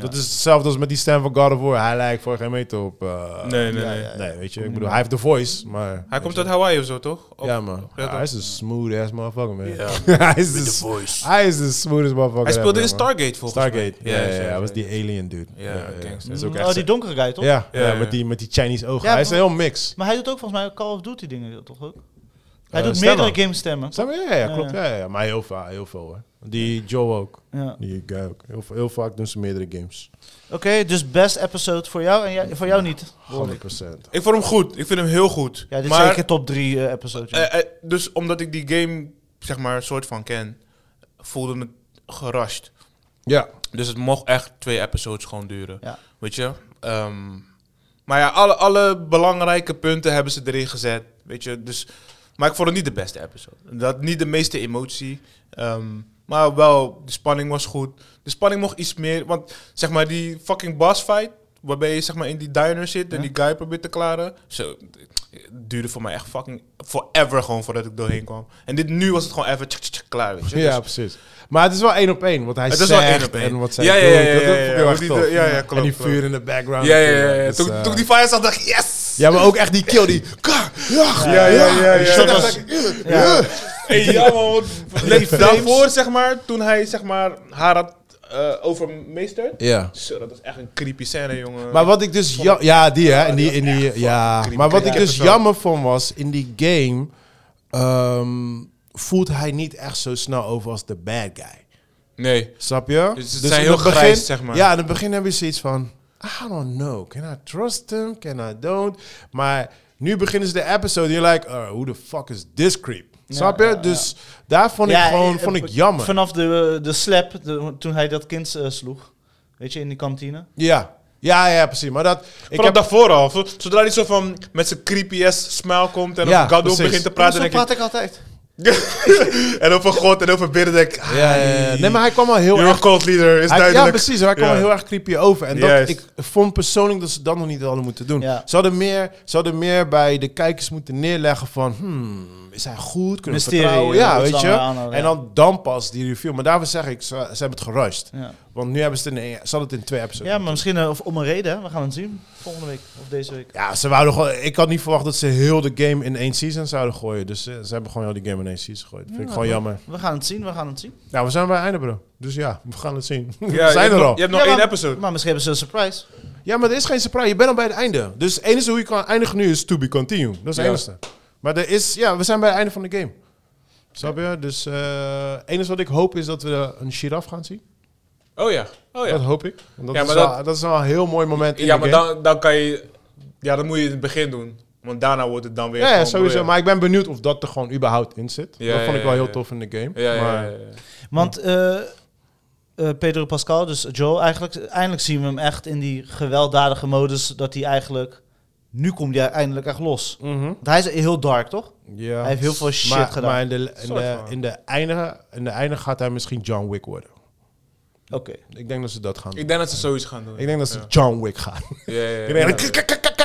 Speaker 3: Dat is hetzelfde als met die stem van God of War. Hij lijkt voor geen meter op... eh,
Speaker 5: Nee, nee,
Speaker 4: Ja,
Speaker 5: nee. Mm.
Speaker 4: ja.
Speaker 3: Nee, weet je. Ik bedoel, hij heeft de voice, maar...
Speaker 5: Hij komt uit Hawaii of zo, toch? Of-
Speaker 3: Ja, man.
Speaker 5: Ja,
Speaker 3: hij is een smooth ass motherfucker, man.
Speaker 5: Ja.
Speaker 3: <laughs> hij is de voice. Hij is de smoothest motherfucker.
Speaker 5: Hij speelde
Speaker 3: ever,
Speaker 5: in
Speaker 3: man.
Speaker 5: Stargate, volgens mij.
Speaker 3: Stargate. Ja, ja, ja.
Speaker 5: sorry,
Speaker 3: Hij was
Speaker 5: sorry.
Speaker 3: die alien dude.
Speaker 5: Ja, gangster. Mm.
Speaker 3: Dat is ook
Speaker 4: Oh,
Speaker 3: echt...
Speaker 4: die donkere guy, toch?
Speaker 3: ja, ja,
Speaker 5: Ja, ja.
Speaker 3: Met, die, met die Chinese ogen.
Speaker 4: Ja,
Speaker 3: hij is
Speaker 4: maar-
Speaker 3: heel mix.
Speaker 4: Maar hij doet ook volgens mij Call of Duty dingen, toch ook? Hij
Speaker 3: Eh,
Speaker 4: doet
Speaker 3: stemmen.
Speaker 4: meerdere game stemmen.
Speaker 3: Snap je? Ja, ja,
Speaker 4: Ja,
Speaker 3: klopt. Ja, ja, ja. Maar heel vaak, heel veel hoor. Die Joe ook.
Speaker 4: Ja.
Speaker 3: Die guy ook. Heel, va- heel vaak doen ze meerdere games.
Speaker 4: Oké, dus best episode voor jou en jij- voor jou niet. hoor
Speaker 3: 100
Speaker 4: ik.
Speaker 3: procent.
Speaker 5: Ik vond hem goed. Ik vind hem heel goed.
Speaker 4: Ja, dit is
Speaker 5: Maar,
Speaker 4: zeker top 3 eh episode. ja.
Speaker 5: eh, eh, dus omdat ik die game, zeg maar, soort van ken, voelde het gerasht.
Speaker 3: Ja.
Speaker 5: Dus het mocht echt twee episodes gewoon duren.
Speaker 4: Ja.
Speaker 5: Weet je? Ehm, maar ja, alle, alle belangrijke punten hebben ze erin gezet. Weet je? Dus, maar ik vond het niet de beste episode. Dat niet de meeste emotie. ehm, maar wel, de spanning was goed. De spanning mocht iets meer. Want zeg maar, die fucking boss fight. Waarbij je zeg maar in die diner zit en
Speaker 4: Ja.
Speaker 5: die guy probeert te klaren. Zo, het duurde voor mij echt fucking forever gewoon voordat ik doorheen kwam. En dit nu was het gewoon even tsk, tsk, tsk, klaar, weet je.
Speaker 3: Ja,
Speaker 5: Dus
Speaker 3: precies. Maar het is wel één op één. Wat hij
Speaker 5: het is
Speaker 3: zegt
Speaker 5: wel één op één.
Speaker 3: en wat zij
Speaker 5: ja, ja,
Speaker 3: doen.
Speaker 5: ja, ja,
Speaker 3: dat-
Speaker 5: ja, ja,
Speaker 3: dat vond ik
Speaker 5: ja,
Speaker 3: heel erg
Speaker 5: die-
Speaker 3: tof.
Speaker 5: ja, ja, klopt,
Speaker 3: En die
Speaker 5: klopt.
Speaker 3: vuur in de background.
Speaker 5: Ja, ja, ja. ja.
Speaker 3: Dus,
Speaker 5: toen,
Speaker 3: eh,
Speaker 5: toen ik die fire zag, dacht ik, yes!
Speaker 3: ja, maar ook echt die kill. Die... Ja, ja, ja. Die shot was-
Speaker 4: Ja.
Speaker 5: Hey, ja, man. wat- Nee, daarvoor, zeg maar, toen hij zeg maar, haar had eh, overmeesterd.
Speaker 3: Ja.
Speaker 5: Zo, dat was echt een creepy scène, jongen.
Speaker 3: Maar wat ik dus... Ja, ja die hè. In die, in die, ja.
Speaker 5: creepy.
Speaker 3: Maar wat
Speaker 5: Ja.
Speaker 3: ik dus
Speaker 5: Persoon.
Speaker 3: jammer vond was... In die game... ehm, voelt hij niet echt zo snel over als de bad guy.
Speaker 5: Nee.
Speaker 3: Snap je?
Speaker 5: Dus ze zijn heel grijs, zeg maar.
Speaker 3: Ja, in het begin heb je zoiets van... I don't know. Can I trust him? Can I don't? Maar nu beginnen ze de episode en je like... Uh, who the fuck is this creep? Snap je?
Speaker 4: ja, ja.
Speaker 3: Dus daar vond ik
Speaker 4: Ja,
Speaker 3: gewoon
Speaker 4: eh,
Speaker 3: vond ik
Speaker 4: eh,
Speaker 3: jammer.
Speaker 4: Vanaf de, de slap, de- toen hij dat kind eh, sloeg. Weet je, in die kantine.
Speaker 3: ja. ja, ja, precies. Maar dat... Ik
Speaker 5: Ik heb daarvoor al. Zo- Zodra hij zo van met zijn creepy ass smile komt en
Speaker 3: Ja,
Speaker 5: over God
Speaker 3: precies.
Speaker 5: begint te
Speaker 4: Maar
Speaker 5: praten.
Speaker 4: zo
Speaker 5: Denk ik,
Speaker 4: praat ik altijd.
Speaker 5: en over God en over bidden denk ik, ah,
Speaker 3: ja, ja, ja. Nee, maar hij kwam al heel
Speaker 5: you're a
Speaker 3: erg...
Speaker 5: cult leader, is
Speaker 3: Hij, ja,
Speaker 5: duidelijk.
Speaker 3: precies. Hij kwam
Speaker 5: Ja.
Speaker 3: heel erg creepy over. En dat,
Speaker 5: Juist.
Speaker 3: ik vond persoonlijk dat ze dat nog niet hadden moeten doen.
Speaker 4: Ja.
Speaker 3: Ze, hadden meer, ze hadden meer bij de kijkers moeten neerleggen van... Hmm, is hij goed? Kunnen we
Speaker 4: Mysterie,
Speaker 3: vertrouwen?
Speaker 4: eh,
Speaker 3: Ja,
Speaker 4: iets
Speaker 3: weet je.
Speaker 4: langer aanhouden,
Speaker 3: en
Speaker 4: ja.
Speaker 3: dan, dan pas die review. Maar daarvoor zeg ik, ze, ze hebben het gerust.
Speaker 4: Ja,
Speaker 3: Want nu hebben ze het in, één- ze hadden het in twee episodes.
Speaker 4: ja maar misschien eh, of om een reden. hè. We gaan het zien. Volgende week of deze week.
Speaker 3: Ja, ze wouden gewoon, ik had niet verwacht dat ze heel de game in één season zouden gooien. Dus eh, ze hebben gewoon heel de game in één season gegooid. Vind ik gewoon jammer.
Speaker 4: We gaan het zien, we gaan het zien.
Speaker 3: Nou, we zijn bij het einde, bro. Dus ja, we gaan het zien.
Speaker 5: Ja,
Speaker 3: we <laughs> zijn
Speaker 5: je hebt
Speaker 3: er
Speaker 5: nog-
Speaker 3: al.
Speaker 5: Je hebt nog
Speaker 4: Ja,
Speaker 5: één
Speaker 4: maar-
Speaker 5: episode.
Speaker 4: Maar misschien hebben ze een surprise.
Speaker 3: Ja, maar er is geen surprise. Je bent al bij het einde. Dus het enige hoe je kan eindigen nu is to be continued. Dat is het
Speaker 5: Ja.
Speaker 3: enige. Maar er is, ja, we zijn bij het einde van de game. Snap je? Dus eh het enige wat ik hoop is dat we een giraf gaan zien.
Speaker 5: Oh ja. Oh ja.
Speaker 3: Dat hoop ik. Want dat,
Speaker 5: Ja,
Speaker 3: is
Speaker 5: maar
Speaker 3: wel,
Speaker 5: dat-
Speaker 3: dat is wel een heel mooi moment in
Speaker 5: Ja,
Speaker 3: de
Speaker 5: maar
Speaker 3: game.
Speaker 5: dan, dan kan je... Ja, dan moet je het in het begin doen. Want daarna wordt het dan weer
Speaker 3: ja, ja,
Speaker 5: gewoon
Speaker 3: sowieso.
Speaker 5: boeiend.
Speaker 3: Maar ik ben benieuwd of dat er gewoon überhaupt in zit.
Speaker 5: Ja,
Speaker 3: dat vond
Speaker 5: ja,
Speaker 3: ik wel
Speaker 5: ja,
Speaker 3: heel
Speaker 5: ja.
Speaker 3: tof in de game.
Speaker 5: Ja, ja,
Speaker 3: maar,
Speaker 5: ja, ja.
Speaker 4: Want eh, eh, Pedro Pascal, dus Joe, eigenlijk, eindelijk zien we hem echt in die gewelddadige modus. Dat hij eigenlijk nu komt hij eindelijk echt los.
Speaker 5: Mhm.
Speaker 4: Want hij is heel dark, toch?
Speaker 3: Ja.
Speaker 4: Hij heeft heel veel shit
Speaker 3: maar,
Speaker 4: gedaan.
Speaker 3: Maar in de, in,
Speaker 5: Soort
Speaker 3: de,
Speaker 5: van.
Speaker 3: in, de einde, in de einde gaat hij misschien John Wick worden.
Speaker 4: Oké.
Speaker 3: Ik denk dat ze dat gaan doen.
Speaker 9: Ik denk dat ze zoiets gaan doen.
Speaker 3: Ik denk dat ze John Wick gaan.
Speaker 9: Ja, ja,
Speaker 3: Ik
Speaker 9: ja.
Speaker 3: denk-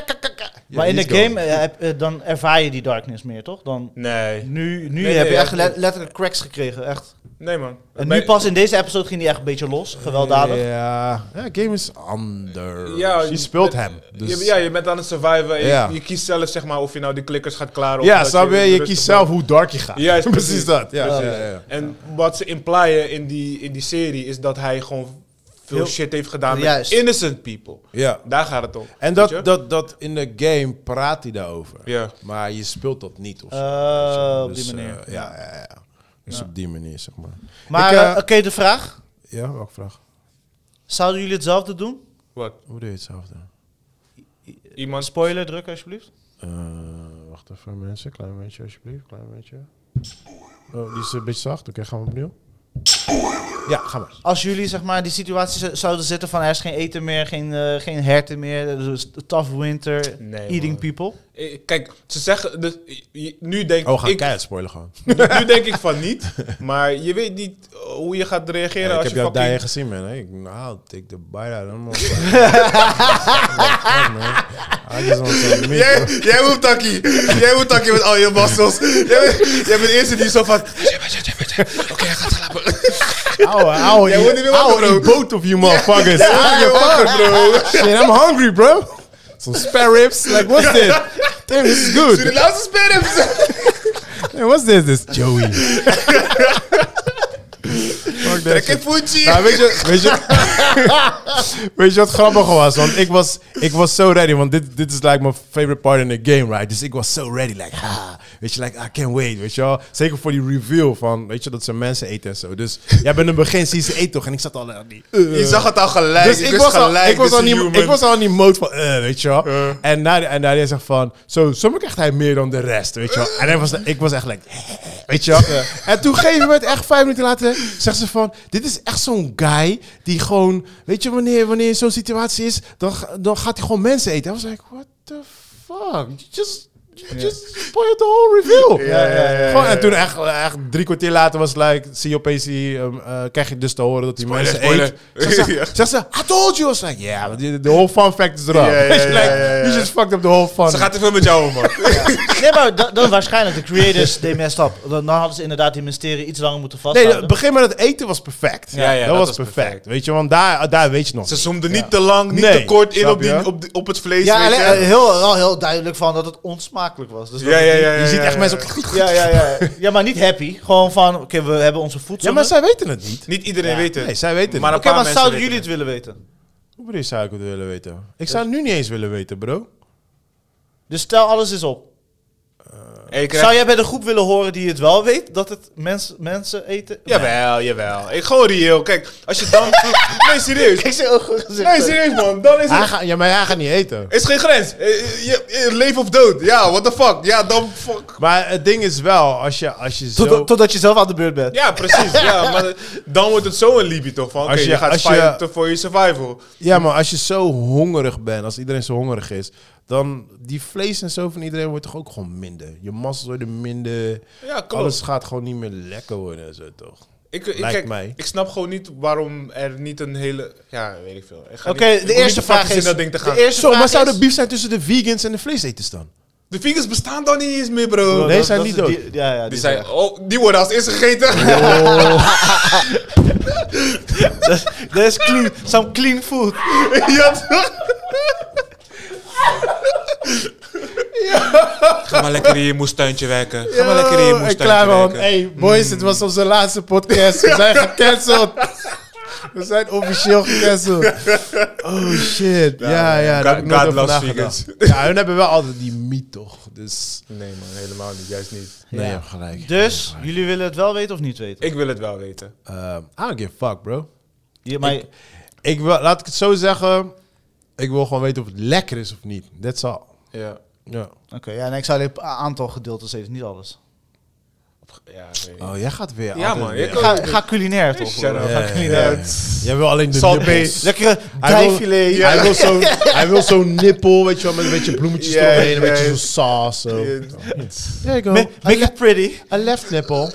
Speaker 4: maar in de
Speaker 3: let's go.
Speaker 4: game eh, heb- eh, dan ervaar je die darkness meer, toch? Dan
Speaker 9: Nee.
Speaker 4: nu, nu
Speaker 9: Nee,
Speaker 4: heb
Speaker 9: nee,
Speaker 4: je echt
Speaker 9: ja,
Speaker 4: le-
Speaker 9: ik-
Speaker 4: letterlijk cracks gekregen, echt.
Speaker 9: Nee, man.
Speaker 4: En
Speaker 9: Bij-
Speaker 4: nu pas in deze episode ging hij echt een beetje los, gewelddadig.
Speaker 3: Ja, ja game is anders.
Speaker 9: Ja,
Speaker 3: je speelt
Speaker 9: je-
Speaker 3: hem. Dus.
Speaker 9: Je, ja, je bent aan het surviven. en je-
Speaker 3: Ja.
Speaker 9: Je, kiest zelf zeg maar, of je nou die klikkers gaat klaren. of
Speaker 3: Ja,
Speaker 9: dat
Speaker 3: snap je? Je
Speaker 9: rustig
Speaker 3: kiest
Speaker 9: blijft.
Speaker 3: zelf hoe dark je gaat. <laughs>
Speaker 9: Juist,
Speaker 3: precies.
Speaker 9: precies.
Speaker 3: dat. Ja,
Speaker 4: Precies.
Speaker 3: ja, ja, ja.
Speaker 9: En wat ze implyen in die, in die serie is dat hij gewoon veel
Speaker 4: Heel-
Speaker 9: shit heeft gedaan met
Speaker 4: Juist.
Speaker 9: innocent people.
Speaker 3: Ja.
Speaker 9: Daar gaat het om.
Speaker 3: En
Speaker 9: weet je?
Speaker 3: dat, dat, dat in de game praat hij daarover.
Speaker 9: Ja.
Speaker 3: Maar je speelt dat niet. Of zo.
Speaker 4: Eh, op
Speaker 3: Dus,
Speaker 4: die manier.
Speaker 3: eh, ja, ja, ja. Dus op die manier, zeg maar.
Speaker 4: Maar
Speaker 3: Ik, eh,
Speaker 4: eh, oké, de vraag.
Speaker 3: Ja, welke vraag?
Speaker 4: Zouden jullie hetzelfde doen?
Speaker 9: Wat?
Speaker 3: Hoe deed je hetzelfde?
Speaker 9: Iemand
Speaker 4: Spoiler druk alsjeblieft.
Speaker 3: Eh, wacht even mensen, klein beetje alsjeblieft, klein beetje. Oh, die is een beetje zacht. Oké, gaan we opnieuw? Ja, ga maar.
Speaker 4: Als jullie zeg maar die situatie z- zouden zitten van er is geen eten meer, geen, eh, geen herten meer, dus tough winter,
Speaker 9: Nee,
Speaker 4: eating
Speaker 9: man.
Speaker 4: people.
Speaker 9: Eh, Kijk, ze zeggen. Dus, je- nu, denk
Speaker 3: Oh, we gaan
Speaker 9: ik,
Speaker 3: keihard spoilen gewoon.
Speaker 9: nu denk ik van niet. Maar je weet niet eh, hoe je gaat reageren
Speaker 3: ik
Speaker 9: als
Speaker 3: heb
Speaker 9: je
Speaker 3: jou daar
Speaker 9: fucking...
Speaker 3: gezien, man. hè. Ik, nou, take the bite out of <laughs> him. I just want some meat,
Speaker 5: Jij,
Speaker 3: bro.
Speaker 5: jij moet takkie. Jij moet takkie met al je muscles. Jij, bent- jij bent de eerste die zo van... Oké, hij gaat slapen.
Speaker 3: Ouwe, ouwe,
Speaker 5: Jij wordt niet meer
Speaker 3: ouwe,
Speaker 5: wakker,
Speaker 3: eat both of you motherfuckers. Ah, je fucker, bro. Shit, I'm hungry, bro. Some spare ribs. Like, what's this?
Speaker 5: <laughs>
Speaker 3: Damn, this is good.
Speaker 5: De laatste spin
Speaker 3: Hey, what's this? This Joey.
Speaker 5: <laughs>
Speaker 3: Fuck that
Speaker 5: Trek
Speaker 3: shit.
Speaker 5: een voetje.
Speaker 3: Nou, weet je, weet je, weet je wat grappig was? Want ik was, ik was zo ready, want dit, dit is like mijn favorite part in the game, right? Dus ik was zo ready, like, ha, weet je, like, I can't wait, weet je wel? Zeker voor die reveal van, weet je, dat ze mensen eten en zo. Dus jij bent in het begin, zie ze eten toch? En ik zat al aan die... eh.
Speaker 5: Je zag het al gelijk.
Speaker 3: Dus ik was, al,
Speaker 5: gelijk.
Speaker 3: ik, was
Speaker 5: dit
Speaker 3: al
Speaker 5: is een
Speaker 3: niet,
Speaker 5: human.
Speaker 3: ik was al in die mode van, eh, weet je wel. En na- en Nadia zegt van, zo, soms krijgt hij meer dan de rest, weet je wel. En hij was, ik was echt like, <laughs> weet je wel. En toen gegeven moment, echt vijf minuten later, zegt ze van, dit is echt zo'n guy die gewoon, weet je, wanneer, wanneer zo'n situatie is, dan, ga- dan gaat hij gewoon mensen eten. En was like, what the fuck? You just... you Just spoiled the whole reveal. Gewoon, en toen echt, echt drie kwartier later was het like, zie je opeens die, ehm, eh, krijg je dus te horen dat die mensen
Speaker 5: spoiler.
Speaker 3: eet. Zegt
Speaker 5: <laughs>
Speaker 3: ze,
Speaker 5: Ja.
Speaker 3: zegt ze, I told you. I was like, yeah, but the, the whole fun fact is eraf.
Speaker 5: Ja, ja,
Speaker 3: Weet je,
Speaker 5: ja,
Speaker 3: like,
Speaker 5: ja, ja.
Speaker 3: You just fucked up the whole fun.
Speaker 5: Ze gaat te veel met jou, om,
Speaker 3: <laughs>
Speaker 5: man.
Speaker 4: Nee, maar da- dan waarschijnlijk de creators, they messed up. Dan, dan hadden ze inderdaad die mysterie iets langer moeten
Speaker 3: nee,
Speaker 4: vasthouden.
Speaker 3: het begin met het eten was perfect.
Speaker 9: Ja, ja,
Speaker 3: dat, was perfect. Weet je, want daar, daar weet je nog.
Speaker 5: Ze zoomde niet te lang, niet
Speaker 3: Nee,
Speaker 5: te kort in
Speaker 3: snap
Speaker 5: op, die,
Speaker 3: je?
Speaker 5: op, die- op het vlees.
Speaker 4: ja,
Speaker 5: weet
Speaker 4: alleen,
Speaker 5: je.
Speaker 4: eh, heel, wel heel duidelijk van dat het onsmakelijk was. Dus dat
Speaker 5: ja,
Speaker 4: het
Speaker 5: ja,
Speaker 4: niet-
Speaker 5: ja, ja,
Speaker 3: je ziet
Speaker 5: ja,
Speaker 3: echt
Speaker 5: ja.
Speaker 3: mensen... ook-
Speaker 4: Ja, ja, ja. ja, maar niet happy. Gewoon van, oké, we hebben onze voedsel.
Speaker 3: Ja, maar zij weten het niet.
Speaker 5: Niet iedereen weet het.
Speaker 3: Nee, zij weten het
Speaker 5: Maar
Speaker 3: niet.
Speaker 5: een
Speaker 4: Oké, maar
Speaker 5: paar mensen
Speaker 4: zouden
Speaker 5: weten
Speaker 4: jullie het willen weten?
Speaker 3: Hoe bedoel je, zou ik het willen weten? Ik zou het nu niet eens willen weten, bro.
Speaker 4: Dus stel alles is op.
Speaker 9: Hey, ik
Speaker 4: Zou jij bij de groep willen horen die het wel weet, dat het mens, mensen eten?
Speaker 9: Jawel, jawel. Ik gewoon reëel. Kijk, als je
Speaker 3: <laughs>
Speaker 9: dan... nee,
Speaker 4: <laughs>
Speaker 9: serieus.
Speaker 4: Ik zeg ook goed gezicht.
Speaker 9: Nee, serieus, man. Dan is
Speaker 3: Hij
Speaker 9: het...
Speaker 3: gaat- ja, maar hij gaat niet eten.
Speaker 5: Er is geen grens. Eh, eh, je- eh, Leven of dood. Ja, what the fuck. Ja, dan fuck.
Speaker 3: Maar het ding is wel, als je, als je zo...
Speaker 4: Totdat- totdat je zelf aan de beurt bent.
Speaker 9: Ja, precies. <laughs> ja, maar dan wordt het zo een Libi toch? Van, oké,
Speaker 3: Als
Speaker 9: je,
Speaker 3: je-
Speaker 9: gaat
Speaker 3: als je-
Speaker 9: fighten voor je survival.
Speaker 3: Ja, maar als je zo hongerig bent, als iedereen zo hongerig is, dan die vlees en zo van iedereen wordt toch ook gewoon minder. Je massa worden minder.
Speaker 9: Ja, klopt.
Speaker 3: Alles gaat gewoon niet meer lekker worden en zo toch?
Speaker 9: Ik, ik,
Speaker 3: Lijkt
Speaker 9: kijk,
Speaker 3: mij.
Speaker 9: ik snap gewoon niet waarom er niet een hele... Ja, weet ik veel. Ik ga
Speaker 4: Oké,
Speaker 9: niet- ik
Speaker 4: de
Speaker 9: hoef
Speaker 4: eerste
Speaker 9: niet te
Speaker 4: vraag
Speaker 9: fucking
Speaker 4: is...
Speaker 9: in dat ding te gaan.
Speaker 4: De eerste
Speaker 3: Zo,
Speaker 4: vraag
Speaker 3: maar zou
Speaker 4: is-
Speaker 3: er beef zijn tussen de vegans en de vleeseters <laughs> dan?
Speaker 5: De vingers bestaan dan niet eens meer, bro.
Speaker 4: Bro,
Speaker 3: Nee,
Speaker 4: dat-
Speaker 3: zijn
Speaker 4: dat
Speaker 3: niet
Speaker 4: is
Speaker 3: dood.
Speaker 4: die- Ja, ja,
Speaker 5: Die,
Speaker 4: die
Speaker 5: zijn,
Speaker 4: zijn...
Speaker 5: oh, die worden als eerste gegeten.
Speaker 4: Dat is clean. Some clean food.
Speaker 5: Ja, toch?
Speaker 9: Ga maar lekker in je moestuintje werken. Ga maar
Speaker 3: Yo,
Speaker 9: lekker in je
Speaker 3: en
Speaker 9: moestuintje
Speaker 3: klaar man.
Speaker 9: werken.
Speaker 3: Hey boys, het was onze laatste podcast. We zijn gecanceld. We zijn officieel <laughs> gecanceld. Oh shit. Ja, ja. daar heb
Speaker 5: God-
Speaker 3: ik nooit
Speaker 5: God
Speaker 3: over
Speaker 5: loves
Speaker 3: nagedacht. Ja, hun hebben wel altijd die mythe toch. Dus
Speaker 9: Nee man, helemaal niet. Juist niet.
Speaker 3: nee,
Speaker 4: Ja.
Speaker 3: je hebt gelijk.
Speaker 4: Dus, jullie willen het wel weten of niet weten?
Speaker 9: Ik wil het wel weten.
Speaker 3: Eh, I don't give a fuck bro.
Speaker 4: Ja, maar
Speaker 3: Ik wil, laat ik het zo zeggen. Ik wil gewoon weten of het lekker is of niet. That's all.
Speaker 9: Ja.
Speaker 3: Ja.
Speaker 4: Oké, ja, en ik zou alleen een aantal gedeeltes eten, niet alles.
Speaker 5: op- Ja, ik weet niet.
Speaker 3: Oh, jij gaat weer.
Speaker 11: Ja,
Speaker 3: altijd
Speaker 11: man.
Speaker 3: weer.
Speaker 11: ik-
Speaker 4: Ga, ga culinair toch?
Speaker 5: Shut up.
Speaker 4: hoor. Ga
Speaker 3: Ja,
Speaker 4: culinair.
Speaker 3: ja. Jij wil alleen de
Speaker 5: Salt
Speaker 3: nippels.
Speaker 5: base.
Speaker 4: Lekkere
Speaker 3: Hij wil-
Speaker 4: dijfilet.
Speaker 3: Hij wil
Speaker 5: <laughs>
Speaker 3: zo'n hij wil zo'n nippel, weet je wel, met een beetje bloemetjes
Speaker 5: Ja,
Speaker 3: eromheen, een
Speaker 5: ja,
Speaker 3: beetje
Speaker 5: ja.
Speaker 3: zo'n saus. Zo. There you go.
Speaker 4: Ma- Make it pretty.
Speaker 3: A left nipple.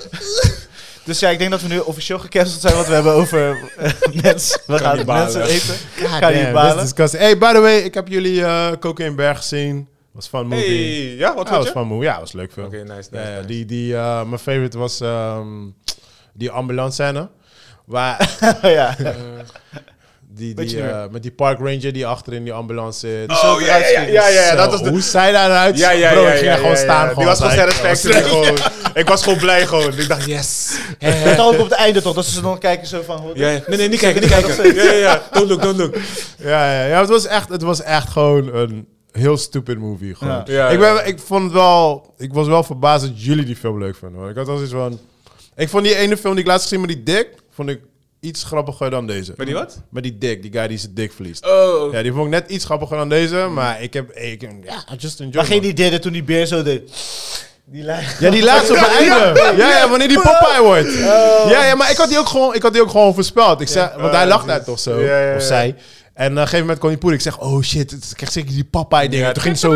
Speaker 4: Dus ja, ik denk dat we nu officieel gecanceld zijn wat we hebben over eh, mensen. We gaan mensen eten.
Speaker 3: God
Speaker 4: je
Speaker 3: damn,
Speaker 4: balen? <laughs>
Speaker 3: that's disgusting. Hey, by the way, ik heb jullie eh Cocaine Bear gezien. Was fun movie. Ah,
Speaker 5: Hey, ja, wat
Speaker 3: ja,
Speaker 5: vond
Speaker 3: was
Speaker 5: je?
Speaker 3: fun movie. Ja, was leuk film.
Speaker 5: Oké, nice,
Speaker 3: Ja,
Speaker 5: nice,
Speaker 3: ja,
Speaker 5: nice.
Speaker 3: die, die, eh, mijn favorite was ehm, die ambulance scène. Waar
Speaker 4: Oh ja.
Speaker 3: die,
Speaker 4: Beetje
Speaker 3: die, eh, met die park ranger die achter in die ambulance zit.
Speaker 5: Oh, ja, ja, ja, ja, ja,
Speaker 3: Zo,
Speaker 5: dat was de...
Speaker 3: Hoe zij daaruit?
Speaker 5: Ja, ja,
Speaker 3: Bro,
Speaker 5: ja,
Speaker 3: ik ging
Speaker 5: ja,
Speaker 3: er gewoon
Speaker 5: ja, ja.
Speaker 3: staan.
Speaker 5: Die
Speaker 3: gewoon,
Speaker 5: was gewoon
Speaker 3: like,
Speaker 5: satisfactory. gewoon. dus. <laughs> Ik was gewoon blij gewoon. Ik dacht,
Speaker 11: Yes.
Speaker 3: Eh,
Speaker 4: Met ook op het einde toch, dat ze dan kijken zo van... hoor,
Speaker 11: Ja, ja. Nee, nee, niet kijken, niet kijken. Ja, ja, ja. Don't look, don't look.
Speaker 3: Ja, ja, ja het, was echt, het was echt gewoon een heel stupid movie. Gewoon.
Speaker 4: Ja.
Speaker 11: Ja,
Speaker 3: ik,
Speaker 11: ja.
Speaker 3: ben, ik vond het wel... Ik was wel verbaasd dat jullie die film leuk vonden. Hoor. Ik had wel zoiets van... Ik vond die ene film die ik laatst gezien met die dik... Vond ik iets grappiger dan deze.
Speaker 5: Met die wat?
Speaker 3: Met die dik. Die guy die zijn dik verliest.
Speaker 5: oh.
Speaker 3: Ja, die vond ik net iets grappiger dan deze. Maar ik heb... Ik, ja, I just enjoy
Speaker 4: Maar geen
Speaker 3: it,
Speaker 4: die deden toen die beer zo deed. Die lijn.
Speaker 3: man. Ja, die
Speaker 4: <laughs>
Speaker 3: laatste op het einde. Ja, ja, wanneer die Popeye wordt. Ja, ja, maar ik had die ook gewoon, ik had die ook gewoon voorspeld. Ik zei, want hij lacht daar toch zo.
Speaker 5: Ja, ja, ja.
Speaker 3: Of zij. En eh, op een gegeven moment kwam die poeder. Ik zeg, oh shit, het krijgt zeker die Popeye dingen. Toen ging het zo...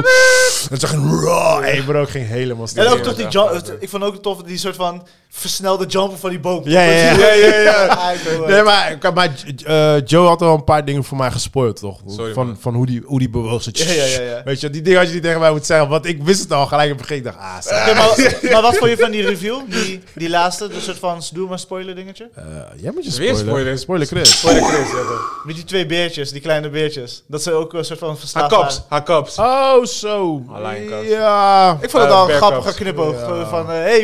Speaker 3: En toen ging raw. Hey bro, ik ging helemaal stil.
Speaker 4: En ook toch die jump, ik vond ook tof die soort van versnelde jumpen van die boom.
Speaker 3: Ja,
Speaker 4: <laughs>
Speaker 3: ja, ja.
Speaker 5: Ja, ja, ja.
Speaker 4: Ah, ik wil, eh,
Speaker 3: Nee, maar, ik- maar eh, Joe had wel een paar dingen voor mij gespoord, toch?
Speaker 11: Sorry,
Speaker 3: van
Speaker 11: man.
Speaker 3: van hoe, die, hoe die bewoog. Zo,
Speaker 4: Ja, ja, ja, ja.
Speaker 3: Weet je, die dingen had je niet tegen mij moeten zeggen. Want ik wist het al gelijk in het begin. Ik dacht, ah,
Speaker 4: <laughs>
Speaker 3: saai.
Speaker 4: Oké, maar, maar wat vond je van die review? Die, die laatste, de soort van doe maar spoiler dingetje.
Speaker 3: Eh, jij moet je
Speaker 11: Weer
Speaker 3: spoilen.
Speaker 11: spoilen.
Speaker 3: Spoiler Chris.
Speaker 5: Voor de Chris, ja, toch.
Speaker 4: Met die twee beertjes, die kleine beertjes. Dat ze ook een soort van
Speaker 5: Haar
Speaker 4: verslaafd
Speaker 5: kaps,
Speaker 4: waren.
Speaker 5: haar kaps.
Speaker 3: Oh, zo.
Speaker 5: Alleen kast.
Speaker 3: Ja.
Speaker 4: Ik vond het
Speaker 5: Eh,
Speaker 4: al een
Speaker 5: bearcaps.
Speaker 4: grappige knipoog. Gewoon Van, hé, hey,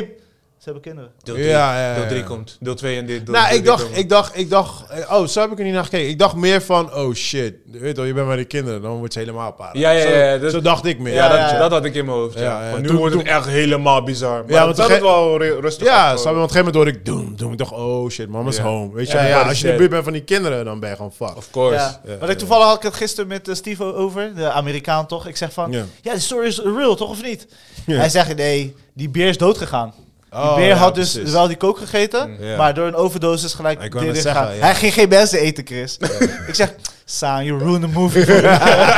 Speaker 4: ze hebben kinderen.
Speaker 5: Deel
Speaker 3: Ja,
Speaker 5: 3
Speaker 3: ja, ja.
Speaker 5: deel drie komt. Deel 2 en dit. deel
Speaker 3: Nou,
Speaker 5: drie
Speaker 3: ik dacht,
Speaker 5: komt.
Speaker 3: ik dacht, ik dacht... eh, Oh, zo heb ik er niet naar gekeken. Ik dacht meer van, oh shit. Je Weet wel, je bent bij de kinderen. Dan wordt ze helemaal para.
Speaker 5: Ja, ja,
Speaker 3: Zo-
Speaker 5: ja,
Speaker 3: Zo,
Speaker 5: dat-
Speaker 3: dacht ik meer.
Speaker 5: Ja,
Speaker 3: Ja,
Speaker 5: dat,
Speaker 4: ja.
Speaker 5: dat had ik in mijn hoofd. Ja.
Speaker 3: Ja, ja.
Speaker 5: Maar nu
Speaker 3: Toen-
Speaker 5: wordt het
Speaker 3: toen-
Speaker 5: echt helemaal bizar. Maar
Speaker 3: Ja,
Speaker 5: ja,
Speaker 3: want
Speaker 5: dat
Speaker 3: ge-
Speaker 5: het wel ru- rustig.
Speaker 3: ja
Speaker 5: af,
Speaker 3: snap je,
Speaker 5: gewoon.
Speaker 3: want op een gegeven moment hoorde ik doem, doem. Ik dacht, oh shit, mama's
Speaker 5: Ja.
Speaker 3: home. Weet je,
Speaker 5: Ja,
Speaker 3: ja,
Speaker 5: ja,
Speaker 3: als je in de
Speaker 5: shit.
Speaker 3: buurt bent van die kinderen, dan ben je gewoon fucked.
Speaker 5: Of course.
Speaker 4: Ja. Want ik, toevallig had ik het gisteren met eh, Steve over, de Amerikaan toch. Ik zeg van,
Speaker 3: Ja.
Speaker 4: ja, de story is real, toch of niet? Hij zegt, nee, die beer is dood gegaan. Die
Speaker 3: Oh,
Speaker 4: beer
Speaker 3: ja,
Speaker 4: had dus
Speaker 3: precies. Mm.
Speaker 4: wel die kook gegeten,
Speaker 3: Ja.
Speaker 4: maar door een overdosis gelijk
Speaker 3: Ik
Speaker 4: dit
Speaker 3: wou net
Speaker 4: gegaan.
Speaker 3: zeggen, ja.
Speaker 4: Hij ging geen mensen eten, Chris. <laughs> ik zeg, Saan, you ruined the movie.
Speaker 3: <laughs>
Speaker 4: for me."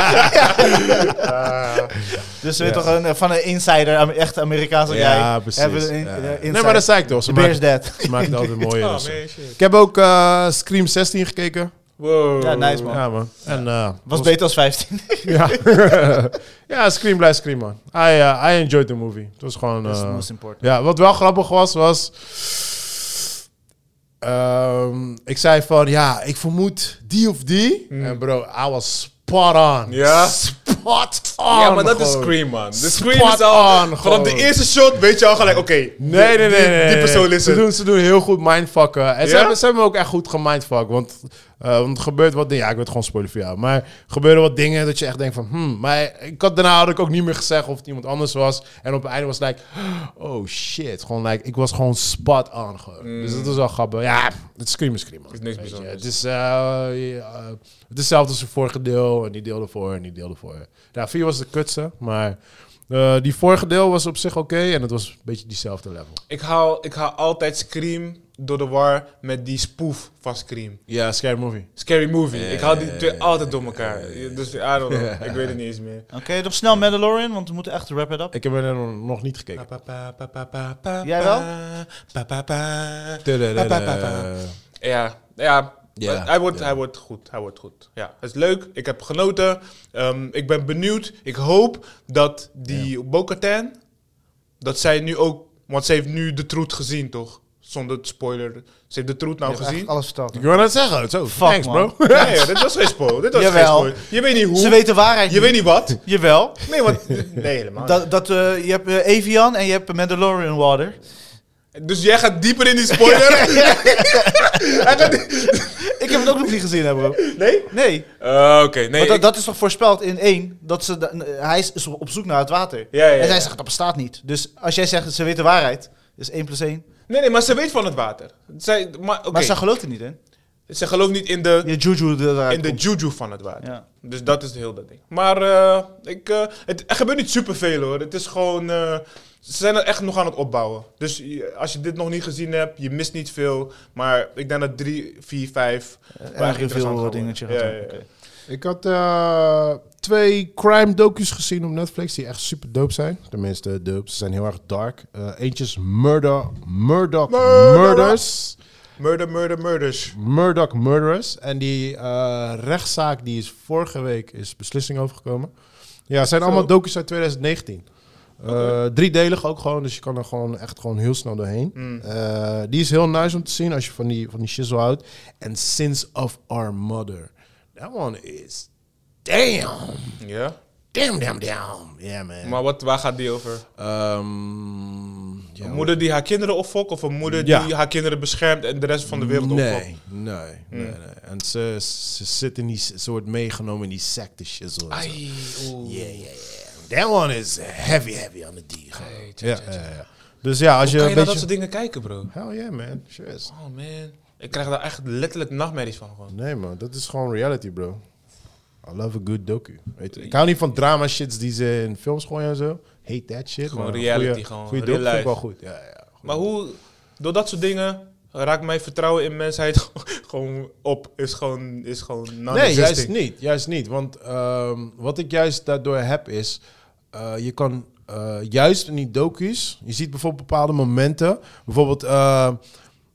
Speaker 4: <laughs> dus we
Speaker 3: Ja.
Speaker 4: toch een, eh, van een insider, am- echt Amerikaans als jij,
Speaker 3: Ja, precies.
Speaker 4: hebben we een in-
Speaker 3: Ja.
Speaker 4: eh,
Speaker 3: Nee,
Speaker 4: insight.
Speaker 3: maar dat zei ik toch. Ze
Speaker 4: De beer is
Speaker 3: maakt,
Speaker 4: dead.
Speaker 3: ze maakt het altijd mooier.
Speaker 5: <laughs> Oh,
Speaker 3: dus.
Speaker 5: man, shit.
Speaker 3: Ik heb ook eh, Scream 16 gekeken.
Speaker 5: Wow.
Speaker 4: <laughs> Ja, nice man.
Speaker 3: Ja, man. En, eh,
Speaker 4: Was beter als <laughs> 15.
Speaker 3: Ja, <laughs> ja Scream blijft Scream, man. I, eh, I enjoyed the movie. Het was gewoon...
Speaker 4: That's the
Speaker 3: eh,
Speaker 4: most important.
Speaker 3: ja, wat wel grappig was, was... ehm, ik zei van, ja, ik vermoed die of die. En bro, I was spot on.
Speaker 5: Mm. Ja?
Speaker 3: Spot on.
Speaker 5: Ja, maar dat is
Speaker 3: gewoon.
Speaker 5: Scream, man. De Scream
Speaker 3: Spot
Speaker 5: is al...
Speaker 3: on,
Speaker 5: vanaf de
Speaker 3: gewoon.
Speaker 5: eerste shot weet je al gelijk, oké.
Speaker 3: Nee, nee, nee.
Speaker 5: Die,
Speaker 3: nee,
Speaker 5: die
Speaker 3: nee.
Speaker 5: persoon is
Speaker 3: ze
Speaker 5: het.
Speaker 3: doen, ze doen heel goed mindfucken. En ze,
Speaker 5: Ja?
Speaker 3: hebben, ze hebben me ook echt goed gemindfucked. Want, eh, want er gebeurt wat dingen. Ja, ik wil het gewoon spoilen voor jou. Maar er gebeuren wat dingen dat je echt denkt van... Hmm, maar ik had, daarna had ik ook niet meer gezegd of het iemand anders was. En op het einde was het like... Oh shit. Gewoon like... Ik was gewoon spot on gewoon. Dus
Speaker 5: Mm.
Speaker 3: dat was wel grappig. Ja, het scream is scream. man.
Speaker 5: Het is niks
Speaker 3: Weet je,
Speaker 5: bijzonders.
Speaker 3: Het is, eh, ja, eh, het is hetzelfde als het vorige deel. En die deel ervoor en die deel ervoor. Nou, 4 was de kutste, maar... eh, die vorige deel was op zich oké en het was een beetje diezelfde level.
Speaker 5: Ik haal, ik haal altijd Scream door de war met die spoof van Scream.
Speaker 3: Ja, Scary Movie.
Speaker 5: Scary Movie. ik haal die twee altijd door elkaar. Dus I don't <laughs> know. Ik weet het niet eens meer.
Speaker 4: Oké, nog snel Mandalorian, want we moeten echt wrap it up.
Speaker 3: Ik heb er nog- nog niet gekeken.
Speaker 4: Jij wel?
Speaker 5: Ja, ja.
Speaker 3: Ja,
Speaker 5: Maar hij, wordt, hij wordt goed, hij wordt goed. Ja, het is leuk, ik heb genoten. Ehm, ik ben benieuwd. Ik hoop dat die Bo-Katan, dat zij nu ook... Want ze heeft nu de troet gezien, toch? Zonder spoiler. Ze heeft de troet nou
Speaker 4: Je hebt
Speaker 5: gezien.
Speaker 4: echt alles verteld.
Speaker 3: Ik wil net zeggen, zo.
Speaker 4: Fuck,
Speaker 3: thanks,
Speaker 4: man.
Speaker 3: bro.
Speaker 5: Nee, <laughs> ja, dit was geen spoiler. Dit was geen
Speaker 4: Jawel.
Speaker 5: spoiler. Je weet niet hoe.
Speaker 4: Ze weten waarheid
Speaker 5: je weet Oh, niet wat.
Speaker 4: Jawel.
Speaker 5: Nee, <laughs> want... Nee, helemaal
Speaker 4: Dat,
Speaker 5: niet.
Speaker 4: dat, eh, je hebt eh, Evian en je hebt Mandalorian Water.
Speaker 5: Dus jij gaat dieper in die <laughs> spoiler? Hij gaat-
Speaker 4: Ik heb het ook nog niet gezien, hè, bro.
Speaker 5: nee?
Speaker 4: <laughs> Nee,
Speaker 5: Eh, Oké, nee.
Speaker 4: want dat,
Speaker 5: ik-
Speaker 4: dat is toch voorspeld in één, dat ze, da- eh, hij is- is op zoek naar het water.
Speaker 5: Ja, ja, ja.
Speaker 4: En zij zegt, dat bestaat niet. Dus als jij zegt, ze weten de waarheid, is 1 plus 1.
Speaker 5: nee, nee, maar ze weet van het water. Zij, maar, oké.
Speaker 4: Maar ze gelooft er niet in.
Speaker 5: Ze gelooft niet in de,
Speaker 4: Je juju eruit
Speaker 5: in de
Speaker 4: komt.
Speaker 5: juju van het water.
Speaker 4: Ja.
Speaker 5: Dus dat is heel dat ding. Maar eh, ik, eh, het, er gebeurt niet superveel hoor. Het is gewoon. eh, ze zijn er echt nog aan het opbouwen. Dus je- als je dit nog niet gezien hebt, je mist niet veel. Maar ik denk dat 3, 4, 5.
Speaker 4: Erg veel dingetje gaat
Speaker 5: Ja,
Speaker 4: doen.
Speaker 5: ja, ja.
Speaker 4: Oké.
Speaker 3: Ik had eh, twee crime docu's gezien op Netflix die echt super dope zijn. Tenminste, dope. Ze zijn heel erg dark. Eh, eentje is Murder, Murdoch Murders.
Speaker 5: Murder, murder, murders.
Speaker 3: Murdoch Murderers. En die eh, rechtszaak die is vorige week is beslissing overgekomen. Ja, het zijn allemaal docu's uit 2019. Eh, Driedelig ook gewoon, dus je kan er gewoon echt gewoon heel snel doorheen. Eh, die is heel nice om te zien als je van die, van die shizzle houdt. En Sins of Our Mother. That one is damn.
Speaker 5: Ja.
Speaker 3: Damn, damn, damn. Yeah, man.
Speaker 5: Maar wat, waar gaat die over?
Speaker 3: Ehm, ja,
Speaker 5: Een moeder die haar kinderen opfokt of een moeder
Speaker 3: Ja.
Speaker 5: die haar kinderen beschermt en de rest van de wereld opfokt?
Speaker 3: Nee, nee, nee,
Speaker 5: Hmm.
Speaker 3: nee. En ze, ze zit in die, ze wordt meegenomen in die secte shizzle. en zo.
Speaker 12: Ai, oeh.
Speaker 3: Yeah, yeah, yeah. That one is heavy, heavy on the D. gewoon. ja, ja, ja. Dus ja, als je
Speaker 5: Kan je
Speaker 3: een
Speaker 5: naar
Speaker 3: beetje...
Speaker 5: dat soort dingen kijken, bro?
Speaker 3: Hell yeah, man. Sure is.
Speaker 5: Oh man. Ik krijg daar echt letterlijk nachtmerries van gewoon.
Speaker 3: Nee, man. Dat is gewoon reality, bro. I love a good docu. Weet je, ik hou niet van drama shits die ze in films gooien en zo. Hate that shit.
Speaker 5: Gewoon
Speaker 3: maar een
Speaker 5: reality,
Speaker 3: goeie-
Speaker 5: gewoon
Speaker 3: goeie
Speaker 5: real
Speaker 3: docu vind ik wel
Speaker 5: life.
Speaker 3: goed. Ja, ja.
Speaker 5: Maar hoe, door dat soort dingen raakt mijn vertrouwen in mensheid <laughs> gewoon op. Is gewoon, is gewoon
Speaker 3: Nee,
Speaker 5: non-existing.
Speaker 3: juist niet. Juist niet. Want ehm, wat ik juist daardoor heb is... eh, je kan eh, juist in die docu's... Je ziet bijvoorbeeld bepaalde momenten. Bijvoorbeeld eh,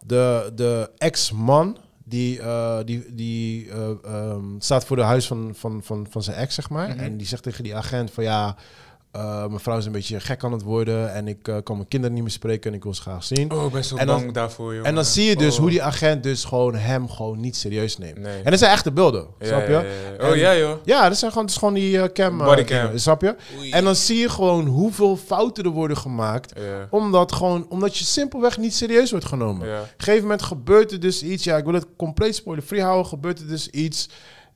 Speaker 3: de, de ex-man... Die, eh, die, die eh, ehm, staat voor de huis van, van, van, van zijn ex, zeg maar.
Speaker 5: Mhm.
Speaker 3: En die zegt tegen die agent van... ja, eh, mijn vrouw is een beetje gek aan het worden... en ik eh, kan mijn kinderen niet meer spreken en ik wil ze graag zien.
Speaker 5: Oh, ik ben zo
Speaker 3: En dan-
Speaker 5: bang daarvoor, joh.
Speaker 3: En dan zie je dus hoe die agent dus gewoon hem gewoon niet serieus neemt.
Speaker 5: Oh. Nee.
Speaker 3: En dat zijn echte beelden, snap je?
Speaker 5: Oh
Speaker 3: En-
Speaker 5: ja, joh.
Speaker 3: ja, dat zijn gewoon, het is gewoon die eh, cam. eh,
Speaker 5: Bodycam.
Speaker 3: dingen, Snap je? En dan zie je gewoon hoeveel fouten er worden gemaakt.
Speaker 5: Ja.
Speaker 3: Omdat, gewoon, omdat je simpelweg niet serieus wordt genomen.
Speaker 5: Ja.
Speaker 3: Op een gegeven moment gebeurt er dus iets. Ja, ik wil het compleet spoiler-free houden. Gebeurt er dus iets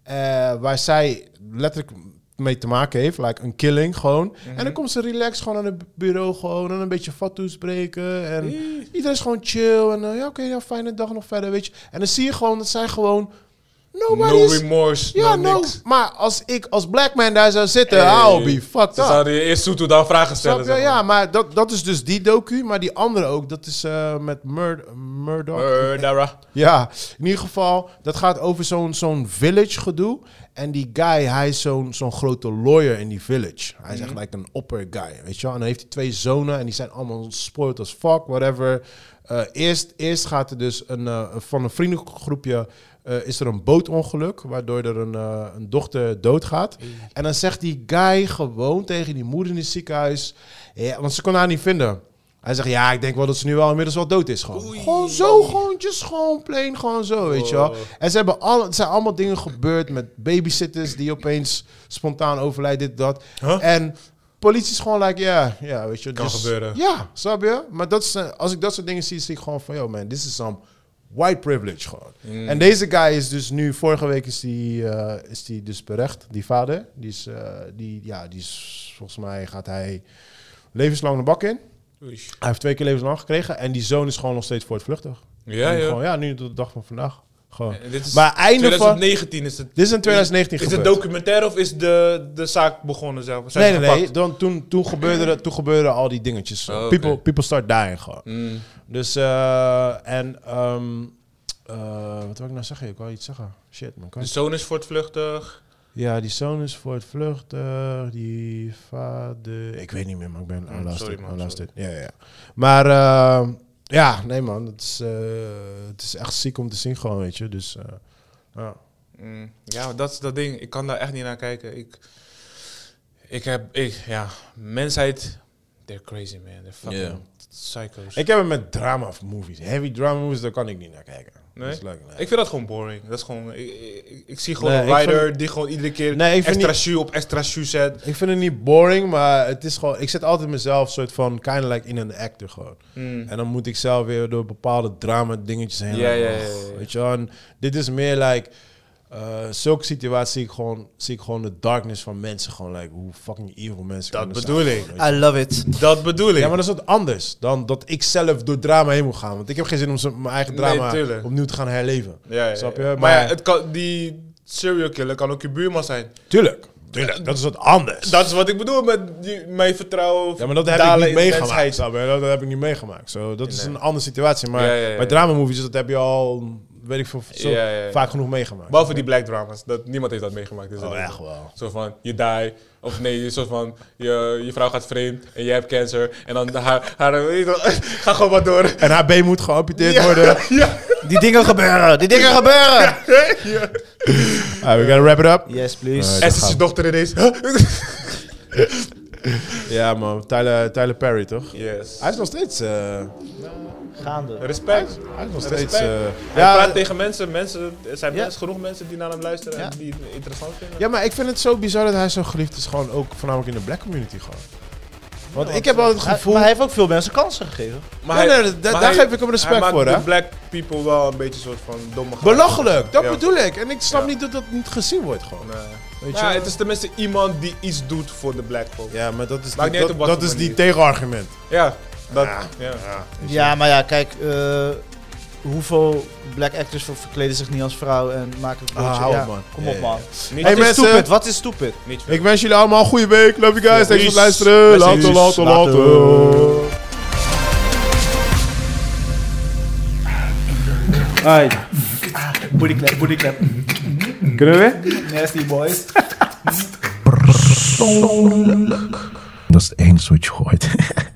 Speaker 3: eh, waar zij letterlijk mee te maken heeft. Like een killing gewoon.
Speaker 5: Mhm.
Speaker 3: En dan komt ze relaxed gewoon aan het bureau. Gewoon en een beetje fatoes spreken. En iedereen is gewoon chill. En eh, ja, oké, ja, fijne dag nog verder, weet je. En dan zie je gewoon dat zij gewoon... Nobody
Speaker 5: No
Speaker 3: is
Speaker 5: remorse,
Speaker 3: ja,
Speaker 5: no
Speaker 3: no.
Speaker 5: niks.
Speaker 3: Maar als ik als black man daar zou zitten,
Speaker 5: Hey.
Speaker 3: I'll be fucked
Speaker 5: Ze
Speaker 3: up.
Speaker 5: zouden je eerst Soeto dan vragen
Speaker 3: Snap
Speaker 5: stellen.
Speaker 3: je?
Speaker 5: zeg maar.
Speaker 3: Ja, maar dat, dat is dus die docu. Maar die andere ook, dat is eh, met Murd
Speaker 5: Oh
Speaker 3: Murdoch.
Speaker 5: Murdera.
Speaker 3: Ja, in ieder geval, dat gaat over zo'n zo'n village gedoe. En die guy, hij is zo'n zo'n grote lawyer in die village. Hij is echt like een upper guy, weet je wel. En dan heeft hij twee zonen en die zijn allemaal spoiled as fuck, whatever. Eh, eerst, eerst gaat er dus een, eh, van een vriendengroepje... eh, is er een bootongeluk, waardoor er een, eh, een dochter doodgaat. En dan zegt die guy gewoon tegen die moeder in het ziekenhuis... Ja, want ze kon haar niet vinden. Hij zegt, ja, ik denk wel dat ze nu wel inmiddels wel dood is. Gewoon, gewoon zo, gewoon, just gewoon plain, gewoon zo, weet je wel.
Speaker 5: Oh.
Speaker 3: En ze hebben al, het zijn allemaal dingen gebeurd met babysitters die opeens spontaan overlijden, dit, dat. En politie is gewoon like, ja, ja, weet je. dus-
Speaker 5: Kan gebeuren.
Speaker 3: Ja, snap je? Maar dat is, eh, als ik dat soort dingen zie, zie ik gewoon van, yo man, this is some white privilege gewoon.
Speaker 5: Hmm.
Speaker 3: En deze guy is dus nu, vorige week is die, eh, is die dus berecht, die vader. Die is, eh, die, ja, die is, volgens mij gaat hij levenslang de bak in. Hij heeft twee keer levenslang gekregen en die zoon is gewoon nog steeds voortvluchtig.
Speaker 5: Ja,
Speaker 3: En
Speaker 5: joh.
Speaker 3: gewoon, ja, nu tot de dag van vandaag. Gewoon.
Speaker 5: En Dit is
Speaker 3: maar einde van...
Speaker 5: 2019 is het.
Speaker 3: Dit is in 2019
Speaker 5: Is het
Speaker 3: gebeurd.
Speaker 5: documentaire of is de, de zaak begonnen zelf? Zijn
Speaker 3: Nee,
Speaker 5: ze
Speaker 3: nee, nee.
Speaker 5: gepakt?
Speaker 3: Dan, toen, toen, gebeurde, toen gebeurden al die dingetjes.
Speaker 5: Oh, oké.
Speaker 3: people, people start dying gewoon.
Speaker 5: Mm.
Speaker 3: Dus, eh, en... ehm, eh, wat wil ik nou zeggen? Ik wou iets zeggen. Shit, man. Kan
Speaker 5: De
Speaker 3: ik-
Speaker 5: zoon is voortvluchtig.
Speaker 3: Ja, die zoon is voor het vluchten. Die vader... Ik weet niet meer, maar ik ben... I lost
Speaker 5: Mm, sorry,
Speaker 3: it, I
Speaker 5: man,
Speaker 3: lost
Speaker 5: sorry.
Speaker 3: it. Ja, ja, ja. Maar... eh, ja, nee, man. Het is, eh, het is echt ziek om te zien gewoon, weet je. Dus... eh, ja.
Speaker 5: Mm, Ja, dat is dat ding. Ik kan daar echt niet naar kijken. Ik, ik heb, ik, ja, mensheid, they're crazy man. They're fucking
Speaker 3: Ja.
Speaker 5: psychos. Ik,
Speaker 3: Ik heb hem met drama movies. Heavy drama movies, daar kan ik niet naar kijken.
Speaker 5: Nee?
Speaker 3: Dat is leuk, nee.
Speaker 5: vind dat gewoon boring. Dat is gewoon, ik, ik, ik zie gewoon
Speaker 3: Nee,
Speaker 5: een
Speaker 3: ik
Speaker 5: rider die gewoon iedere keer
Speaker 3: Nee, ik vind
Speaker 5: extra
Speaker 3: niet-
Speaker 5: shoe op extra shoe zet.
Speaker 3: Ik vind het niet boring, maar het is gewoon. Ik zet altijd mezelf soort van kind of like in een actor gewoon.
Speaker 5: Mm.
Speaker 3: En dan moet ik zelf weer door bepaalde drama dingetjes heen.
Speaker 5: Ja,
Speaker 3: like,
Speaker 5: ja, ja,
Speaker 3: oh,
Speaker 5: ja, ja.
Speaker 3: Weet je wel? En dit is meer like. eh, zulke situaties zie ik, gewoon, zie ik gewoon de darkness van mensen. Gewoon like, hoe fucking evil mensen
Speaker 5: Dat
Speaker 3: kunnen
Speaker 5: bedoel
Speaker 3: zijn.
Speaker 5: ik.
Speaker 3: Weet je.
Speaker 4: I love it.
Speaker 5: Dat bedoel ik.
Speaker 3: Ja, maar dat is wat anders dan dat ik zelf door drama heen moet gaan. Want ik heb geen zin om zo- mijn eigen
Speaker 5: Nee,
Speaker 3: drama
Speaker 5: tuurlijk.
Speaker 3: opnieuw te gaan herleven.
Speaker 5: Ja, ja,
Speaker 3: Snap je?
Speaker 5: ja. Maar,
Speaker 3: Maar-
Speaker 5: ja, het kan, die serial killer kan ook je buurman zijn.
Speaker 3: Tuurlijk. Tuurlijk, dat is wat anders.
Speaker 5: Dat is wat ik bedoel met die, mijn vertrouwen.
Speaker 3: ja, maar dat heb
Speaker 5: dalen
Speaker 3: ik
Speaker 5: in
Speaker 3: niet
Speaker 5: de
Speaker 3: meegemaakt.
Speaker 5: mensheid.
Speaker 3: snap je? Dat, dat heb ik niet meegemaakt. Zo, dat is een andere situatie. Maar
Speaker 5: Ja, ja, ja,
Speaker 3: bij
Speaker 5: ja.
Speaker 3: drama movies, dat heb je al, weet ik veel, zo
Speaker 5: Ja, ja, ja.
Speaker 3: vaak genoeg meegemaakt.
Speaker 5: Behalve die black dramas. Dat, niemand heeft dat meegemaakt. Dus dat
Speaker 3: Oh,
Speaker 5: is-
Speaker 3: echt wel.
Speaker 5: Zo van, je die. Of nee, een soort van, je, je vrouw gaat vreemd en jij hebt cancer. En dan haar, haar <laughs> weet je wel, ga gewoon maar door.
Speaker 3: En haar been moet
Speaker 5: <laughs>
Speaker 3: geamputeerd worden.
Speaker 4: Die dingen gebeuren, die dingen gebeuren.
Speaker 3: Ah, we gaan wrap it up.
Speaker 4: Yes, please.
Speaker 5: En zijn dochter ineens.
Speaker 3: Ja man, Tyler, Tyler Perry toch?
Speaker 5: Yes.
Speaker 3: Hij is nog steeds... eh,
Speaker 4: Gaande.
Speaker 5: Respect.
Speaker 3: hij is nog
Speaker 5: Respect.
Speaker 3: steeds... eh,
Speaker 5: Hij
Speaker 3: ja,
Speaker 5: praat tegen mensen. mensen er zijn
Speaker 4: Ja.
Speaker 5: best genoeg mensen die naar hem luisteren
Speaker 4: Ja.
Speaker 5: en die het interessant vinden.
Speaker 3: ja, maar ik vind het zo bizar dat hij zo geliefd is. Gewoon ook voornamelijk in de black community gewoon. Want ik heb altijd het
Speaker 4: Hij-
Speaker 3: gevoel...
Speaker 4: Maar hij heeft ook veel mensen kansen gegeven.
Speaker 3: Nee,
Speaker 5: hij-
Speaker 3: nee, da-
Speaker 5: maar
Speaker 3: daar
Speaker 5: hij-
Speaker 3: geef ik hem respect
Speaker 5: hij maakt
Speaker 3: voor, hè.
Speaker 5: de black people wel een beetje een soort van domme grap.
Speaker 3: Belachelijk, dat
Speaker 5: Ja.
Speaker 3: bedoel ik. En ik snap
Speaker 5: Ja.
Speaker 3: niet dat dat niet gezien wordt gewoon.
Speaker 5: Nee.
Speaker 3: Weet je?
Speaker 5: Ja, het is tenminste iemand die iets doet voor de black folk. Ja,
Speaker 3: Ja, maar dat is,
Speaker 5: Maakt
Speaker 3: die,
Speaker 5: niet uit op
Speaker 3: dat,
Speaker 5: wat
Speaker 3: dat
Speaker 5: voor
Speaker 3: is die
Speaker 5: manier.
Speaker 3: tegenargument.
Speaker 5: dat,
Speaker 3: Ja.
Speaker 5: ja.
Speaker 4: Ja, maar ja, kijk, eh, hoeveel black actors ver- verkleden zich niet als vrouw en maken het
Speaker 3: Ah,
Speaker 4: broodje-
Speaker 3: hou
Speaker 4: ja,
Speaker 3: op, man.
Speaker 4: Kom
Speaker 3: Ja,
Speaker 4: op,
Speaker 3: ja.
Speaker 4: man.
Speaker 5: Niet
Speaker 3: Hey,
Speaker 4: Wat is
Speaker 3: mensen.
Speaker 4: stupid? Wat is stupid?
Speaker 5: Niet veel.
Speaker 3: Ik wens jullie allemaal een goede week. Love you guys. Thanks voor het
Speaker 5: Peace.
Speaker 3: luisteren. Later,
Speaker 4: Precies.
Speaker 3: later, later.
Speaker 4: Later. Ai. Booty clap, booty clap.
Speaker 13: Kunnen we?
Speaker 4: Nasty boys.
Speaker 14: Dat is het enige wat je gooit.